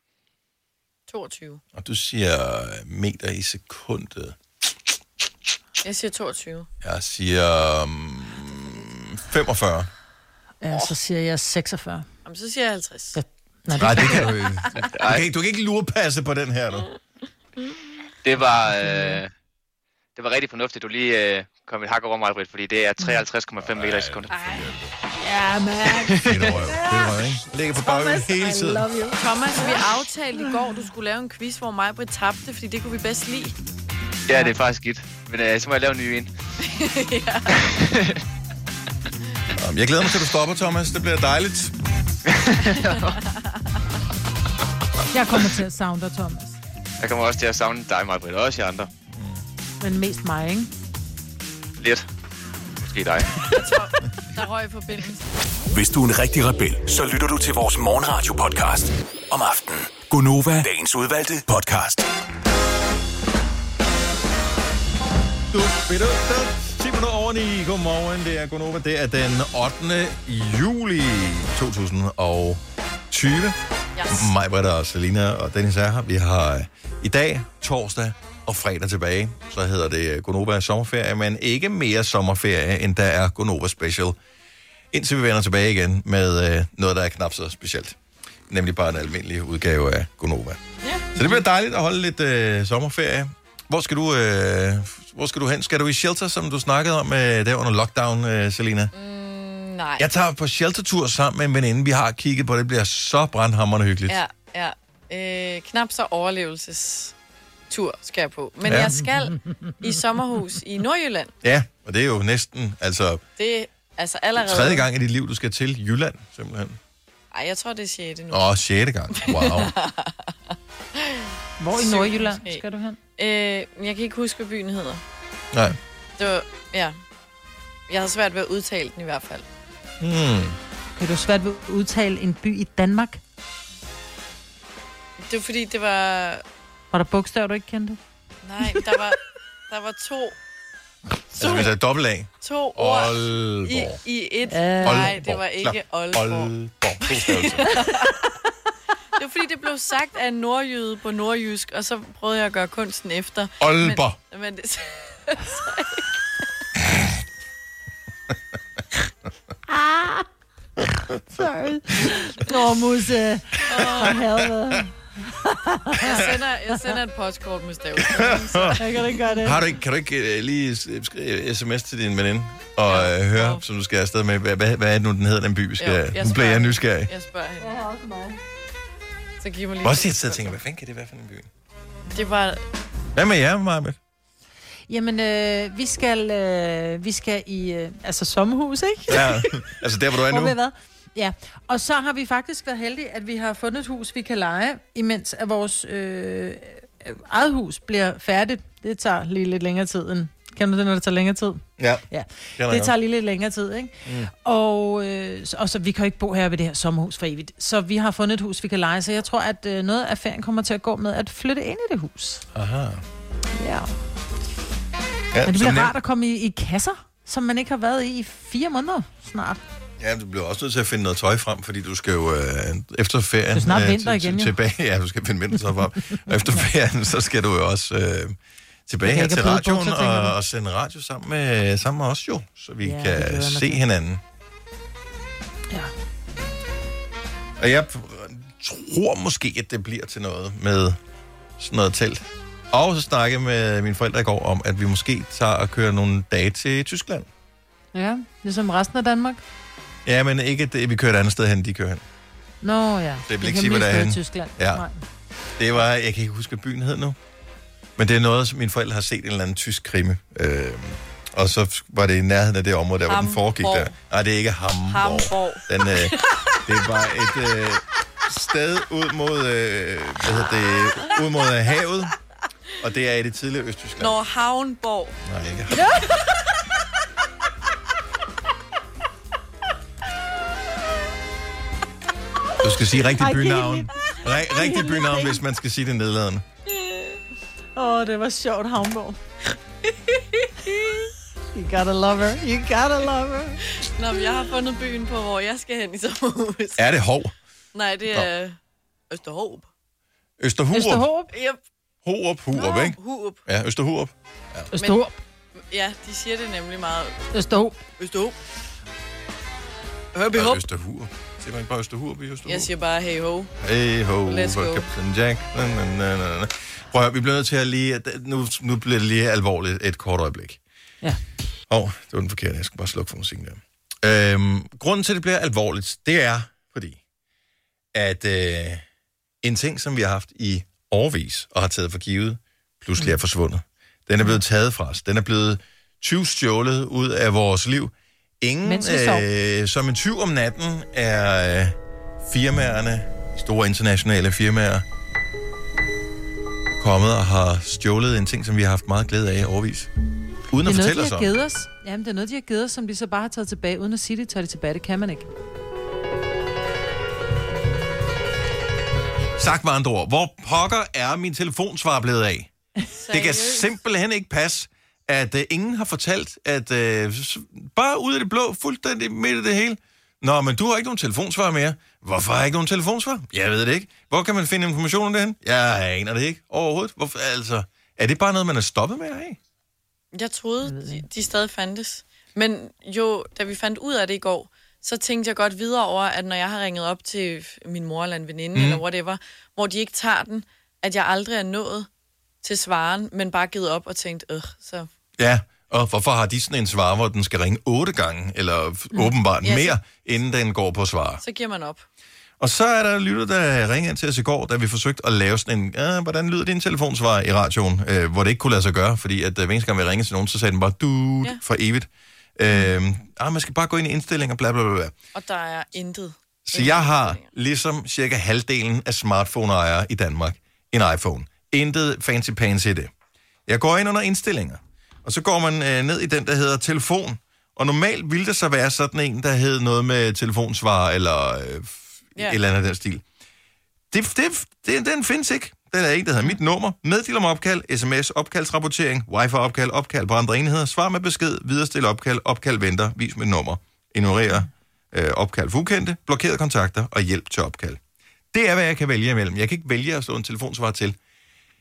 Speaker 2: 22.
Speaker 1: Og du siger meter i sekundet.
Speaker 2: Jeg siger 22.
Speaker 1: Jeg siger um, 45.
Speaker 3: Ja, så siger jeg 46.
Speaker 2: *laughs* Jamen, så siger jeg 50.
Speaker 1: Nej, det kan du ikke. Du kan ikke, du kan ikke lurepasse på den her, du.
Speaker 9: Det var, øh, det var rigtig fornuftigt, du lige øh, kom et hak over mig, Britt, fordi det er 53,5 meter i sekundet.
Speaker 3: *laughs* Ja, man.
Speaker 1: Ligger på bakken hele tiden.
Speaker 2: Thomas, vi aftalte i går, du skulle lave en quiz, hvor mig og Britt tabte, fordi det kunne vi bedst lide. *laughs*
Speaker 9: Ja, det er faktisk skidt. Men øh, så må jeg lave en ny en.
Speaker 2: ja.
Speaker 1: Jamen, Um, Jeg glæder mig til, at du stopper, Thomas. Det bliver dejligt.
Speaker 3: Jeg kommer til at savne dig, Thomas.
Speaker 9: Jeg kommer også til at savne dig, mig, Britt, og også jer andre.
Speaker 3: Men mest mig, ikke?
Speaker 9: Lidt. Måske dig.
Speaker 2: Der røg i forbindelse.
Speaker 4: Hvis du er en rigtig rebel, så lytter du til vores morgenradio-podcast om aftenen.
Speaker 22: Gonova.
Speaker 4: Dagens udvalgte podcast.
Speaker 1: Du, ved du, du. 10 minutter over 9. Godmorgen, det er Gunova. Det er den 8. juli 2020. Yes. Mig, Britta og Selina og Dennis er her. Vi har øh, i dag, torsdag og fredag tilbage. Så hedder det øh, Gonova sommerferie, men ikke mere sommerferie, end der er Gonova special. Indtil vi vender tilbage igen med øh, noget, der er knap så specielt. Nemlig bare en almindelig udgave af Gonova. Så det bliver dejligt at holde lidt øh, sommerferie. Hvor skal, du, øh, hvor skal du hen? Skal du i shelter, som du snakkede om øh, der under lockdown, øh, Selina?
Speaker 2: Mm, Nej.
Speaker 1: Jeg tager på sheltertur sammen med en veninde. Vi har kigget på det. Det bliver så brandhammerende hyggeligt.
Speaker 2: Ja, ja. Øh, knap så overlevelsestur skal jeg på. Men
Speaker 1: Ja.
Speaker 2: ja. jeg skal i sommerhus i Nordjylland.
Speaker 1: ja, og det er jo næsten altså
Speaker 2: Det er altså allerede...
Speaker 1: tredje gang i dit liv, du skal til Jylland, simpelthen.
Speaker 2: Ej, jeg tror, det er sjette nu.
Speaker 1: Åh, sjette gang.
Speaker 2: *laughs*
Speaker 1: Wow.
Speaker 3: Hvor i
Speaker 2: Syvende
Speaker 3: Nordjylland
Speaker 2: måske.
Speaker 3: skal du hen?
Speaker 2: Øh, jeg kan ikke huske, hvad byen hedder.
Speaker 1: Nej.
Speaker 2: Det var, ja. Jeg havde svært ved at udtale den i hvert fald.
Speaker 1: Hmm.
Speaker 3: Kan du svært ved at udtale en by i Danmark?
Speaker 2: Det var fordi, det var...
Speaker 3: Var der bogstaver, du ikke kendte?
Speaker 2: Nej, der var, der var to,
Speaker 1: Altså, hvis jeg er dobbelt A.
Speaker 2: to ord i,
Speaker 1: Aalborg.
Speaker 2: i et.
Speaker 1: Ja.
Speaker 2: Nej, det var
Speaker 1: Aalborg.
Speaker 2: ikke
Speaker 1: Klap.
Speaker 2: Aalborg.
Speaker 1: Aalborg. altså. To stavelser.
Speaker 2: *laughs* Det var fordi, det blev sagt af en nordjyde på nordjysk, og så prøvede jeg at gøre kunsten efter.
Speaker 1: Aalborg.
Speaker 2: Men, men det, *laughs* så,
Speaker 3: Ah! Sorry. Normusse. For helvede.
Speaker 2: jeg, sender, jeg sender et postkort med stav.
Speaker 3: Jeg kan ikke gøre det.
Speaker 1: Har du ikke, kan du ikke øh, lige s- skrive sms til din veninde og øh, høre, som du skal afsted med, hvad, hvad, hvad er det nu, den hedder, den by, vi skal...
Speaker 2: Jo,
Speaker 1: nu bliver jeg nysgerrig.
Speaker 2: Jeg spørger hende. Jeg har også mig. Så giv mig lige...
Speaker 1: Også jeg sidder og tænker, hvad fanden kan det være for en by?
Speaker 2: Det var...
Speaker 1: Hvad med jer, Maja?
Speaker 3: Jamen, øh, vi, skal, øh, vi skal i øh, altså sommerhus, ikke?
Speaker 1: Ja, *laughs* altså der, hvor du er
Speaker 3: Hvor vi har
Speaker 1: nu.
Speaker 3: været. Ja, og så har vi faktisk været heldige, at vi har fundet et hus, vi kan lege, imens at vores øh, eget hus bliver færdigt. Det tager lige lidt længere tid end... Kan du det, når det tager længere tid?
Speaker 1: Ja.
Speaker 3: Ja,
Speaker 1: Kender
Speaker 3: det
Speaker 1: jeg
Speaker 3: tager
Speaker 1: godt.
Speaker 3: lige lidt længere tid, ikke? Mm. Og, øh, og så vi kan jo ikke bo her ved det her sommerhus for evigt. Så vi har fundet et hus, vi kan lege, så jeg tror, at øh, noget af ferien kommer til at gå med at flytte ind i det hus.
Speaker 1: Aha.
Speaker 3: Ja.
Speaker 1: Ja,
Speaker 3: Men det
Speaker 1: som
Speaker 3: bliver
Speaker 1: nævnt-
Speaker 3: rart at komme i, i kasser, som man ikke har været i i fire måneder snart.
Speaker 1: Ja, du bliver også nødt til at finde noget tøj frem, fordi du skal jo øh, efter ferien...
Speaker 3: Det er snart
Speaker 1: øh,
Speaker 3: vinter
Speaker 1: til-
Speaker 3: igen,
Speaker 1: til-
Speaker 3: jo.
Speaker 1: Tilbage, ja, du skal finde vintertøj
Speaker 3: *laughs*
Speaker 1: frem. Og efter ferien, så skal du jo også øh, tilbage
Speaker 3: Jeg kan
Speaker 1: her
Speaker 3: ikke
Speaker 1: til
Speaker 3: have
Speaker 1: radioen
Speaker 3: blodbukser, tænker
Speaker 1: og,
Speaker 3: du?
Speaker 1: og sende radio sammen med, sammen med os jo, så vi
Speaker 3: Ja, det glæder jeg
Speaker 1: kan
Speaker 3: mig
Speaker 1: se
Speaker 3: til.
Speaker 1: hinanden.
Speaker 3: Ja.
Speaker 1: Og jeg tror måske, at det bliver til noget med sådan noget telt. Og så snakkede jeg med mine forældre i går om, at vi måske tager og kører nogle dage til Tyskland.
Speaker 3: Ja, ligesom resten af Danmark.
Speaker 1: Ja, men ikke, at det- vi kører et andet sted hen, de kører hen.
Speaker 3: Nå ja,
Speaker 1: Det vil
Speaker 3: er
Speaker 1: ikke sige, hvad det er
Speaker 3: hemmeligt
Speaker 1: henne.
Speaker 3: sted i Tyskland.
Speaker 1: Ja.
Speaker 3: Nej.
Speaker 1: Det var, jeg kan ikke huske, hvad byen hed nu. Men det er noget, som mine forældre har set en eller anden tysk krimi. Øh, og så var det i nærheden af det område, der hvor den foregik der.
Speaker 2: Hamborg.
Speaker 1: Nej, det er ikke Hamburg.
Speaker 2: Hamborg.
Speaker 1: Den, øh,
Speaker 3: *laughs*
Speaker 1: det var et øh, sted ud mod, øh, hvad hedder det, ud mod øh, havet. Og det er i det tidligere Østtyskland.
Speaker 2: Når Havnborg.
Speaker 1: Nej, ikke. Du skal sige rigtig
Speaker 2: Ej,
Speaker 1: bynavn.
Speaker 2: kedeligt.
Speaker 1: Ri- rigtig bynavn, hvis man skal sige det nedladende.
Speaker 3: Åh, det var sjovt, Havnborg. *laughs* You gotta love her. You gotta love her.
Speaker 2: Nå, men jeg har fundet byen på, hvor jeg skal hen i sommerhus.
Speaker 1: Er det Hov?
Speaker 2: Nej, det er Østerhåb.
Speaker 1: Østerhurup?
Speaker 2: Yep.
Speaker 1: Horup, Hurup, ikke?
Speaker 2: Hurup.
Speaker 1: Ja, Østerhurup. Ja.
Speaker 2: Ja, de siger det nemlig meget.
Speaker 3: Østerhåb.
Speaker 2: Østerhåb. Hørby Håb.
Speaker 1: Østerhurup. Siger man ikke bare Østerhurup i Østerhurup?
Speaker 2: Jeg siger bare hey ho.
Speaker 1: Hey ho,
Speaker 2: Let's
Speaker 1: for
Speaker 2: go.
Speaker 1: Captain Jack. Na, na, na, na, na. Prøv at høre, vi bliver nødt til at lige... at- Nu, nu bliver det lige alvorligt et kort øjeblik.
Speaker 3: Ja.
Speaker 1: Åh, oh, det var den forkerte. Jeg skulle bare slukke for musikken der. Øhm, grunden til, at det bliver alvorligt, det er fordi, at øh, en ting, som vi har haft i årvis og har taget for givet, pludselig
Speaker 3: Mm.
Speaker 1: er forsvundet. Den er blevet taget fra os. Den er blevet tyvstjålet ud af vores liv. Ingen,
Speaker 3: Mens vi sov.
Speaker 1: øh, som en tyv om natten, er øh, firmaerne, de store internationale firmaer, kommet og har stjålet en ting, som vi har haft meget glæde af i årvis. Uden at
Speaker 3: det er
Speaker 1: fortælle
Speaker 3: noget,
Speaker 1: os
Speaker 3: de har
Speaker 1: om.
Speaker 3: givet os. Jamen, det er noget, de har givet os, som de så bare har taget tilbage, uden at sige det, tager det tilbage. Det kan man ikke.
Speaker 1: Sagt med andre ord, hvor pokker er min telefonsvar blevet af? Det kan simpelthen ikke passe, at uh, ingen har fortalt, at uh, bare ud af det blå, fuldstændig midt i det hele. Nå, men du har ikke nogen telefonsvar mere. Hvorfor har jeg ikke nogen telefonsvar? Jeg ved det ikke. Hvor kan man finde information om det hen? Jeg aner det ikke overhovedet. Hvorfor, altså, er det bare noget, man er stoppet med at have?
Speaker 2: Jeg troede, de, de stadig fandtes. Men jo, da vi fandt ud af det i går, så tænkte jeg godt videre over, at når jeg har ringet op til min mor eller en veninde
Speaker 12: Mm.
Speaker 2: mm. eller whatever, hvor de ikke tager den, at jeg aldrig er nået til svaren, men bare givet op og tænkt, øh, så...
Speaker 1: Ja, og hvorfor har de sådan en svar, hvor den skal ringe otte gange, eller f- åbenbart
Speaker 2: Mm. Ja, så-
Speaker 1: mere, inden den går på svar?
Speaker 2: Så giver man op.
Speaker 1: Og så er der lytter, der ringer ind til os i går, da vi forsøgte at lave sådan en, "Ah, hvordan lyder din telefonsvar i radioen, øh, hvor det ikke kunne lade sig gøre, fordi at øh, hver eneste gang vi ringede til nogen, så sagde den bare, du ja.
Speaker 2: Ja.
Speaker 1: for evigt. Øh, ah, man skal bare gå ind i indstillinger, bla bla bla. bla.
Speaker 2: Og der er intet.
Speaker 1: Så jeg har ligesom cirka halvdelen af smartphone-ejere i Danmark en iPhone. Intet fancy pants i det. Jeg går ind under indstillinger, og så går man øh, ned i den, der hedder telefon. Og normalt ville der så være sådan en, der hed noget med telefonsvar eller øh,
Speaker 13: Ja.
Speaker 1: yeah. et eller andet af den stil. Det, det, det, den findes ikke. Den er ikke, der hedder mit nummer. Meddel om opkald, sms, opkaldsrapportering, wifi-opkald, opkald på andre enheder, svar med besked, viderestil opkald, opkald venter, vis mit nummer, ignorer øh, opkald for ukendte, blokerede kontakter og hjælp til opkald. Det er, hvad jeg kan vælge imellem. Jeg kan ikke vælge at stå en telefonsvar til.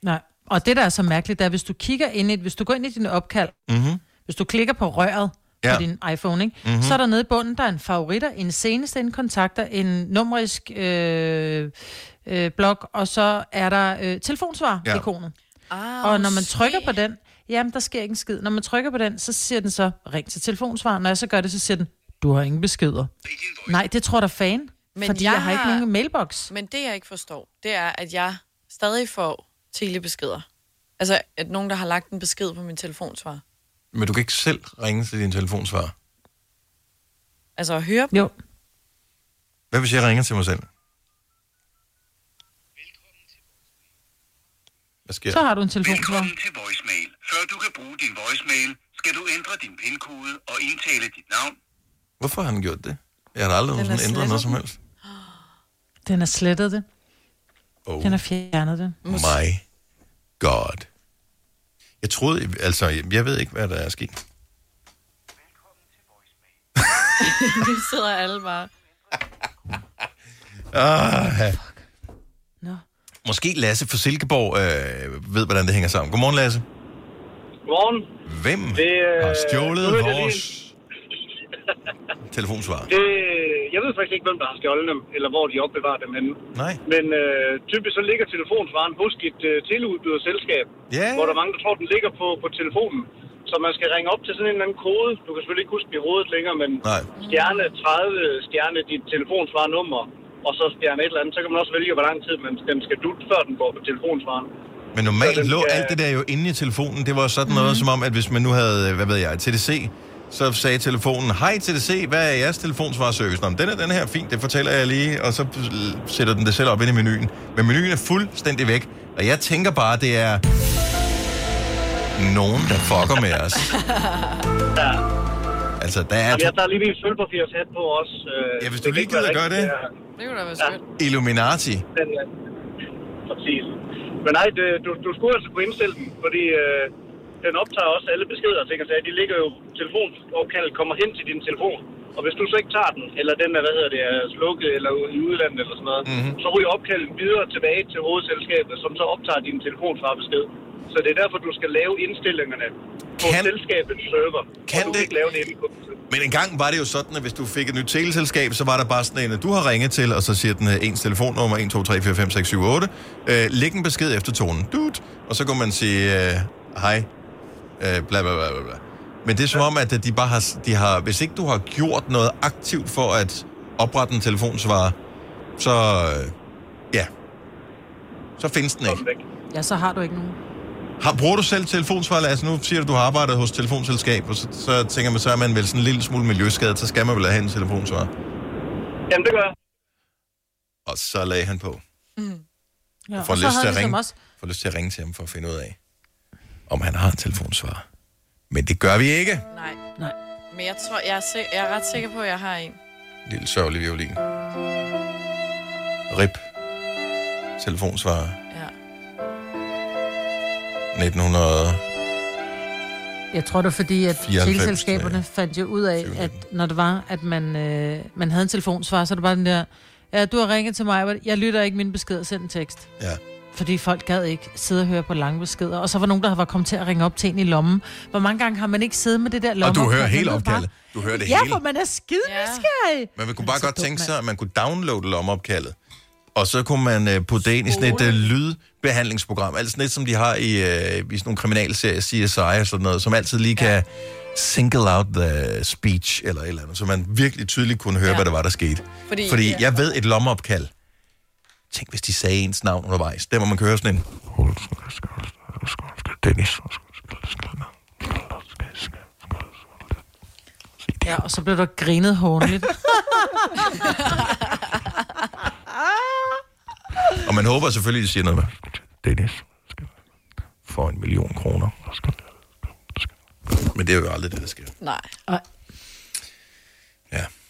Speaker 3: Nej. Og det, der er så mærkeligt, det er, hvis du kigger ind i, hvis du går ind i dine opkald,
Speaker 1: Mm-hmm.
Speaker 3: hvis du klikker på røret
Speaker 1: Ja.
Speaker 3: på din iPhone, ikke?
Speaker 1: Mhm.
Speaker 3: Mm-hmm. så er der nede i bunden, der er en favoritter, en seneste, en kontakter, en numerisk øh, øh, blok, og så er der øh, telefonsvar-ikonet.
Speaker 2: Ah,
Speaker 3: Og når man trykker på den, jamen der sker ikke en skid. Når man trykker på den, så siger den så, ring til telefonsvar. Når jeg så gør det, så siger den, du har ingen beskeder. Nej, det tror der fan, men fordi jeg, jeg har ikke nogen mailbox.
Speaker 2: Men det, jeg ikke forstår, det er, at jeg stadig får telebeskeder. Altså, at nogen, der har lagt en besked på min telefonsvar.
Speaker 1: Men du kan ikke selv ringe til din telefonsvar.
Speaker 2: Altså, at høre dem. *laughs*
Speaker 3: Jo.
Speaker 1: Hvad hvis jeg ringer til mig selv? Hvad sker
Speaker 3: Så har du en telefonsvar.
Speaker 14: Før du kan bruge din voicemail, skal du ændre din pindkode og indtale dit navn.
Speaker 1: Hvorfor har han gjort det? Jeg har da aldrig
Speaker 3: Den er
Speaker 1: nogensinde ændret
Speaker 3: slettet
Speaker 1: noget som
Speaker 3: den.
Speaker 1: helst.
Speaker 3: Den er slettet det.
Speaker 1: Oh.
Speaker 3: Den har fjernet det.
Speaker 1: My God. Jeg troede, altså, jeg, jeg ved ikke, hvad der er sket.
Speaker 2: Vi sidder alle bare.
Speaker 1: Ah,
Speaker 3: Nå.
Speaker 1: Måske Lasse fra Silkeborg øh, ved, hvordan det hænger sammen. Godmorgen, Lasse.
Speaker 5: Godmorgen.
Speaker 1: Hvem
Speaker 5: Det, øh,
Speaker 1: har
Speaker 5: nu
Speaker 1: stjålet
Speaker 5: er det
Speaker 1: vores telefonsvar?
Speaker 5: Det, jeg ved faktisk ikke, hvem der har stjålet dem, eller hvor de opbevarer dem henne.
Speaker 1: Nej.
Speaker 5: Men øh, typisk så ligger telefonsvaren hos et øh, teleudbyderselskab,
Speaker 1: Ja.
Speaker 5: hvor der er mange, der tror, den ligger på, på telefonen. Så man skal ringe op til sådan en eller anden kode. Du kan selvfølgelig ikke huske den i hovedet længere, men
Speaker 1: Nej.
Speaker 5: stjerne 30, stjerne dit telefonsvarnummer, og så stjerne et eller andet. Så kan man også vælge, hvor lang tid man, den skal dutte, før den går på telefonsvaren.
Speaker 1: Men normalt lå alt det der jo inde i telefonen. Det var sådan
Speaker 5: Mhm.
Speaker 1: noget, som om, at hvis man nu havde, øh, hvad ved jeg, TDC, så sagde telefonen, hej TDC, hvad er jeres telefonsvarservice? Nå, men den er den her, fint, det fortæller jeg lige, og så øh, sætter den det selv op ind i menuen. Men menuen er fuldstændig væk, og jeg tænker bare, det er nogen, der fucker med os.
Speaker 5: Ja.
Speaker 1: Altså, der er
Speaker 5: Jamen, jeg tager lige min sølvpapirshat på også. Øh,
Speaker 1: Ja, hvis du lige
Speaker 5: kan ikke
Speaker 1: gider
Speaker 5: være
Speaker 1: gøre
Speaker 5: rigtigt,
Speaker 1: det.
Speaker 5: her.
Speaker 2: Det kunne da være skønt.
Speaker 1: Illuminati.
Speaker 5: Den, ja. øh, Præcis. Men nej, det, du, du skulle altså kunne indstille den, fordi øh, den optager også alle beskeder og ting og sager. De ligger jo, telefonopkaldet kommer hen til din telefon. Og hvis du så ikke tager den, eller den er, hvad hedder det, er slukket eller ude i udlandet eller sådan noget,
Speaker 1: Mhm.
Speaker 5: mm-hmm. så ryger opkaldet videre tilbage til hovedselskabet, som så optager din telefon fra besked. Så det er derfor, du skal lave indstillingerne på kan... selskabets server. Kan og du det... kan ikke lave det inde på
Speaker 1: Men engang var det jo sådan, at hvis du fik et nyt teleselskab, så var der bare sådan en, at du har ringet til, og så siger den øh, ens telefonnummer, 1, 2, 3, 4, 5, 6, 7, 8. Øh, læg en besked efter tonen. Dut. Og så kunne man sige, øh, hej, øh, bla, bla, bla, bla, bla. Men det er som om, at øh, de bare har, de har, hvis ikke du har gjort noget aktivt for at oprette en telefonsvarer, så, øh, ja, så findes den ikke.
Speaker 3: Ja, så har du ikke nogen.
Speaker 1: Har, bruger du selv telefonsvarer? Altså nu siger du, du har arbejdet hos telefonselskab, og så, så tænker man, så er man vel sådan en lille smule miljøskadet, så skal man vel have en telefonsvarer.
Speaker 5: Jamen, det gør jeg.
Speaker 1: Og så lagde han på.
Speaker 3: Mm. Ja,
Speaker 1: Jeg får,
Speaker 3: og så
Speaker 1: lyst til
Speaker 3: havde vi
Speaker 1: at
Speaker 3: som
Speaker 1: ringe,
Speaker 3: også-
Speaker 1: får lyst til at ringe til ham for at finde ud af, om han har en telefonsvarer. Men det gør vi ikke.
Speaker 2: Nej.
Speaker 3: Nej.
Speaker 2: Men jeg tror, jeg er, sik- jeg er ret sikker på, at jeg har en.
Speaker 1: Lille sørgelig violin. Rip. Telefonsvarer.
Speaker 2: Ja.
Speaker 1: 1900...
Speaker 3: Jeg tror det er fordi, at
Speaker 1: 94,
Speaker 3: teleselskaberne fandt jo ud af, at når det var, at man, øh, man havde en telefonsvar, så er det bare den der, ja, du har ringet til mig, jeg lytter ikke min besked, send en tekst.
Speaker 1: Ja.
Speaker 3: Fordi folk gad ikke sidde og høre på lange beskeder. Og så var nogen, der var kommet til at ringe op til en i lommen. Hvor mange gange har man ikke siddet med det der lomme?
Speaker 1: Og du hører hele opkaldet. Du hører det
Speaker 3: ja,
Speaker 1: hele.
Speaker 3: for man er skide nysgerrig.
Speaker 1: Men man kunne bare godt tænke sig, at man kunne downloade lommeopkaldet. Og så kunne man øh, putte det ind i sådan et øh, lydbehandlingsprogram. Altså sådan et, som de har i, øh, i sådan nogle kriminalserier, CSI og sådan noget, som altid lige kan single out the speech eller et eller andet. Så man virkelig tydeligt kunne høre, ja. hvad der var, der skete.
Speaker 2: Fordi-
Speaker 1: Fordi, Fordi
Speaker 2: Ja.
Speaker 1: jeg ved et lommeopkald. Tænk, hvis de sagde ens navn undervejs. Der, hvor man kan høre sådan en... Dennis.
Speaker 3: Ja, og så blev der grinet hårdligt.
Speaker 1: Og man håber selvfølgelig, at de siger noget med... Dennis skal få en million kroner. Men det er jo aldrig det, der sker.
Speaker 2: *laughs* Nej.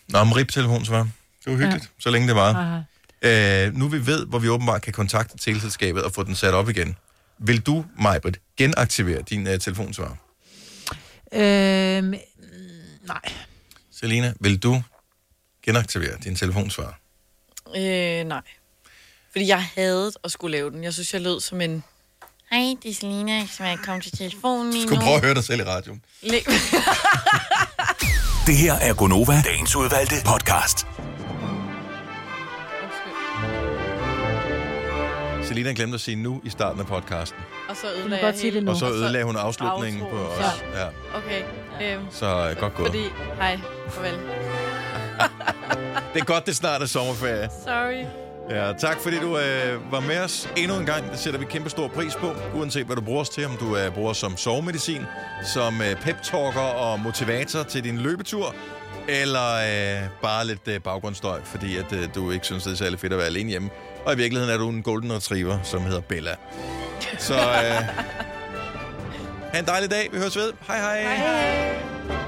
Speaker 1: Nå, om rip-telefon, så var det var hyggeligt, ja. så længe det var.
Speaker 3: Aha.
Speaker 1: Øh, nu vi ved, hvor vi åbenbart kan kontakte teleselskabet og få den sat op igen. Vil du, Majbrit, genaktivere din uh, telefonsvar?
Speaker 3: øhm,
Speaker 1: Selina, vil du genaktivere din telefonsvar?
Speaker 2: Øh, nej. Fordi jeg havde at skulle lave den. Jeg synes, jeg lød som en... Hej, det er Selina, som jeg kom til telefonen lige
Speaker 1: Du
Speaker 2: nu.
Speaker 1: skulle prøve at høre dig selv i radioen.
Speaker 2: Læ- *laughs*
Speaker 4: Det her er Gonova, dagens udvalgte podcast.
Speaker 1: Selina glemte at sige nu i starten af podcasten.
Speaker 2: og så
Speaker 3: Du må
Speaker 2: ødelagde
Speaker 3: godt
Speaker 2: jeg
Speaker 3: sige
Speaker 2: hele-
Speaker 3: det nu.
Speaker 1: Og så ødelagde hun afslutningen på
Speaker 2: Outroen.
Speaker 1: os. Ja.
Speaker 2: Okay. Øhm,
Speaker 1: Så øh, godt gået.
Speaker 2: fordi... Hej, farvel.
Speaker 1: Det er godt, det snart er sommerferie.
Speaker 2: Sorry.
Speaker 1: Ja, tak fordi du øh, var med os endnu en gang. Det sætter vi kæmpe stor pris på, uanset hvad du bruger os til. Om du øh, bruger os som sovemedicin, som øh, pep-talker og motivator til din løbetur, eller øh, bare lidt øh, baggrundsstøj, fordi at, øh, du ikke synes, det er særlig fedt at være alene hjemme. Og i virkeligheden er du en golden retriever, som hedder Bella. *laughs* Så øh, ha' en dejlig dag. Vi høres ved. Hej hej. hej, hej.